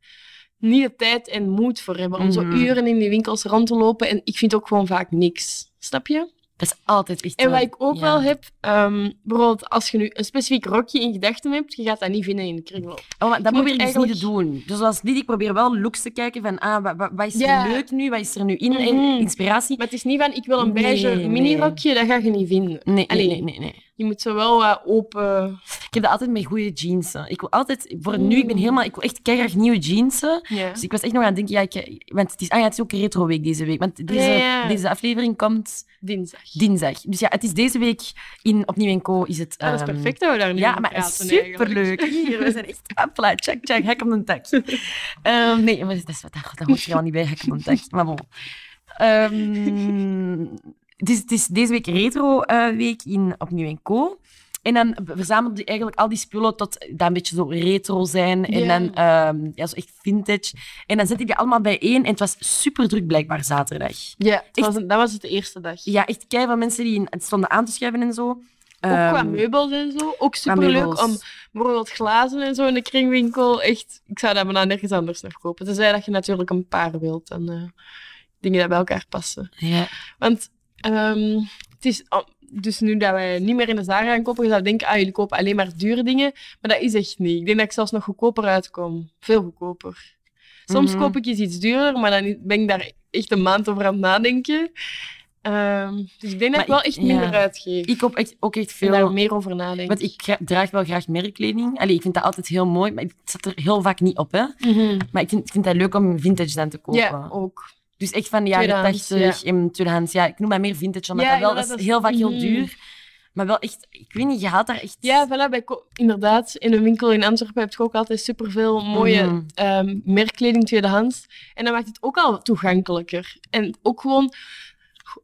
Speaker 1: niet de tijd en moed voor hebben. Om
Speaker 2: Mhm.
Speaker 1: zo uren in die winkels rond te lopen. En ik vind ook gewoon vaak niks. Snap je?
Speaker 2: Dat is altijd echt
Speaker 1: En
Speaker 2: wel-
Speaker 1: wat ik ook
Speaker 2: ja.
Speaker 1: wel heb, ehm, bijvoorbeeld als je nu een specifiek rokje in gedachten hebt, je gaat dat niet vinden in de kringloop.
Speaker 2: Oh, maar dat
Speaker 1: je
Speaker 2: probeer
Speaker 1: moet
Speaker 2: ik dus niet te
Speaker 1: eigenlijk-
Speaker 2: doen. Dus als niet, ik probeer wel looks te kijken van ah, wat, wat- wat is er
Speaker 1: Ja.
Speaker 2: leuk nu, wat is er nu in, en
Speaker 1: Mhm.
Speaker 2: inspiratie.
Speaker 1: Maar het is niet van, ik wil een
Speaker 2: Nee,
Speaker 1: beige
Speaker 2: nee.
Speaker 1: minirokje, dat ga je niet vinden.
Speaker 2: Nee,
Speaker 1: Allee.
Speaker 2: nee, nee, nee. nee.
Speaker 1: Je moet zo wel wat open...
Speaker 2: Ik heb dat altijd met goede jeansen. Ik wil altijd, voor nu, ik ben
Speaker 1: Mhm.
Speaker 2: helemaal, ik wil echt keihard nieuwe jeansen.
Speaker 1: Ja.
Speaker 2: Dus ik was echt nog aan het denken, ja, ik, want het is, ah ja, het is ook retro week deze week. Want deze,
Speaker 1: ja.
Speaker 2: deze aflevering komt
Speaker 1: Dinsdag.
Speaker 2: dinsdag. Dus ja, het is deze week in Opnieuw en Co. Is het,
Speaker 1: Ah, dat is
Speaker 2: ehm,
Speaker 1: perfect dat we daar nu
Speaker 2: Ja,
Speaker 1: over
Speaker 2: maar
Speaker 1: praten,
Speaker 2: superleuk.
Speaker 1: eigenlijk.
Speaker 2: Hier, we zijn echt... Hopla, check, check, hek op een tak. Ehm, nee, maar dat, is, dat, dat hoort er helemaal niet bij, hek op een tak. Maar bon. Ehm, het, is, het is deze week retro-week in Opnieuw en Co. En dan verzamelde je eigenlijk al die spullen tot dat een beetje zo retro zijn. En
Speaker 1: Ja.
Speaker 2: dan ehm, ja, zo echt vintage. En dan zette ik die allemaal bijeen. En het was super druk blijkbaar zaterdag.
Speaker 1: Ja, het
Speaker 2: Echt.
Speaker 1: was een- dat was het de eerste dag.
Speaker 2: Ja, echt kei van mensen die in- het stonden aan te schuiven en zo.
Speaker 1: Ook qua
Speaker 2: Ehm,
Speaker 1: meubels en zo. Ook
Speaker 2: qua
Speaker 1: superleuk
Speaker 2: meubels.
Speaker 1: om bijvoorbeeld glazen en zo in de kringwinkel. Echt, ik zou dat bijna nergens anders nog kopen. Tenzij dat je natuurlijk een paar wilt en eh, dingen die bij elkaar passen.
Speaker 2: Ja.
Speaker 1: Want ehm, het is, oh, dus nu dat wij niet meer in de Zara gaan kopen, je zou denken, ah, jullie kopen alleen maar dure dingen. Maar dat is echt niet. Ik denk dat ik zelfs nog goedkoper uitkom. Veel goedkoper. Soms
Speaker 2: Mhm.
Speaker 1: koop ik iets iets duurder, maar dan ben ik daar echt een maand over aan het nadenken. Ehm, dus ik denk
Speaker 2: Maar
Speaker 1: dat ik wel
Speaker 2: ik-
Speaker 1: echt minder
Speaker 2: ja.
Speaker 1: uitgeef.
Speaker 2: Ik koop echt, ook echt
Speaker 1: En daar
Speaker 2: veel.
Speaker 1: meer over nadenken.
Speaker 2: Want ik gra- draag wel graag merkkleding. Allee, ik vind dat altijd heel mooi, maar ik zet er heel vaak niet op. Hè. Maar ik vind, ik vind dat leuk om vintage dan te kopen.
Speaker 1: Mhm. Ja, ook.
Speaker 2: Dus echt van de jaren
Speaker 1: Tweedehands,
Speaker 2: 80 en tweedehands. Ja, ik noem dat meer vintage, omdat
Speaker 1: Ja,
Speaker 2: dat wel, dat
Speaker 1: inderdaad,
Speaker 2: is
Speaker 1: dat is-
Speaker 2: heel vaak heel
Speaker 1: Mhm.
Speaker 2: duur. Maar wel echt, ik weet niet, je haalt daar echt...
Speaker 1: Ja, voilà, bij ko- inderdaad. In een winkel in Antwerpen heb je ook altijd superveel mooie
Speaker 2: Mhm.
Speaker 1: ehm, merkkleding tweedehands. En dat maakt het ook al toegankelijker. En ook gewoon,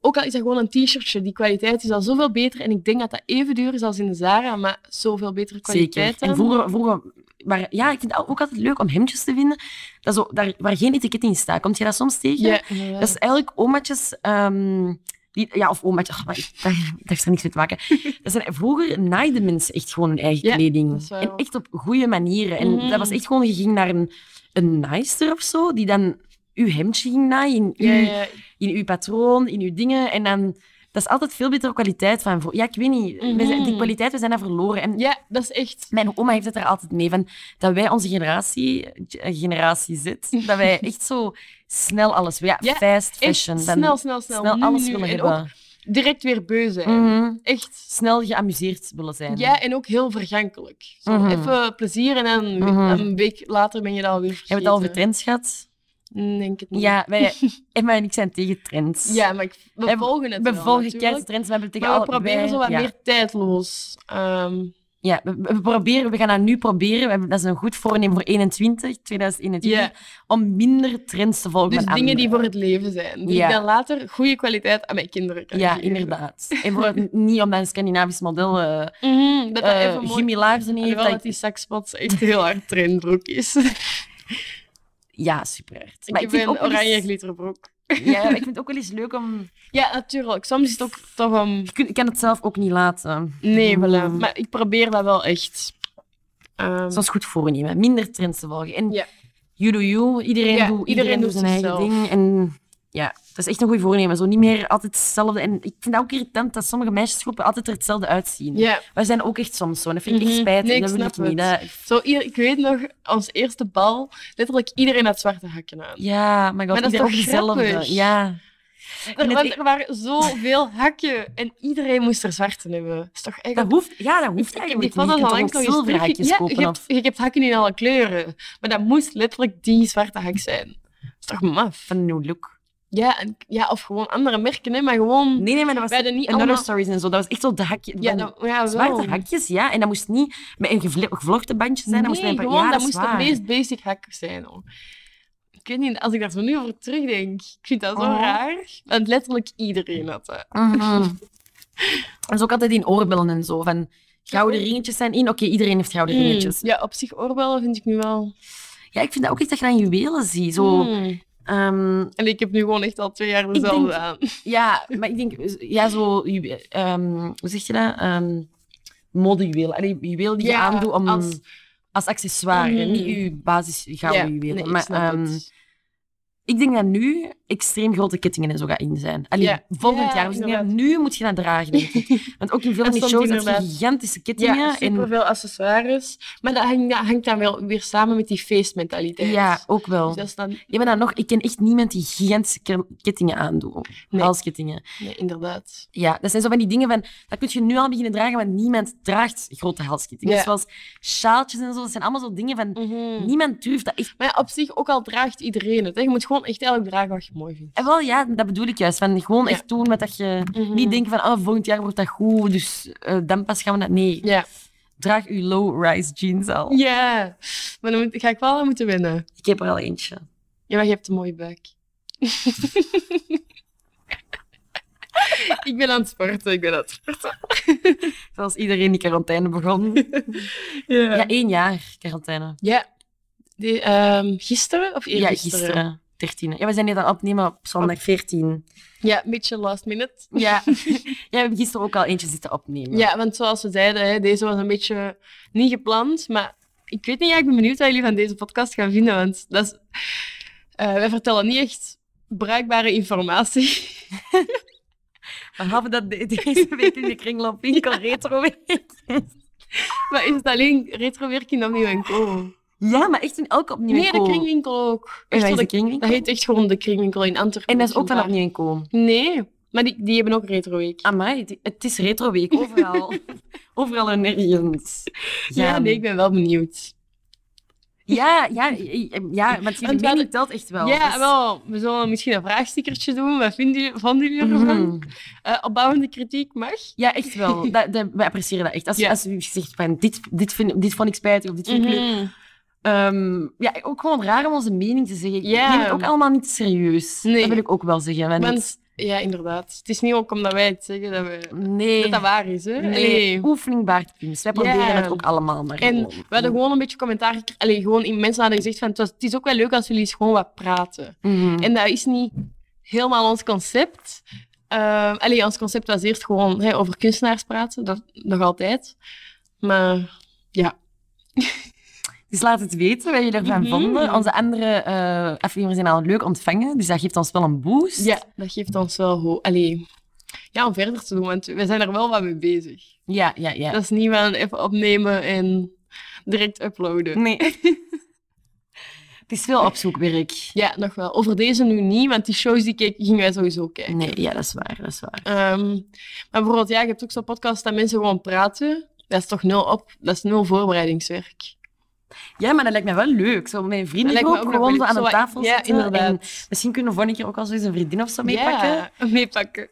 Speaker 1: ook al is dat gewoon een t-shirtje, die kwaliteit is al zoveel beter. En ik denk dat dat even duur is als in de Zara, maar zoveel betere kwaliteit
Speaker 2: Zeker. En
Speaker 1: dan.
Speaker 2: vroeger, vroeger maar ja, ik vind het ook altijd leuk om hemdjes te vinden dat zo, daar, waar geen etiket in staat. Komt je dat soms tegen?
Speaker 1: Ja,
Speaker 2: Dat is eigenlijk omaatjes... ehm, die, ja, of omaatjes. Oh, maar ik- daar, daar heeft er niks mee te maken. Dat zijn, vroeger naaiden mensen echt gewoon hun eigen
Speaker 1: Ja,
Speaker 2: kleding.
Speaker 1: dat is waar.
Speaker 2: En echt op goede manieren. En
Speaker 1: Mhm.
Speaker 2: dat was echt gewoon... Je ging naar een, een naaister of zo, die dan uw hemdje ging naaien in uw,
Speaker 1: ja, ja.
Speaker 2: in uw patroon, in uw dingen. En dan... Dat is altijd veel betere kwaliteit van... vro- Ja, ik weet niet. we zijn- die
Speaker 1: Mhm.
Speaker 2: kwaliteit, we zijn daar verloren. En
Speaker 1: ja, dat is echt...
Speaker 2: mijn oma heeft het er altijd mee van dat wij onze generatie, eh, generatie zit, dat wij echt zo snel alles willen. Ja,
Speaker 1: Ja,
Speaker 2: fast
Speaker 1: Echt
Speaker 2: fashion. dan
Speaker 1: snel, snel, snel.
Speaker 2: snel
Speaker 1: Nu,
Speaker 2: alles
Speaker 1: nu.
Speaker 2: willen
Speaker 1: En
Speaker 2: hebben.
Speaker 1: ook direct weer beu zijn.
Speaker 2: Mhm.
Speaker 1: Echt.
Speaker 2: Snel geamuseerd willen zijn.
Speaker 1: Ja, en ook heel vergankelijk. Zo,
Speaker 2: Mhm.
Speaker 1: Even plezier en dan een we-
Speaker 2: Mhm.
Speaker 1: een week later ben je dat alweer
Speaker 2: Hebben we
Speaker 1: vergeten.
Speaker 2: het al over trends gehad?
Speaker 1: Nee, denk het niet.
Speaker 2: Ja, wij, Emma en ik zijn tegen trends.
Speaker 1: Ja, maar ik, we
Speaker 2: En
Speaker 1: volgen het
Speaker 2: we
Speaker 1: wel,
Speaker 2: volgen
Speaker 1: natuurlijk.
Speaker 2: keihard trends. We, hebben tegen
Speaker 1: Maar we
Speaker 2: alle-
Speaker 1: proberen
Speaker 2: wij-
Speaker 1: zo wat
Speaker 2: ja.
Speaker 1: meer tijdloos. Ehm,
Speaker 2: Ja, we, we proberen, we gaan dat nu proberen. We hebben, dat is een goed voornemen voor 21, 2021.
Speaker 1: Ja.
Speaker 2: Om minder trends te volgen
Speaker 1: dus
Speaker 2: dan
Speaker 1: dingen die
Speaker 2: anderen.
Speaker 1: voor het leven zijn. Die
Speaker 2: Ja.
Speaker 1: ik dan later goede kwaliteit aan mijn kinderen kan
Speaker 2: Ja,
Speaker 1: geven.
Speaker 2: inderdaad. En voor het, niet om een Scandinavisch model... eh,
Speaker 1: Mhm, dat dat
Speaker 2: eh,
Speaker 1: even mooi...
Speaker 2: Jimmy Laarzen heeft.
Speaker 1: Alhoewel
Speaker 2: dat
Speaker 1: dat die
Speaker 2: ik-
Speaker 1: saxpot echt heel hard trendbroek is.
Speaker 2: Ja, super. hard.
Speaker 1: ik heb
Speaker 2: vind
Speaker 1: een
Speaker 2: ook wel eens-
Speaker 1: oranje glitterbroek.
Speaker 2: Ja, maar ik vind het ook wel eens leuk om...
Speaker 1: Ja, natuurlijk. Soms is het ook toch om...
Speaker 2: Ik kun- ik kan het zelf ook niet laten.
Speaker 1: Nee, voilà.
Speaker 2: Mm.
Speaker 1: Maar ik probeer dat wel echt. Ehm,
Speaker 2: Zoals goed voornemen. Minder trends te volgen. En
Speaker 1: Ja.
Speaker 2: you do you. Iedereen,
Speaker 1: Ja,
Speaker 2: doet, iedereen,
Speaker 1: iedereen
Speaker 2: doet
Speaker 1: doet
Speaker 2: zijn eigen
Speaker 1: zichzelf.
Speaker 2: ding. En ja, dat is echt een goed voornemen. Zo niet meer altijd hetzelfde. En ik vind dat ook irritant dat sommige meisjesgroepen altijd er hetzelfde uitzien.
Speaker 1: ja,
Speaker 2: Wij zijn ook echt soms zo. En dat vind ik echt
Speaker 1: Mhm.
Speaker 2: spijtig.
Speaker 1: Nee, ik
Speaker 2: dat wil ik
Speaker 1: snap
Speaker 2: niet. Dat...
Speaker 1: zo hier, ik weet nog, ons eerste bal, letterlijk iedereen had zwarte hakken aan.
Speaker 2: Ja, maar god,
Speaker 1: Maar dat is
Speaker 2: iedereen ook
Speaker 1: toch
Speaker 2: dezelfde.
Speaker 1: grappig?
Speaker 2: Ja.
Speaker 1: Er,
Speaker 2: het- e-
Speaker 1: want er waren zoveel hakken en iedereen moest er zwarte hebben. Dat is toch
Speaker 2: Dat
Speaker 1: eigenlijk...
Speaker 2: hoeft, ja, dat hoeft
Speaker 1: Ik heb die
Speaker 2: eigenlijk
Speaker 1: foto's
Speaker 2: niet. Je
Speaker 1: al
Speaker 2: kunt
Speaker 1: langs
Speaker 2: toch
Speaker 1: nog eens
Speaker 2: ook zilverhaakjes
Speaker 1: terugge- Ja,
Speaker 2: kopen
Speaker 1: je
Speaker 2: of
Speaker 1: hebt, je hebt hakken in alle kleuren. Maar dat moest letterlijk die zwarte hak zijn. Dat is toch maf?
Speaker 2: van New Look.
Speaker 1: Ja, en, ja of gewoon andere merken, hè, maar gewoon...
Speaker 2: Nee, nee, maar dat was
Speaker 1: Wij hadden niet
Speaker 2: Another
Speaker 1: allemaal...
Speaker 2: Stories en zo. Dat was echt zo de hakje.
Speaker 1: Ja,
Speaker 2: van
Speaker 1: dat, ja, wel.
Speaker 2: zwarte hakjes, ja. En dat moest niet met een gevle- gevlochten bandje zijn. dat moest met
Speaker 1: nee,
Speaker 2: een paar-
Speaker 1: gewoon,
Speaker 2: ja,
Speaker 1: dat
Speaker 2: is
Speaker 1: moest
Speaker 2: waar.
Speaker 1: de meest basic hack zijn. hoor. Ik weet niet, als ik daar zo nu over terugdenk, ik vind dat zo
Speaker 2: Oh.
Speaker 1: raar. Want letterlijk iedereen had dat.
Speaker 2: Mhm. Dat is ook altijd in oorbellen en zo. Van gouden ringetjes zijn in. Oké, iedereen heeft
Speaker 1: Mm.
Speaker 2: gouden ringetjes.
Speaker 1: Ja, op zich oorbellen vind ik nu wel...
Speaker 2: Ja, ik vind dat ook echt dat je dan juwelen ziet. Zo,
Speaker 1: Hmm.
Speaker 2: ehm,
Speaker 1: En ik heb nu gewoon echt al twee jaar
Speaker 2: denk-
Speaker 1: dezelfde aan.
Speaker 2: ja, maar ik denk, ja, zo, juwe- ehm, hoe zeg je dat? Ehm modejuwelen. Allee, juwelen die je
Speaker 1: Ja,
Speaker 2: aandoet om...
Speaker 1: als-
Speaker 2: als accessoire,
Speaker 1: Mhm.
Speaker 2: niet uw basis gouden
Speaker 1: Ja,
Speaker 2: juwelen.
Speaker 1: nee, ik
Speaker 2: maar
Speaker 1: snap
Speaker 2: ehm,
Speaker 1: het.
Speaker 2: Ik denk dat nu extreem grote kettingen en zo gaan in zijn. Allee,
Speaker 1: Ja.
Speaker 2: volgend
Speaker 1: Ja,
Speaker 2: jaar. Dus ik denk dat
Speaker 1: inderdaad.
Speaker 2: nu moet je dat dragen, denk ik. Want ook in veel
Speaker 1: Dat
Speaker 2: van die
Speaker 1: stond
Speaker 2: shows heb je
Speaker 1: inderdaad.
Speaker 2: gigantische kettingen.
Speaker 1: Ja,
Speaker 2: en,
Speaker 1: superveel accessoires. Maar dat hangt, dat hangt dan wel weer samen met die feestmentaliteit.
Speaker 2: ja ook wel.
Speaker 1: Dus dat is dan...
Speaker 2: Ik ben dan nog... Ik ken echt niemand die gigantische ke- kettingen aandoet.
Speaker 1: Nee.
Speaker 2: Halskettingen.
Speaker 1: Nee, inderdaad.
Speaker 2: Ja, dat zijn zo van die dingen van... Dat kun je nu al beginnen dragen, want niemand draagt grote halskettingen.
Speaker 1: Ja.
Speaker 2: Zoals sjaaltjes en zo. Dat zijn allemaal zo dingen van...
Speaker 1: Mhm.
Speaker 2: Niemand durft dat echt...
Speaker 1: Maar ja, op zich, ook al draagt iedereen het. Hè. Je moet gewoon echt elk dragen wat je mooi vindt.
Speaker 2: En eh, wel, ja, dat bedoel ik juist. Van gewoon
Speaker 1: Ja.
Speaker 2: echt doen met dat je...
Speaker 1: Mhm.
Speaker 2: Niet denken van, oh, volgend jaar wordt dat goed, dus eh, dan pas gaan we dat... Nee,
Speaker 1: Ja.
Speaker 2: draag uw low-rise jeans al.
Speaker 1: Oh. ja, maar dan moet- ga ik wel aan moeten winnen.
Speaker 2: Ik heb er al eentje.
Speaker 1: Ja, maar je hebt een mooie buik. ik ben aan het sporten, ik ben aan het sporten.
Speaker 2: Zoals iedereen die quarantaine begon.
Speaker 1: Ja,
Speaker 2: Ja, één jaar quarantaine.
Speaker 1: Ja. Die, ehm, gisteren of
Speaker 2: Ja,
Speaker 1: eergisteren?
Speaker 2: gisteren. 13. Ja, we zijn hier dan aan het opnemen op zondag 14.
Speaker 1: Ja, een beetje last minute.
Speaker 2: Ja. ja, we hebben gisteren ook al eentje zitten opnemen.
Speaker 1: Ja, want zoals we zeiden, hè, deze was een beetje niet gepland. Maar ik weet niet, ja, ik ben benieuwd wat jullie van deze podcast gaan vinden. Want dat is, eh, wij vertellen niet echt bruikbare informatie.
Speaker 2: Behalve dat de- deze week in de kringloopwinkel retro week.
Speaker 1: maar is het alleen retrowerking opnieuw en co?
Speaker 2: Ja, maar echt in elke opnieuw
Speaker 1: Nee, de
Speaker 2: Co.
Speaker 1: kringwinkel ook.
Speaker 2: En
Speaker 1: Echt
Speaker 2: wat
Speaker 1: zo
Speaker 2: is de
Speaker 1: de
Speaker 2: kringwinkel?
Speaker 1: Dat heet echt gewoon de kringwinkel in Antwerpen.
Speaker 2: En dat is ook van
Speaker 1: blijkbaar.
Speaker 2: opnieuw en co.
Speaker 1: Nee, maar die, die hebben ook retroweek.
Speaker 2: Amai, het- het is retro week overal. overal en nergens.
Speaker 1: ja, nee, ik ben wel benieuwd.
Speaker 2: Ja, ja, ja, ja, want je
Speaker 1: Want we
Speaker 2: mening telt echt wel.
Speaker 1: ja,
Speaker 2: dus-
Speaker 1: wel. We zullen misschien een vraagstickertje doen. Wat vinden jullie, vonden jullie ervan?
Speaker 2: Mhm.
Speaker 1: Eh, opbouwende kritiek mag.
Speaker 2: Ja, echt wel. dat, dat, we appreciëren dat echt. Als,
Speaker 1: Ja.
Speaker 2: als je zegt, van, dit, dit, vind, dit vond ik spijtig of dit vind ik leuk.
Speaker 1: Mhm.
Speaker 2: Ehm, ja, ook gewoon raar om onze mening te zeggen.
Speaker 1: Ja.
Speaker 2: Je neemt het ook allemaal niet serieus.
Speaker 1: Nee.
Speaker 2: Dat wil ik ook wel zeggen. want-
Speaker 1: Want, ja, inderdaad. Het is niet ook omdat wij het zeggen dat we,
Speaker 2: nee.
Speaker 1: dat, dat waar is. Hè?
Speaker 2: Nee.
Speaker 1: Allee.
Speaker 2: Oefening baart kunst. Wij
Speaker 1: Ja.
Speaker 2: proberen het ook allemaal, maar
Speaker 1: En
Speaker 2: gewoon.
Speaker 1: We hadden gewoon een beetje commentaar gekregen. Allee, gewoon in- mensen hadden gezegd van het, was- het is ook wel leuk als jullie eens gewoon wat praten.
Speaker 2: Mhm.
Speaker 1: En dat is niet helemaal ons concept. Eh, allee, ons concept was eerst gewoon hè, over kunstenaars praten, dat nog altijd. Maar
Speaker 2: Dus laat het weten wat je ervan
Speaker 1: Mhm.
Speaker 2: vonden. Onze andere eh afleveringen zijn al leuk ontvangen, dus dat geeft ons wel een boost.
Speaker 1: ja, dat geeft ons wel hoop. Allee, ja, om verder te doen, want we zijn er wel wat mee bezig.
Speaker 2: ja, ja. ja.
Speaker 1: Dat is niet van even opnemen en direct uploaden.
Speaker 2: Nee. het is veel opzoekwerk.
Speaker 1: Ja, nog wel. Over deze nu niet, want die shows die keken, gingen wij sowieso kijken.
Speaker 2: Nee, ja, dat is waar, dat is waar.
Speaker 1: Ehm, maar bijvoorbeeld, ja, je hebt ook zo'n podcast dat mensen gewoon praten. Dat is toch nul op, dat is nul voorbereidingswerk.
Speaker 2: Ja, maar dat lijkt mij wel leuk. Zo met mijn vrienden ook,
Speaker 1: ook
Speaker 2: gewoon
Speaker 1: wel
Speaker 2: zo
Speaker 1: leuk.
Speaker 2: aan de
Speaker 1: Zo,
Speaker 2: tafel
Speaker 1: ja,
Speaker 2: zitten.
Speaker 1: inderdaad.
Speaker 2: En misschien kunnen we volgende keer ook al zo eens een vriendin of zo meepakken. Ja.
Speaker 1: Ja, meepakken.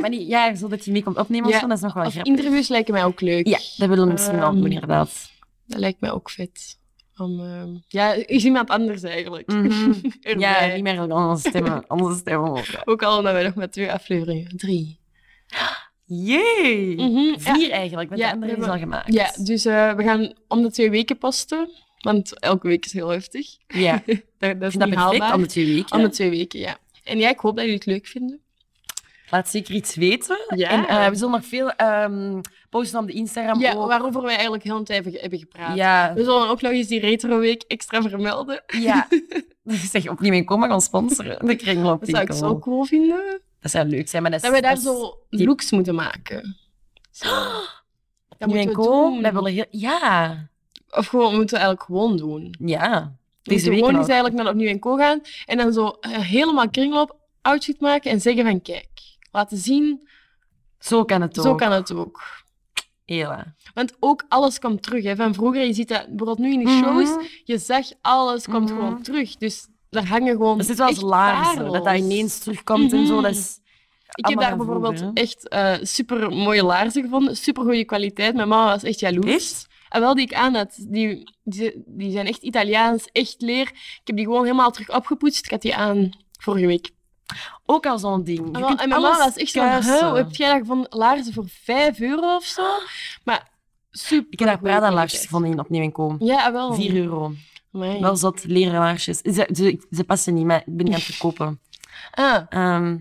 Speaker 2: maar niet, ja, zodat die mee komt opnemen
Speaker 1: Ja.
Speaker 2: of zo, dat is nog wel
Speaker 1: Of
Speaker 2: grappig.
Speaker 1: interviews lijken mij ook leuk.
Speaker 2: Ja, dat willen we misschien wel
Speaker 1: Ehm,
Speaker 2: doen, inderdaad.
Speaker 1: Dat lijkt mij ook vet. Om, ehm, ja, is iemand anders eigenlijk.
Speaker 2: Mhm.
Speaker 1: Erbij.
Speaker 2: Ja, niet meer aan onze stemmen, onze stemmen horen.
Speaker 1: Ook al omdat wij nog maar twee afleveringen. Drie.
Speaker 2: Jee!
Speaker 1: Mhm, ja.
Speaker 2: Vier eigenlijk, want
Speaker 1: Ja,
Speaker 2: de andere
Speaker 1: we
Speaker 2: is al
Speaker 1: hebben-
Speaker 2: gemaakt.
Speaker 1: Ja, dus eh, we gaan om de twee weken posten. Want elke week is heel heftig.
Speaker 2: ja. Ik
Speaker 1: Dat, dat dus- is
Speaker 2: vind dat
Speaker 1: niet
Speaker 2: perfect,
Speaker 1: haalbaar.
Speaker 2: om de twee weken.
Speaker 1: Om de twee weken, ja. En ja, ik hoop dat jullie het leuk vinden.
Speaker 2: Laat zeker iets weten.
Speaker 1: Ja.
Speaker 2: En eh, we zullen nog veel ehm, posten op de Instagram
Speaker 1: ja,
Speaker 2: ook.
Speaker 1: waarover wij eigenlijk heel een tijd hebben- hebben gepraat.
Speaker 2: Ja,
Speaker 1: We zullen ook nog eens die retroweek extra vermelden.
Speaker 2: ja. zeg, opnieuw in Coma gaan sponsoren.
Speaker 1: Dat
Speaker 2: De
Speaker 1: zou
Speaker 2: kringloopwinkel.
Speaker 1: ik zo cool vinden.
Speaker 2: Dat zou leuk zijn, maar dat is...
Speaker 1: Dat wij daar
Speaker 2: is-
Speaker 1: zo
Speaker 2: die-
Speaker 1: looks moeten maken. Zo. Dat
Speaker 2: Opnieuw in
Speaker 1: moeten we
Speaker 2: Coma,
Speaker 1: doen.
Speaker 2: wij willen heel... Ja,
Speaker 1: Of gewoon, we moeten eigenlijk gewoon doen.
Speaker 2: ja.
Speaker 1: We
Speaker 2: Deze
Speaker 1: moeten
Speaker 2: week
Speaker 1: gewoon
Speaker 2: nog.
Speaker 1: eens eigenlijk naar opnieuw in co gaan. En dan zo eh, helemaal kringloop outfit maken en zeggen van kijk, laten zien,
Speaker 2: Zo kan het ook.
Speaker 1: zo kan het ook.
Speaker 2: Hela.
Speaker 1: Want ook alles komt terug. Hè. Van vroeger, je ziet dat bijvoorbeeld nu in die shows,
Speaker 2: Mhm.
Speaker 1: je zag alles komt
Speaker 2: Mhm.
Speaker 1: gewoon terug. Dus daar hangen gewoon.
Speaker 2: Er zit wel eens
Speaker 1: echt Mhm.
Speaker 2: laarzen, dat dat
Speaker 1: parels.
Speaker 2: ineens terugkomt en zo. Dat is...
Speaker 1: Ik heb
Speaker 2: allemaal
Speaker 1: daar
Speaker 2: van vroeger,
Speaker 1: bijvoorbeeld echt super mooie laarzen gevonden, super goede kwaliteit. Mijn mama was echt jaloers.
Speaker 2: Echt?
Speaker 1: En Ah, wel die ik aan had, die, die, die zijn echt Italiaans, echt leer. Ik heb die gewoon helemaal terug opgepoetst. Ik had die aan vorige week.
Speaker 2: Ook al zo'n ding. Je
Speaker 1: En, Ah, wel-
Speaker 2: kunt
Speaker 1: en mijn mama
Speaker 2: alles
Speaker 1: was echt zo van,
Speaker 2: kuisen.
Speaker 1: "Huh, hoe heb jij dat gevonden? Laarzen voor 5 euro of zo? Maar super.
Speaker 2: Ik heb daar
Speaker 1: goede
Speaker 2: Prada-laarsjes
Speaker 1: kwaliteit.
Speaker 2: gevonden in opnieuw in Kom.
Speaker 1: Ja, ah, wel.
Speaker 2: 4 euro.
Speaker 1: Amai.
Speaker 2: Wel zat, leren laarsjes. Ze, ze, ze passen niet, maar ik ben niet aan het verkopen.
Speaker 1: Ah,
Speaker 2: Ehm,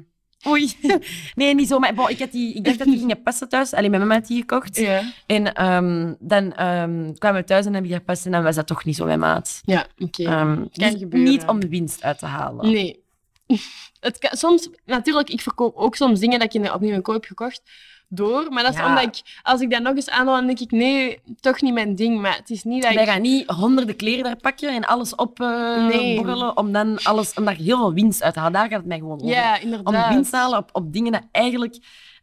Speaker 2: oei. nee, niet zo. Maar bon, ik, had die, ik dacht dat die gingen passen thuis. Alleen mijn mama had die gekocht.
Speaker 1: ja.
Speaker 2: En ehm, dan ehm, kwamen we thuis en heb ik gepast en dan was dat toch niet zo bij maat.
Speaker 1: Ja, oké.
Speaker 2: Ehm, dus
Speaker 1: gebeuren.
Speaker 2: Niet om de winst uit te halen.
Speaker 1: nee. Het kan- soms, natuurlijk, ik verkoop ook soms dingen dat ik in- opnieuw een koop heb gekocht door. Maar dat is
Speaker 2: Ja.
Speaker 1: omdat ik, als ik dat nog eens aanhaal, dan denk ik, nee, toch niet mijn ding. Maar het is niet dat
Speaker 2: Wij
Speaker 1: ik...
Speaker 2: gaan niet honderden kleren daar pakken en alles opborrelen
Speaker 1: Nee.
Speaker 2: om, dan alles, om daar heel veel winst uit te halen. Daar gaat het mij gewoon over.
Speaker 1: Ja,
Speaker 2: om
Speaker 1: inderdaad.
Speaker 2: winst te halen op, op dingen dat eigenlijk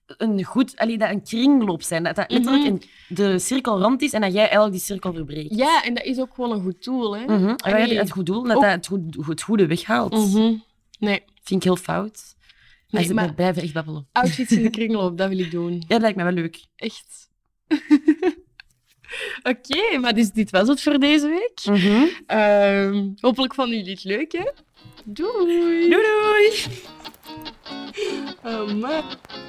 Speaker 2: een goed, allee, dat een kringloop zijn. Dat, dat letterlijk
Speaker 1: Mhm.
Speaker 2: een- de cirkel rond is en dat jij eigenlijk die cirkel verbreekt.
Speaker 1: Ja, en dat is ook gewoon een goed doel, hè.
Speaker 2: Mhm. En wij
Speaker 1: Allee.
Speaker 2: hebben het goed doel, dat
Speaker 1: Ook-
Speaker 2: dat het, goed, het goede weghaalt.
Speaker 1: Mhm. Nee,
Speaker 2: Vind ik heel fout. Maar
Speaker 1: Nee,
Speaker 2: ze
Speaker 1: maar-
Speaker 2: maar... blijven echt babbelen.
Speaker 1: outfits in de kringloop, dat wil ik doen.
Speaker 2: Ja, dat lijkt me wel leuk.
Speaker 1: Echt. Oké, maar dus dit was het voor deze week. Ehm, hopelijk vonden jullie het leuk, hè? Doei!
Speaker 2: Doei doei!
Speaker 1: Oh, man.